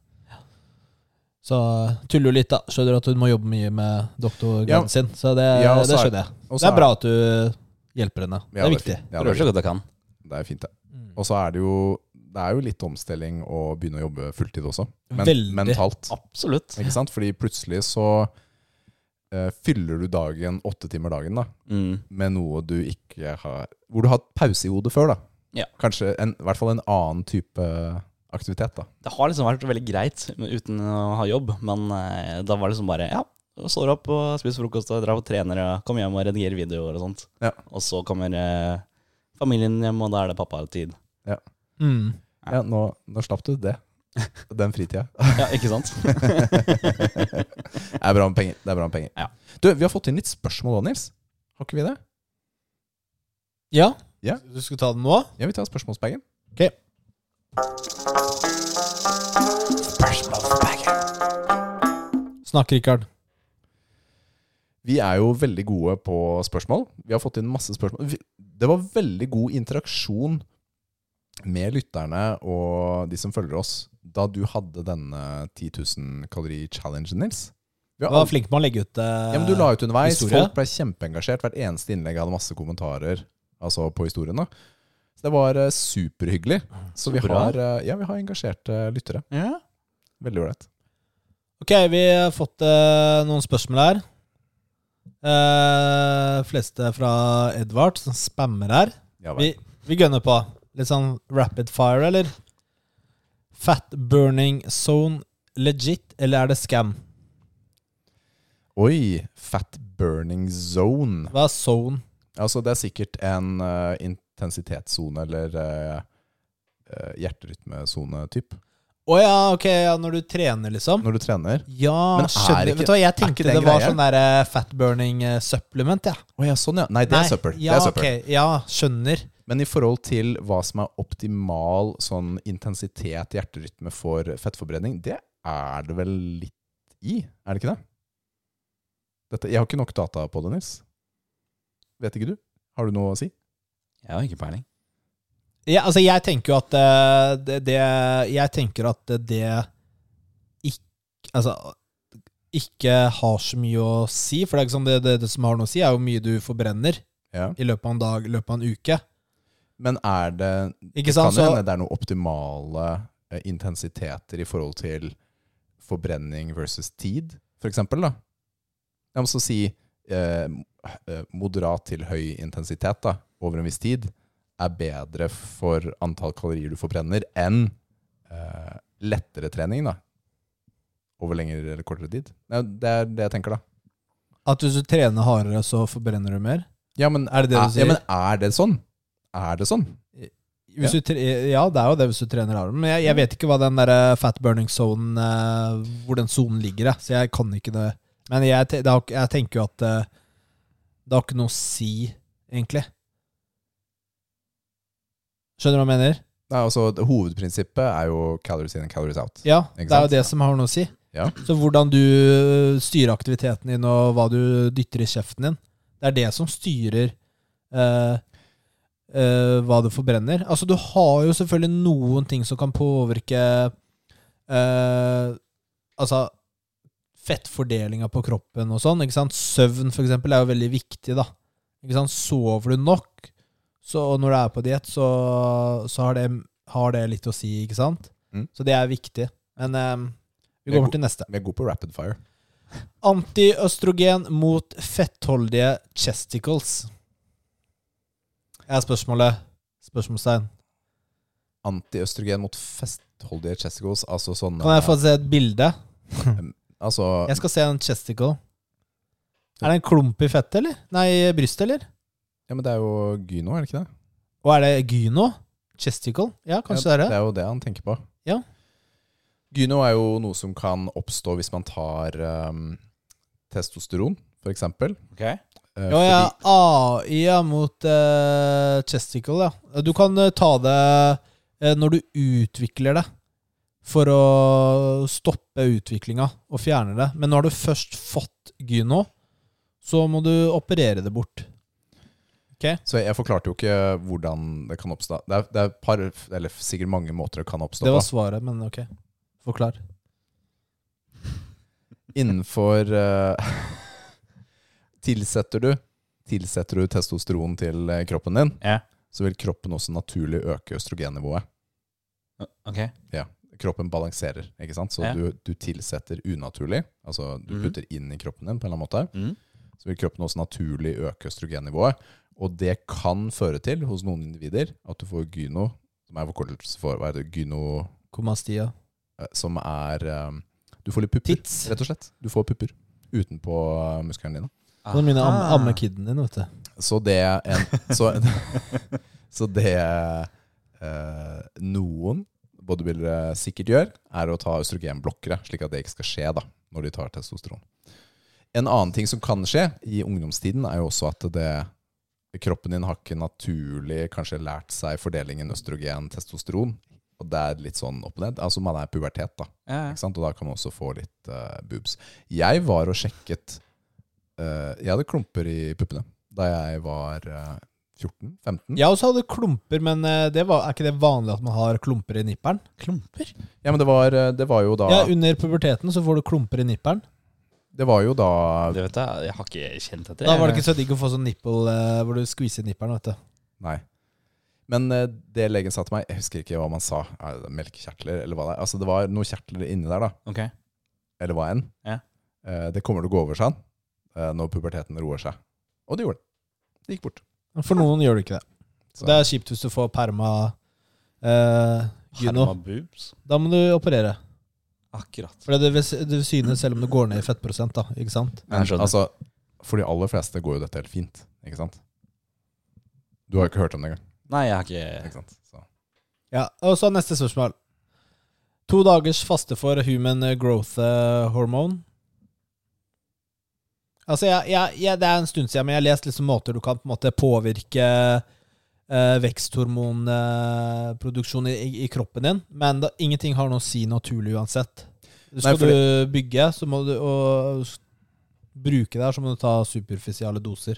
S1: Så eh, tuller du litt, da. Skjønner du at hun må jobbe mye med
S2: Ja.
S1: doktorgraden sin. Så det,
S2: Ja, og
S1: det
S2: så er-
S1: skjønner jeg.
S2: Og
S1: Det
S2: så
S1: er bra at du hjelper henne. det
S2: Ja,
S1: er
S2: fint.
S1: viktig.
S2: Ja,
S3: Prøver
S2: det, er,
S3: så godt jeg kan.
S2: fint. det er fint, det.
S1: Mm.
S2: Og så er det jo det er jo litt omstilling å begynne å jobbe fulltid også. Men,
S1: Veldig.
S2: Mentalt.
S3: Absolutt.
S2: Ikke sant? Fordi plutselig så eh, fyller du dagen, åtte timer dagen, da,
S3: Mm.
S2: med noe du ikke har Hvor du har hatt pause i hodet før, da.
S3: Ja.
S2: Kanskje en, i hvert fall en annen type aktivitet, da.
S3: Det har liksom vært veldig greit uten å ha jobb, men eh, da var det liksom bare ja, står opp og spiser frokost og drar og trener og kommer hjem og redigerer videoer og sånt.
S2: Ja.
S3: Og så kommer eh, familien hjem, og da er det pappa-tid.
S1: Mm.
S2: Ja, nå, nå slapp du det. Den fritida.
S3: Ja, ikke sant?
S2: Det er bra med penger. Det er bra med penger.
S3: Ja.
S2: Du, vi har fått inn litt spørsmål òg, Nils. Har ikke vi det?
S1: ja.
S2: Ja.
S1: Du skulle ta den nå?
S2: Ja, vi tar spørsmålsbagen.
S1: Ok.
S2: Spørsmålsbagen.
S1: Snakk, Richard.
S2: Vi er jo veldig gode på spørsmål. Vi har fått inn masse spørsmål. Vi- Det var veldig god interaksjon med lytterne og de som følger oss da du hadde denne 10 000 kalori-challengen, Nils. Vi har
S1: Du var
S2: aldri-
S1: flink med å legge ut eh,
S2: ja, men du la ut underveis.
S1: historie.
S2: Folk ble kjempeengasjert. Hvert eneste innlegg hadde masse kommentarer altså på historiene. Så det var eh, superhyggelig. Så vi
S3: Så bra.
S2: har, eh, ja, vi har engasjerte lyttere.
S3: Ja.
S2: Veldig ålreit.
S1: Ok, vi har fått eh, noen spørsmål her. Eh, fleste fra Edvard, som spammer her.
S2: Ja, vel.
S1: Vi, vi gønner på. Litt sånn rapid fire, eller? Fat burning zone legit, eller er det scam?
S2: Oi! Fat burning zone.
S1: Hva er zone?
S2: Altså, det er sikkert en eh, intensitetssone eller eh, eh, hjerterytmesone-typ
S1: Å ja, ok, ja, når du trener, liksom?
S2: når du trener.
S1: Ja,
S2: Men er
S1: skjønner.
S2: ikke-
S1: Vet du hva, jeg
S2: er ikke
S1: tenkte
S2: det
S1: det,
S2: en
S1: var
S2: greie?
S1: sånn der eh, fat burning eh, supplement, ja.
S2: Å ja, sånn ja. Nei, det
S1: Nei,
S2: er søppel.
S1: Ja,
S2: det er søppel.
S1: ok, ja, skjønner.
S2: Men i forhold til hva som er optimal sånn intensitet hjerterytme for fettforbrenning, det er det vel litt i, er det ikke det? Dette, jeg har ikke nok data på det, Nils. Vet ikke du? Har du noe å si?
S3: Jeg har ikke peiling.
S1: Ja, altså jeg tenker jo at eh, det, det Jeg tenker at det ikke Altså ikke har så mye å si, for det er ikke sånn det, det, det som har noe å si, er jo hvor mye du forbrenner
S2: Ja.
S1: i løpet av en dag, i løpet av en uke.
S2: Men er det
S1: Ikke
S2: kan
S1: sant? Så,
S2: det hende det er noen optimale eh, intensiteter i forhold til forbrenning versus tid, for eksempel. Da. Jeg må så si eh, eh, moderat til høy intensitet da, over en viss tid er bedre for antall kalorier du forbrenner enn eh, lettere trening da, over lengre eller kortere tid. Nei, Det er det jeg tenker da.
S1: at hvis du trener hardere, så forbrenner du mer?
S2: Ja, men
S1: Er det det du sier?
S2: Eh, Ja, men er det sånn? Er det sånn?
S1: Hvis Du tre, ja, det er jo det hvis du trener hardere. Men jeg, jeg vet ikke hva den der eh, fat burning zone eh, Hvor den sonen ligger, jeg. så jeg kan ikke det. Men jeg, te- det har, ikke- jeg tenker jo at eh, det har ikke noe å si, egentlig. Skjønner du hva jeg mener?
S2: Nei, altså, det- hovedprinsippet er jo calories in and calories out.
S1: Ja,
S2: Ikke
S1: det er
S2: sant?
S1: jo det som har noe å si.
S2: Ja.
S1: Så hvordan du øh, styrer aktiviteten din, og hva du dytter i kjeften din, det er det som styrer eh, eh, hva du forbrenner. Altså, du har jo selvfølgelig noen ting som kan påvirke eh, Altså fettfordelinga på kroppen og sånn. ikke sant? Søvn, for eksempel, er jo veldig viktig, da. Ikke sant? Sover du nok, så og når du er på diett, så, så har, det, har det litt å si, ikke sant?
S2: Mm.
S1: Så det er viktig. Men eh, vi går
S2: Det er go-
S1: over til neste.
S2: Vi er gode på rapid fire.
S1: Antiøstrogen mot fettholdige chesticles. Er spørsmålet Spørsmålstegn.
S2: Antiøstrogen mot festholdige chesticles, altså sånne
S1: Kan jeg få se et bilde?
S2: Altså,
S1: Jeg skal se en chesticle. Er det en klump i fettet, eller? Nei, i brystet, eller?
S2: ja, men det er jo gyno, er det ikke det?
S1: Og er det gyno? Chesticle? Ja, kanskje
S2: ja,
S1: det er det.
S2: Det er jo det han tenker på.
S1: Ja.
S2: Gyno er jo noe som kan oppstå hvis man tar ehm, testosteron, for eksempel.
S3: Ok.
S2: Eh,
S1: Ja, ja. AI ja, mot eh, chesticle, ja. Du kan eh, ta det eh, når du utvikler det, for å stoppe utviklinga og fjerne det. Men når du først fått gyno, så må du operere det bort.
S2: Så jeg forklarte jo ikke hvordan det kan oppstå. Det er, det er par, eller sikkert mange måter det kan oppstå
S1: Det var
S2: på.
S1: svaret, men ok. Forklar.
S2: Innenfor eh, Tilsetter du Tilsetter du testosteron til eh, kroppen din,
S3: Ja.
S2: så vil kroppen også naturlig øke østrogennivået.
S3: Ok.
S2: Kroppen balanserer, ikke sant? Så
S3: Ja.
S2: du, du tilsetter unaturlig, altså du
S3: Mhm.
S2: putter inn i kroppen din på en eller annen måte.
S3: Mm.
S2: så vil kroppen også naturlig øke østrogennivået. Og det kan føre til, hos noen individer, at du får gyno, som er forkortelse for hva er det, gyno,
S1: Komastia.
S2: eh, som er eh, Du får litt pupper,
S1: Tits.
S2: rett og slett. Du får pupper utenpå eh, musklene dine.
S1: Det er mine
S2: Ah.
S1: amme, amme kidden din, vet du.
S2: Så det er en, så, så det eh, noen bodybuildere sikkert gjør, er å ta østrogenblokkere, slik at det ikke skal skje da, når de tar testosteron. En annen ting som kan skje i ungdomstiden, er jo også at det, kroppen din har ikke naturlig kanskje lært seg fordelingen østrogen-testosteron. Og det er litt sånn opp og ned. Altså man er i pubertet, da.
S3: Ja, ja.
S2: Ikke sant? Og da kan man også få litt eh, boobs. Jeg var og sjekket eh, Jeg hadde klumper i puppene da jeg var eh, 14-15. Ja.
S1: Jeg også hadde klumper, men eh, det var, er ikke det vanlig at man har klumper i nipperen?
S3: Klumper?
S2: men det var, eh, det var jo da
S1: Ja, Under puberteten så får du klumper i nipperen.
S2: Det var jo da
S3: Det vet jeg, jeg har ikke kjent etter.
S1: Da var det ikke så digg å få sånn nipple eh, hvor du skviser nipperen, vet du.
S2: Nei. Men eh, det legen sa til meg Jeg husker ikke hva man sa. Er det Melkekjertler, eller hva det er. Altså, det var noen kjertler inni der, da.
S3: Ok.
S2: Eller hva enn.
S3: Ja.
S2: Eh, det kommer til å gå over, sa han, eh, når puberteten roer seg. Og det gjorde det. Det gikk bort.
S1: Men For noen gjør du ikke det.
S2: Så-
S1: Så det er kjipt hvis du får perma eh, gyno.
S3: Herma boobs.
S1: Da må du operere.
S3: Akkurat.
S1: For det vil, det vil synes selv om det går ned i fettprosent, da. Ikke sant?
S3: Jeg skjønner.
S2: altså, for de aller fleste går jo dette helt fint, ikke sant? Du har jo ikke hørt om det engang.
S3: Nei, jeg har ikke
S2: Ikke sant? Så.
S1: Ja, Og så neste spørsmål. To dagers faste for human growth eh, hormone. Altså, jeg, jeg, jeg, Det er en stund siden, men jeg har lest liksom måter du kan på en måte påvirke eh, veksthormonproduksjon i, i kroppen din, men da, ingenting har noe å si naturlig uansett. Skal du bygge så må du, og s- bruke det her, så må du ta superfisiale doser.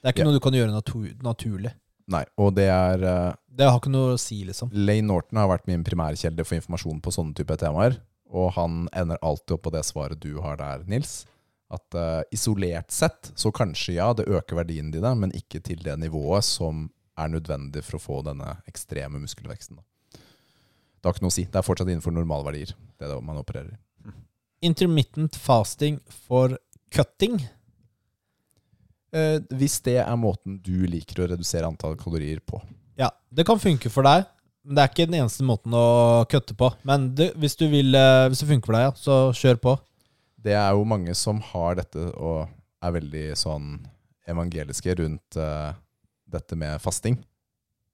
S1: Det er ikke
S2: Ja.
S1: noe du kan gjøre natu naturlig.
S2: Nei, og det er eh,
S1: Det har ikke noe å si, liksom.
S2: Lane Norton har vært min primærkilde for informasjon på sånne type temaer, og han ender alltid opp på det svaret du har der, Nils. At eh, isolert sett så kanskje ja, det øker verdiene dine, men ikke til det nivået som er nødvendig for å få denne ekstreme muskelveksten. Da. Det har ikke noe å si. Det er fortsatt innenfor normalverdier, det er det man opererer i.
S1: Intermittent fasting for cutting.
S2: Eh, hvis det er måten du liker å redusere antall kalorier på.
S1: Ja, det kan funke for deg. Men det er ikke den eneste måten å kutte på. Men det, hvis, du vil, eh, hvis det funker for deg, ja, så kjør på.
S2: Det er jo mange som har dette og er veldig sånn evangeliske rundt eh, dette med fasting.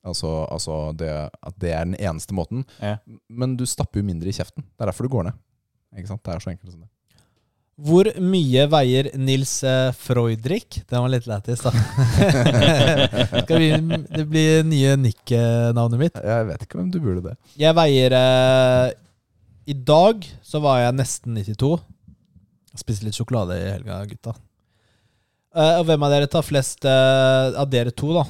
S2: Altså, altså det, at det er den eneste måten.
S3: Ja.
S2: Men du stapper jo mindre i kjeften. Det er derfor du går ned. Ikke sant? Det er så enkelt som det.
S1: Hvor mye veier Nils eh, Freudrik? Den var litt lættis, da. Skal vi, det blir nye nikk-navnet mitt.
S2: Jeg vet ikke om du burde det.
S1: Jeg veier eh, I dag så var jeg nesten 92. Jeg spiste litt sjokolade i helga, gutta. Eh, og hvem av dere tar flest eh, av dere to, da?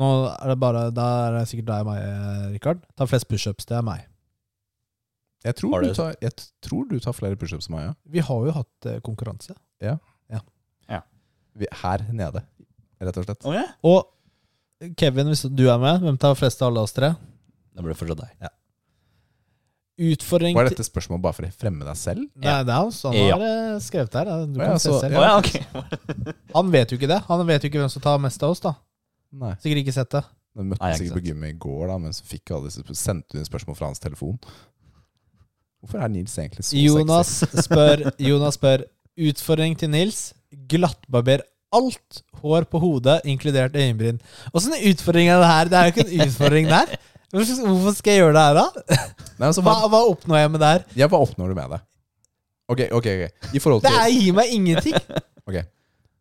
S1: Nå er det bare, Da er det sikkert deg og meg, eh, Rikard. Tar flest pushups. Det er meg.
S2: Jeg
S3: Har
S2: tror,
S3: du-
S2: du tar, jeg t- tror du tar flere pushups enn meg, ja.
S1: Vi har jo hatt eh, konkurranse.
S2: Vi- Her nede, rett og slett.
S3: Å ja?
S1: Og Kevin, hvis du er med, hvem tar flest av alle oss tre?
S3: Da blir det fortsatt deg.
S1: Utfordring
S2: Var
S1: til-
S2: dette spørsmålet bare for å fremme deg selv?
S1: Nei, det er han som
S3: Ja.
S1: har eh, skrevet det her. da. Du
S2: Ja,
S1: kan se
S2: så-
S1: selv.
S3: Å ja, ok.
S1: Han vet jo ikke det. Han vet jo ikke hvem som tar mest av oss, da.
S2: Nei.
S1: Sikkert ikke sett det.
S2: Du møtte
S3: Nei, ikke
S2: sikkert på gymmet i går, da, men så fikk alle disse, sendte du inn spørsmål fra hans telefon. Hvorfor er Nils egentlig så
S1: Jonas spør, Jonas spør Utfordring til Nils. Glattbarber alt hår på hodet, inkludert øyenbryn. Åssen utfordring er det her? Det er jo ikke en utfordring der. Hvorfor hvorfor skal jeg gjøre det her, da?
S2: sexy? Nei, altså,
S1: Hva,
S2: hva,
S1: hva oppnår jeg med det her?
S2: ja, hva oppnår du med det? Ok, ok, ok. I forhold
S1: Det
S2: til
S1: er, gir meg ingenting.
S2: Ok,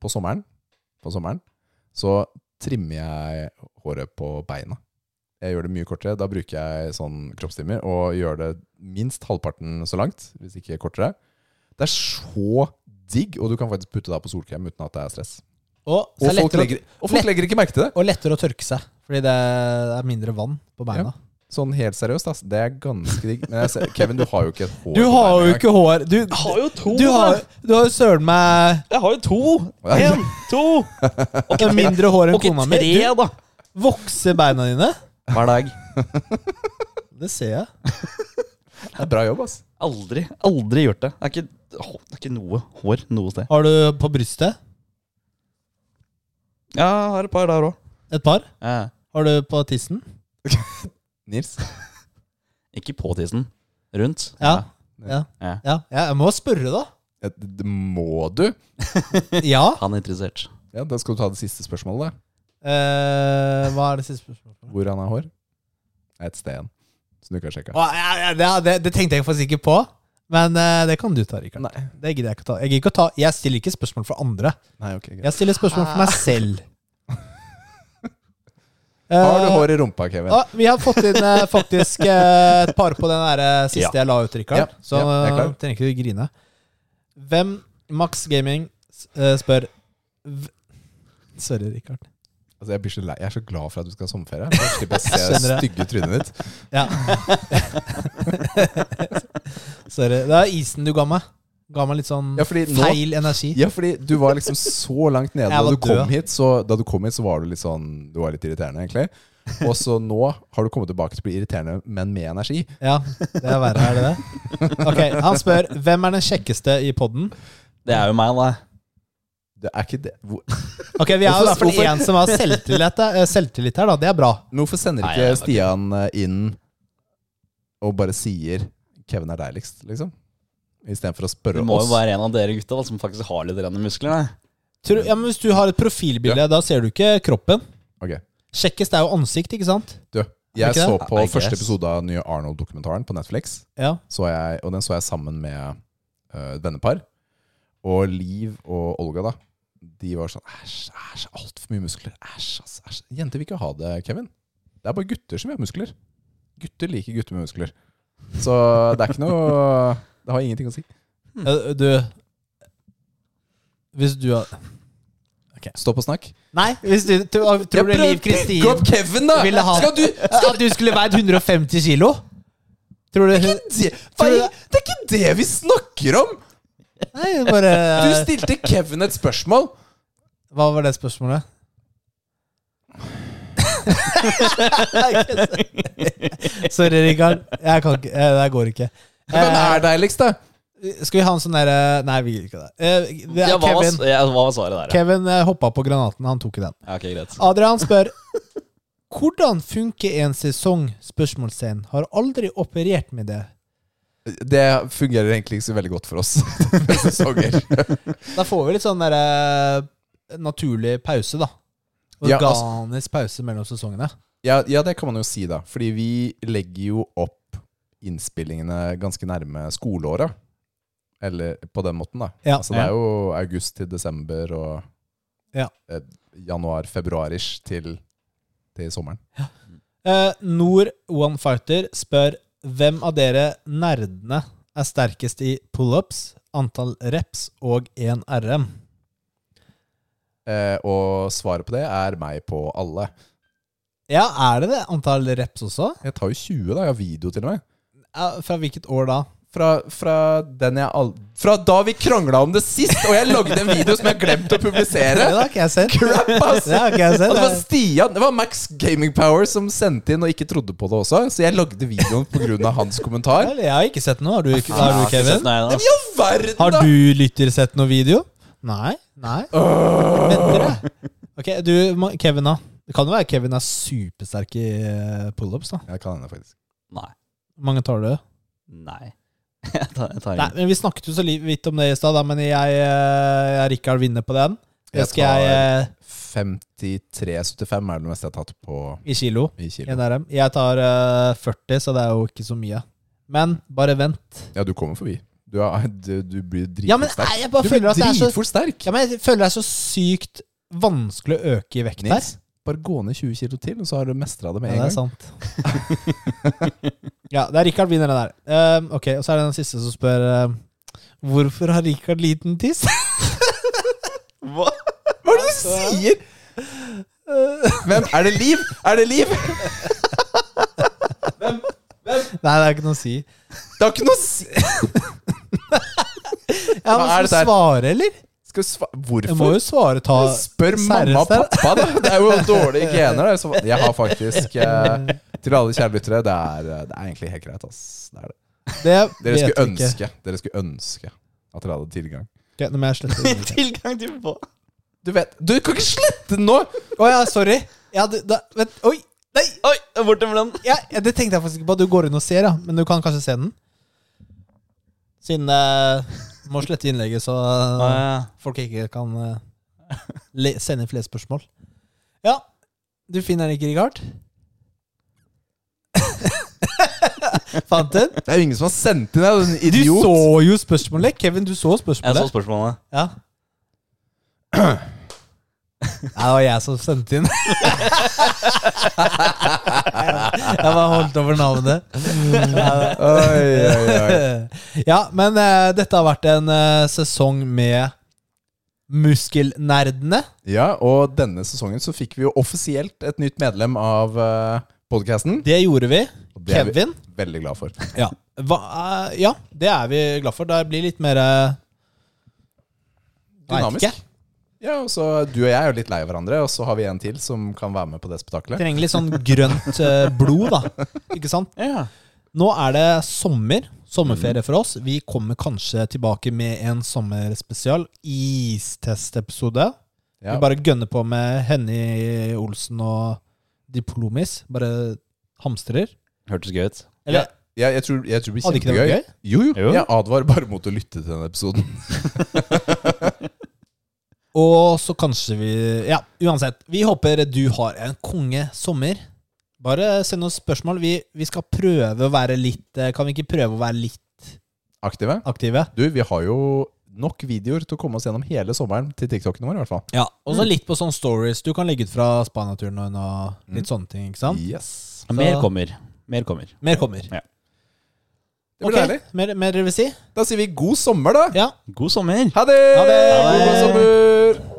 S2: på sommeren, på sommeren så trimmer jeg håret på beina. Jeg gjør det mye kortere. Da bruker jeg sånn kroppstimer og gjør det minst halvparten så langt, hvis ikke kortere. Det er så digg, og du kan faktisk putte deg på solkrem uten at det er stress.
S1: Og, så er
S2: Og
S1: det
S2: folk,
S1: lettere,
S2: legger, og folk legger ikke merke til det.
S1: å- og lettere å tørke seg, fordi det er mindre vann på beina.
S2: Sånn helt seriøst, ass. Det er ganske digg. Men jeg ser, Kevin, du har jo ikke et hår
S1: Du
S2: på
S1: har
S2: beina
S1: jo
S2: engang.
S1: ikke hår. Du,
S3: Jeg har jo to.
S1: du har du har jo søren meg
S3: Jeg har jo to. Én, to.
S1: det er mindre hår enn
S3: Og ikke
S1: kona mi.
S3: tre,
S1: Du
S3: da.
S1: vokser beina dine.
S3: Hver dag.
S1: Det ser jeg.
S2: Det er bra jobb, ass.
S3: Aldri, aldri gjort det. Det er ikke, åh, det er ikke noe hår noe sted.
S1: Har du på brystet
S3: Ja, jeg har et par der òg.
S1: et par? Har du på tissen?
S2: Nils.
S3: Ikke på tissen. Rundt.
S1: Ja. Ja.
S3: Ja.
S1: ja. ja. Jeg må spørre, da.
S2: Ja, det- det Må du?
S1: Ja.
S3: Han er interessert.
S2: Ja, Da skal du ta det siste spørsmålet. da.
S1: Eh, hva er det siste spørsmålet?
S2: Hvor han har hår? Det er et sted igjen. Så du kan sjekke.
S1: Å, ja, ja, det, det, det tenkte jeg faktisk ikke på. Men eh, det kan du ta, Rikard.
S2: Nei.
S1: Det gidder jeg ikke å ta. Jeg, gidder ikke å ta. jeg stiller ikke spørsmål for andre.
S2: Nei, ok, greit.
S1: Jeg stiller spørsmål for meg selv.
S2: Har du
S1: Eh,
S2: hår i rumpa, Kevin?
S1: Ja, vi har fått inn eh, faktisk eh, et par på den der, eh, siste jeg la ut, Rikard.
S2: Ja,
S1: Så
S2: ja, jeg er
S1: eh,
S2: klar.
S1: trenger ikke du grine. Hvem Max Gaming s- eh, spør v Sorry, Rikard.
S2: Altså, jeg, blir så lei. jeg er så glad for at du skal ha sommerferie. for Jeg slipper å se det
S1: Skjønner
S2: stygge trynet ditt.
S1: Ja. Sorry. Det er isen du ga meg. Ga meg litt sånn
S2: Ja, fordi nå
S1: feil energi.
S2: ja, fordi du var liksom så langt nede
S1: Jeg
S2: da
S1: var
S2: du, kom
S1: død.
S2: hit, så, da du kom hit. Så var du litt sånn Du var litt irriterende, egentlig. Og så nå har du kommet tilbake til å bli irriterende, men med energi.
S1: Ja, det er verre, er det det? Ok, Han spør hvem er den kjekkeste i poden.
S3: Det er jo meg, da.
S2: Det er ikke det. Hvor,
S1: Ok, Vi er i
S2: Hvorfor-
S1: hvert fall
S2: hvorfor-
S1: én som har selvtillit, eh, selvtillit her, da. Det er bra.
S2: men hvorfor sender
S3: Nei,
S2: ikke
S3: jeg er ikke-
S2: Stian eh, inn og bare sier 'Kevin er deiligst', liksom? Istedenfor å spørre
S3: Det må
S2: oss.
S3: jo være en av dere gutta da, som faktisk har litt rene muskler. da.
S1: Tror, ja, men Hvis du har et profilbilde, da ser du ikke kroppen.
S2: Ok.
S1: Kjekkest er jo ansikt, ikke sant?
S2: Du, jeg
S1: ikke det?
S2: så på
S3: I
S2: første
S3: guess.
S2: episode av den nye Arnold-dokumentaren på Netflix.
S1: Ja.
S2: så jeg, og den så jeg sammen med øh, vennepar. Og Liv og Olga, da. De var sånn Æsj, æsj, altfor mye muskler. Æsj, ass, æsj. Jenter vil ikke ha det, Kevin. Det er bare gutter som vil ha muskler. Gutter liker gutter med muskler. Så det er ikke noe Det har ingenting å si. Hmm.
S1: Eh, Du Hvis du har
S2: Stå på snakk.
S1: Nei, hvis du tror, tror du Liv Kristin
S2: Gå opp Kevin, da!
S1: ville ha
S2: Skal du
S1: At du skulle veid 150 kilo? Tror du hun
S2: det, Fei, det er ikke det vi snakker om!
S1: Nei, hun bare
S2: Du stilte Kevin et spørsmål.
S1: Hva var det spørsmålet? Sorry, Rikard. Jeg kan ikke eh, Det her går ikke.
S2: Hvem
S1: Eh,
S2: er deiligst, da?
S1: Skal vi ha en sånn derre Nei, vi gir ikke det. Eh, Det
S3: Ja,
S1: er
S3: hva, var, s-
S1: Kevin.
S3: ja, hva var svaret der? ja?
S1: Kevin eh, hoppa på granaten. Han tok ikke den.
S3: Ja, ok, greit.
S1: Adrian spør Hvordan funker en sesong? Spørsmålstegn. Har aldri operert med det.
S2: Det fungerer egentlig ikke så veldig godt for oss. med sesonger.
S1: Da får vi litt sånn der, eh, naturlig pause, da.
S2: Ja, altså-
S1: Organisk pause mellom sesongene.
S2: Ja, ja, det kan man jo si, da. Fordi vi legger jo opp innspillingene ganske nærme skoleåret. Eller på den måten, da.
S1: Ja.
S2: Altså, det er jo august til desember og
S1: Ja.
S2: eh, januar-februar-ish til, til sommeren.
S1: Eh, Nord One Fighter spør hvem av dere nerdene er sterkest i pullups, antall reps og 1 RM?
S2: Eh, og svaret på det er meg på alle.
S1: Ja, er det det? Antall reps også?
S2: Jeg tar jo 20, da. Jeg har video til og med.
S1: Ja, Fra hvilket år da?
S2: Fra, fra, den jeg al fra da vi krangla om det sist, og jeg lagde en video som jeg glemte å publisere!
S1: Det har ikke jeg sett.
S2: Crap, ass!
S1: Det har ikke jeg
S2: Og det var
S1: sett.
S2: Stian, det var Max Gaming Power som sendte inn og ikke trodde på det også. Så jeg lagde videoen pga. hans kommentar.
S1: Jeg har ikke sett noe. Har du, har du Kevin?
S2: Men i all verden, da!
S1: Har du lytter sett noe video? Nei. Nei. Vent dere. Ok, du, må- Kevin da. Det kan jo være Kevin er supersterk i eh, pullups da.
S2: Jeg kan hende, faktisk.
S3: Nei.
S1: Hvor mange tar du?
S3: Nei. Jeg tar, jeg tar
S1: Nei, men Vi snakket jo så li- vidt om det i stad, da, men jeg, eh, jeg Rikard vinner på den. Det
S2: Jeg
S1: skal jeg eh,
S2: 53,75 er det meste jeg har tatt på
S1: i kilo.
S2: i kilo.
S1: 1RM. Jeg tar eh, 40, så det er jo ikke så mye. Men bare vent.
S2: Ja, du kommer forbi. Du, er, du, du blir dritfort
S1: Ja, men
S2: sterk.
S1: nei, jeg bare
S2: du
S1: føler at det er så
S2: dritfort sterk.
S1: ja, men Jeg føler det er så sykt vanskelig å øke i vekt der.
S2: Nils, bare gå ned 20 kilo til, og så har du mestra det med
S1: Ja,
S2: en
S1: det er
S2: gang.
S1: sant. ja, det er Rikard vinner den der. Eh, ok, Og så er det den siste som spør eh, Hvorfor har Rikard liten tiss?
S3: Hva?
S2: Hva er det du sier?! Hvem? Er det Liv? Er det Liv?
S1: Nei, det er ikke noe å si.
S2: Det har ikke noe å si
S1: Ja, men Skal
S2: Hva er det
S1: du
S2: der?
S1: svare, eller?
S2: Skal du sva-
S1: Jeg må
S2: Hvorfor?
S1: jo svare. ta
S2: Spør mamma og
S1: Seriøst,
S2: pappa, da! Det er jo dårlige gener. Det. Så jeg har faktisk eh, Til alle kjære lyttere, det er, eh, det er egentlig helt greit, ass. Det er det.
S1: Det
S2: Dere
S1: vet
S2: skulle
S1: vi ikke.
S2: ønske Dere skulle ønske at dere hadde tilgang.
S1: Ok, nå må jeg slette det.
S3: Tilgang til hva?
S2: Du vet Du kan ikke slette den nå!
S1: Å ja, sorry. Ja, du, da, vent, oi! Nei!
S3: Oi, jeg er borte med den.
S1: Ja, ja, det tenkte jeg faktisk ikke på. Du går inn og ser, ja. Men du kan kanskje se den? Siden eh, må slette innlegget, så eh, folk ikke kan eh, le sende inn flere spørsmål. Ja. Du finner den ikke, Richard? Fant den?
S2: Det er jo ingen som har sendt inn den, den
S1: Du
S2: idiot.
S1: så jo spørsmålet. Kevin, du så
S3: jeg så
S1: spørsmålet.
S3: spørsmålet.
S1: Ja. Nei, det var jeg som sendte inn. jeg bare holdt over navnet.
S2: Oi, oi, oi.
S1: ja, men eh, dette har vært en eh, sesong med muskelnerdene.
S2: Ja, og denne sesongen så fikk vi jo offisielt et nytt medlem av uh, podkasten.
S1: Det gjorde vi.
S2: Det er vi
S1: Kevin.
S2: veldig glad for.
S1: Ja. Hva, eh, ja, det er vi glad for. Det blir litt mer eh, vet
S2: Dynamisk.
S1: ikke.
S2: Ja, og så Du og jeg er jo litt lei av hverandre, og så har vi en til som kan være med på det spetakkelet.
S1: Trenger litt sånn grønt eh, blod, da. Ikke sant?
S3: Ja.
S1: Nå er det sommer. Sommerferie for oss. Vi kommer kanskje tilbake med en sommerspesial. Istestepisode.
S2: Ja.
S1: Vi bare gønner på med Henny Olsen og Diplomis. Bare hamstrer.
S3: Hørtes gøy ut.
S1: Eller
S2: Ja, jeg, tror, jeg tror det
S1: hadde
S2: blir
S1: ikke det vært
S2: kjempegøy.
S1: gøy?
S2: Jo, jo,
S3: Jo.
S2: Jeg advarer bare mot å lytte til denne episoden.
S1: Og så kanskje vi Ja, uansett. Vi håper du har en konge sommer. Bare send oss spørsmål. Vi, vi skal prøve å være litt eh, Kan vi ikke prøve å være litt
S2: Aktive.
S1: aktive?
S2: Du, vi har jo nok videoer til å komme oss gjennom hele sommeren til TikToken vår, i hvert fall.
S1: Ja. Og så litt på sånne stories. Du kan legge ut fra Spania-turen og og litt sånne ting. ikke sant?
S2: Yes.
S3: Mer kommer. Mer kommer.
S1: Mer kommer.
S2: Det blir
S1: Ok,
S2: deilig.
S1: Mer, mer dere vil si?
S2: Da sier vi god sommer, da.
S1: Ja.
S3: God sommer.
S2: Ha det!
S1: Ha det!
S2: God, god sommer!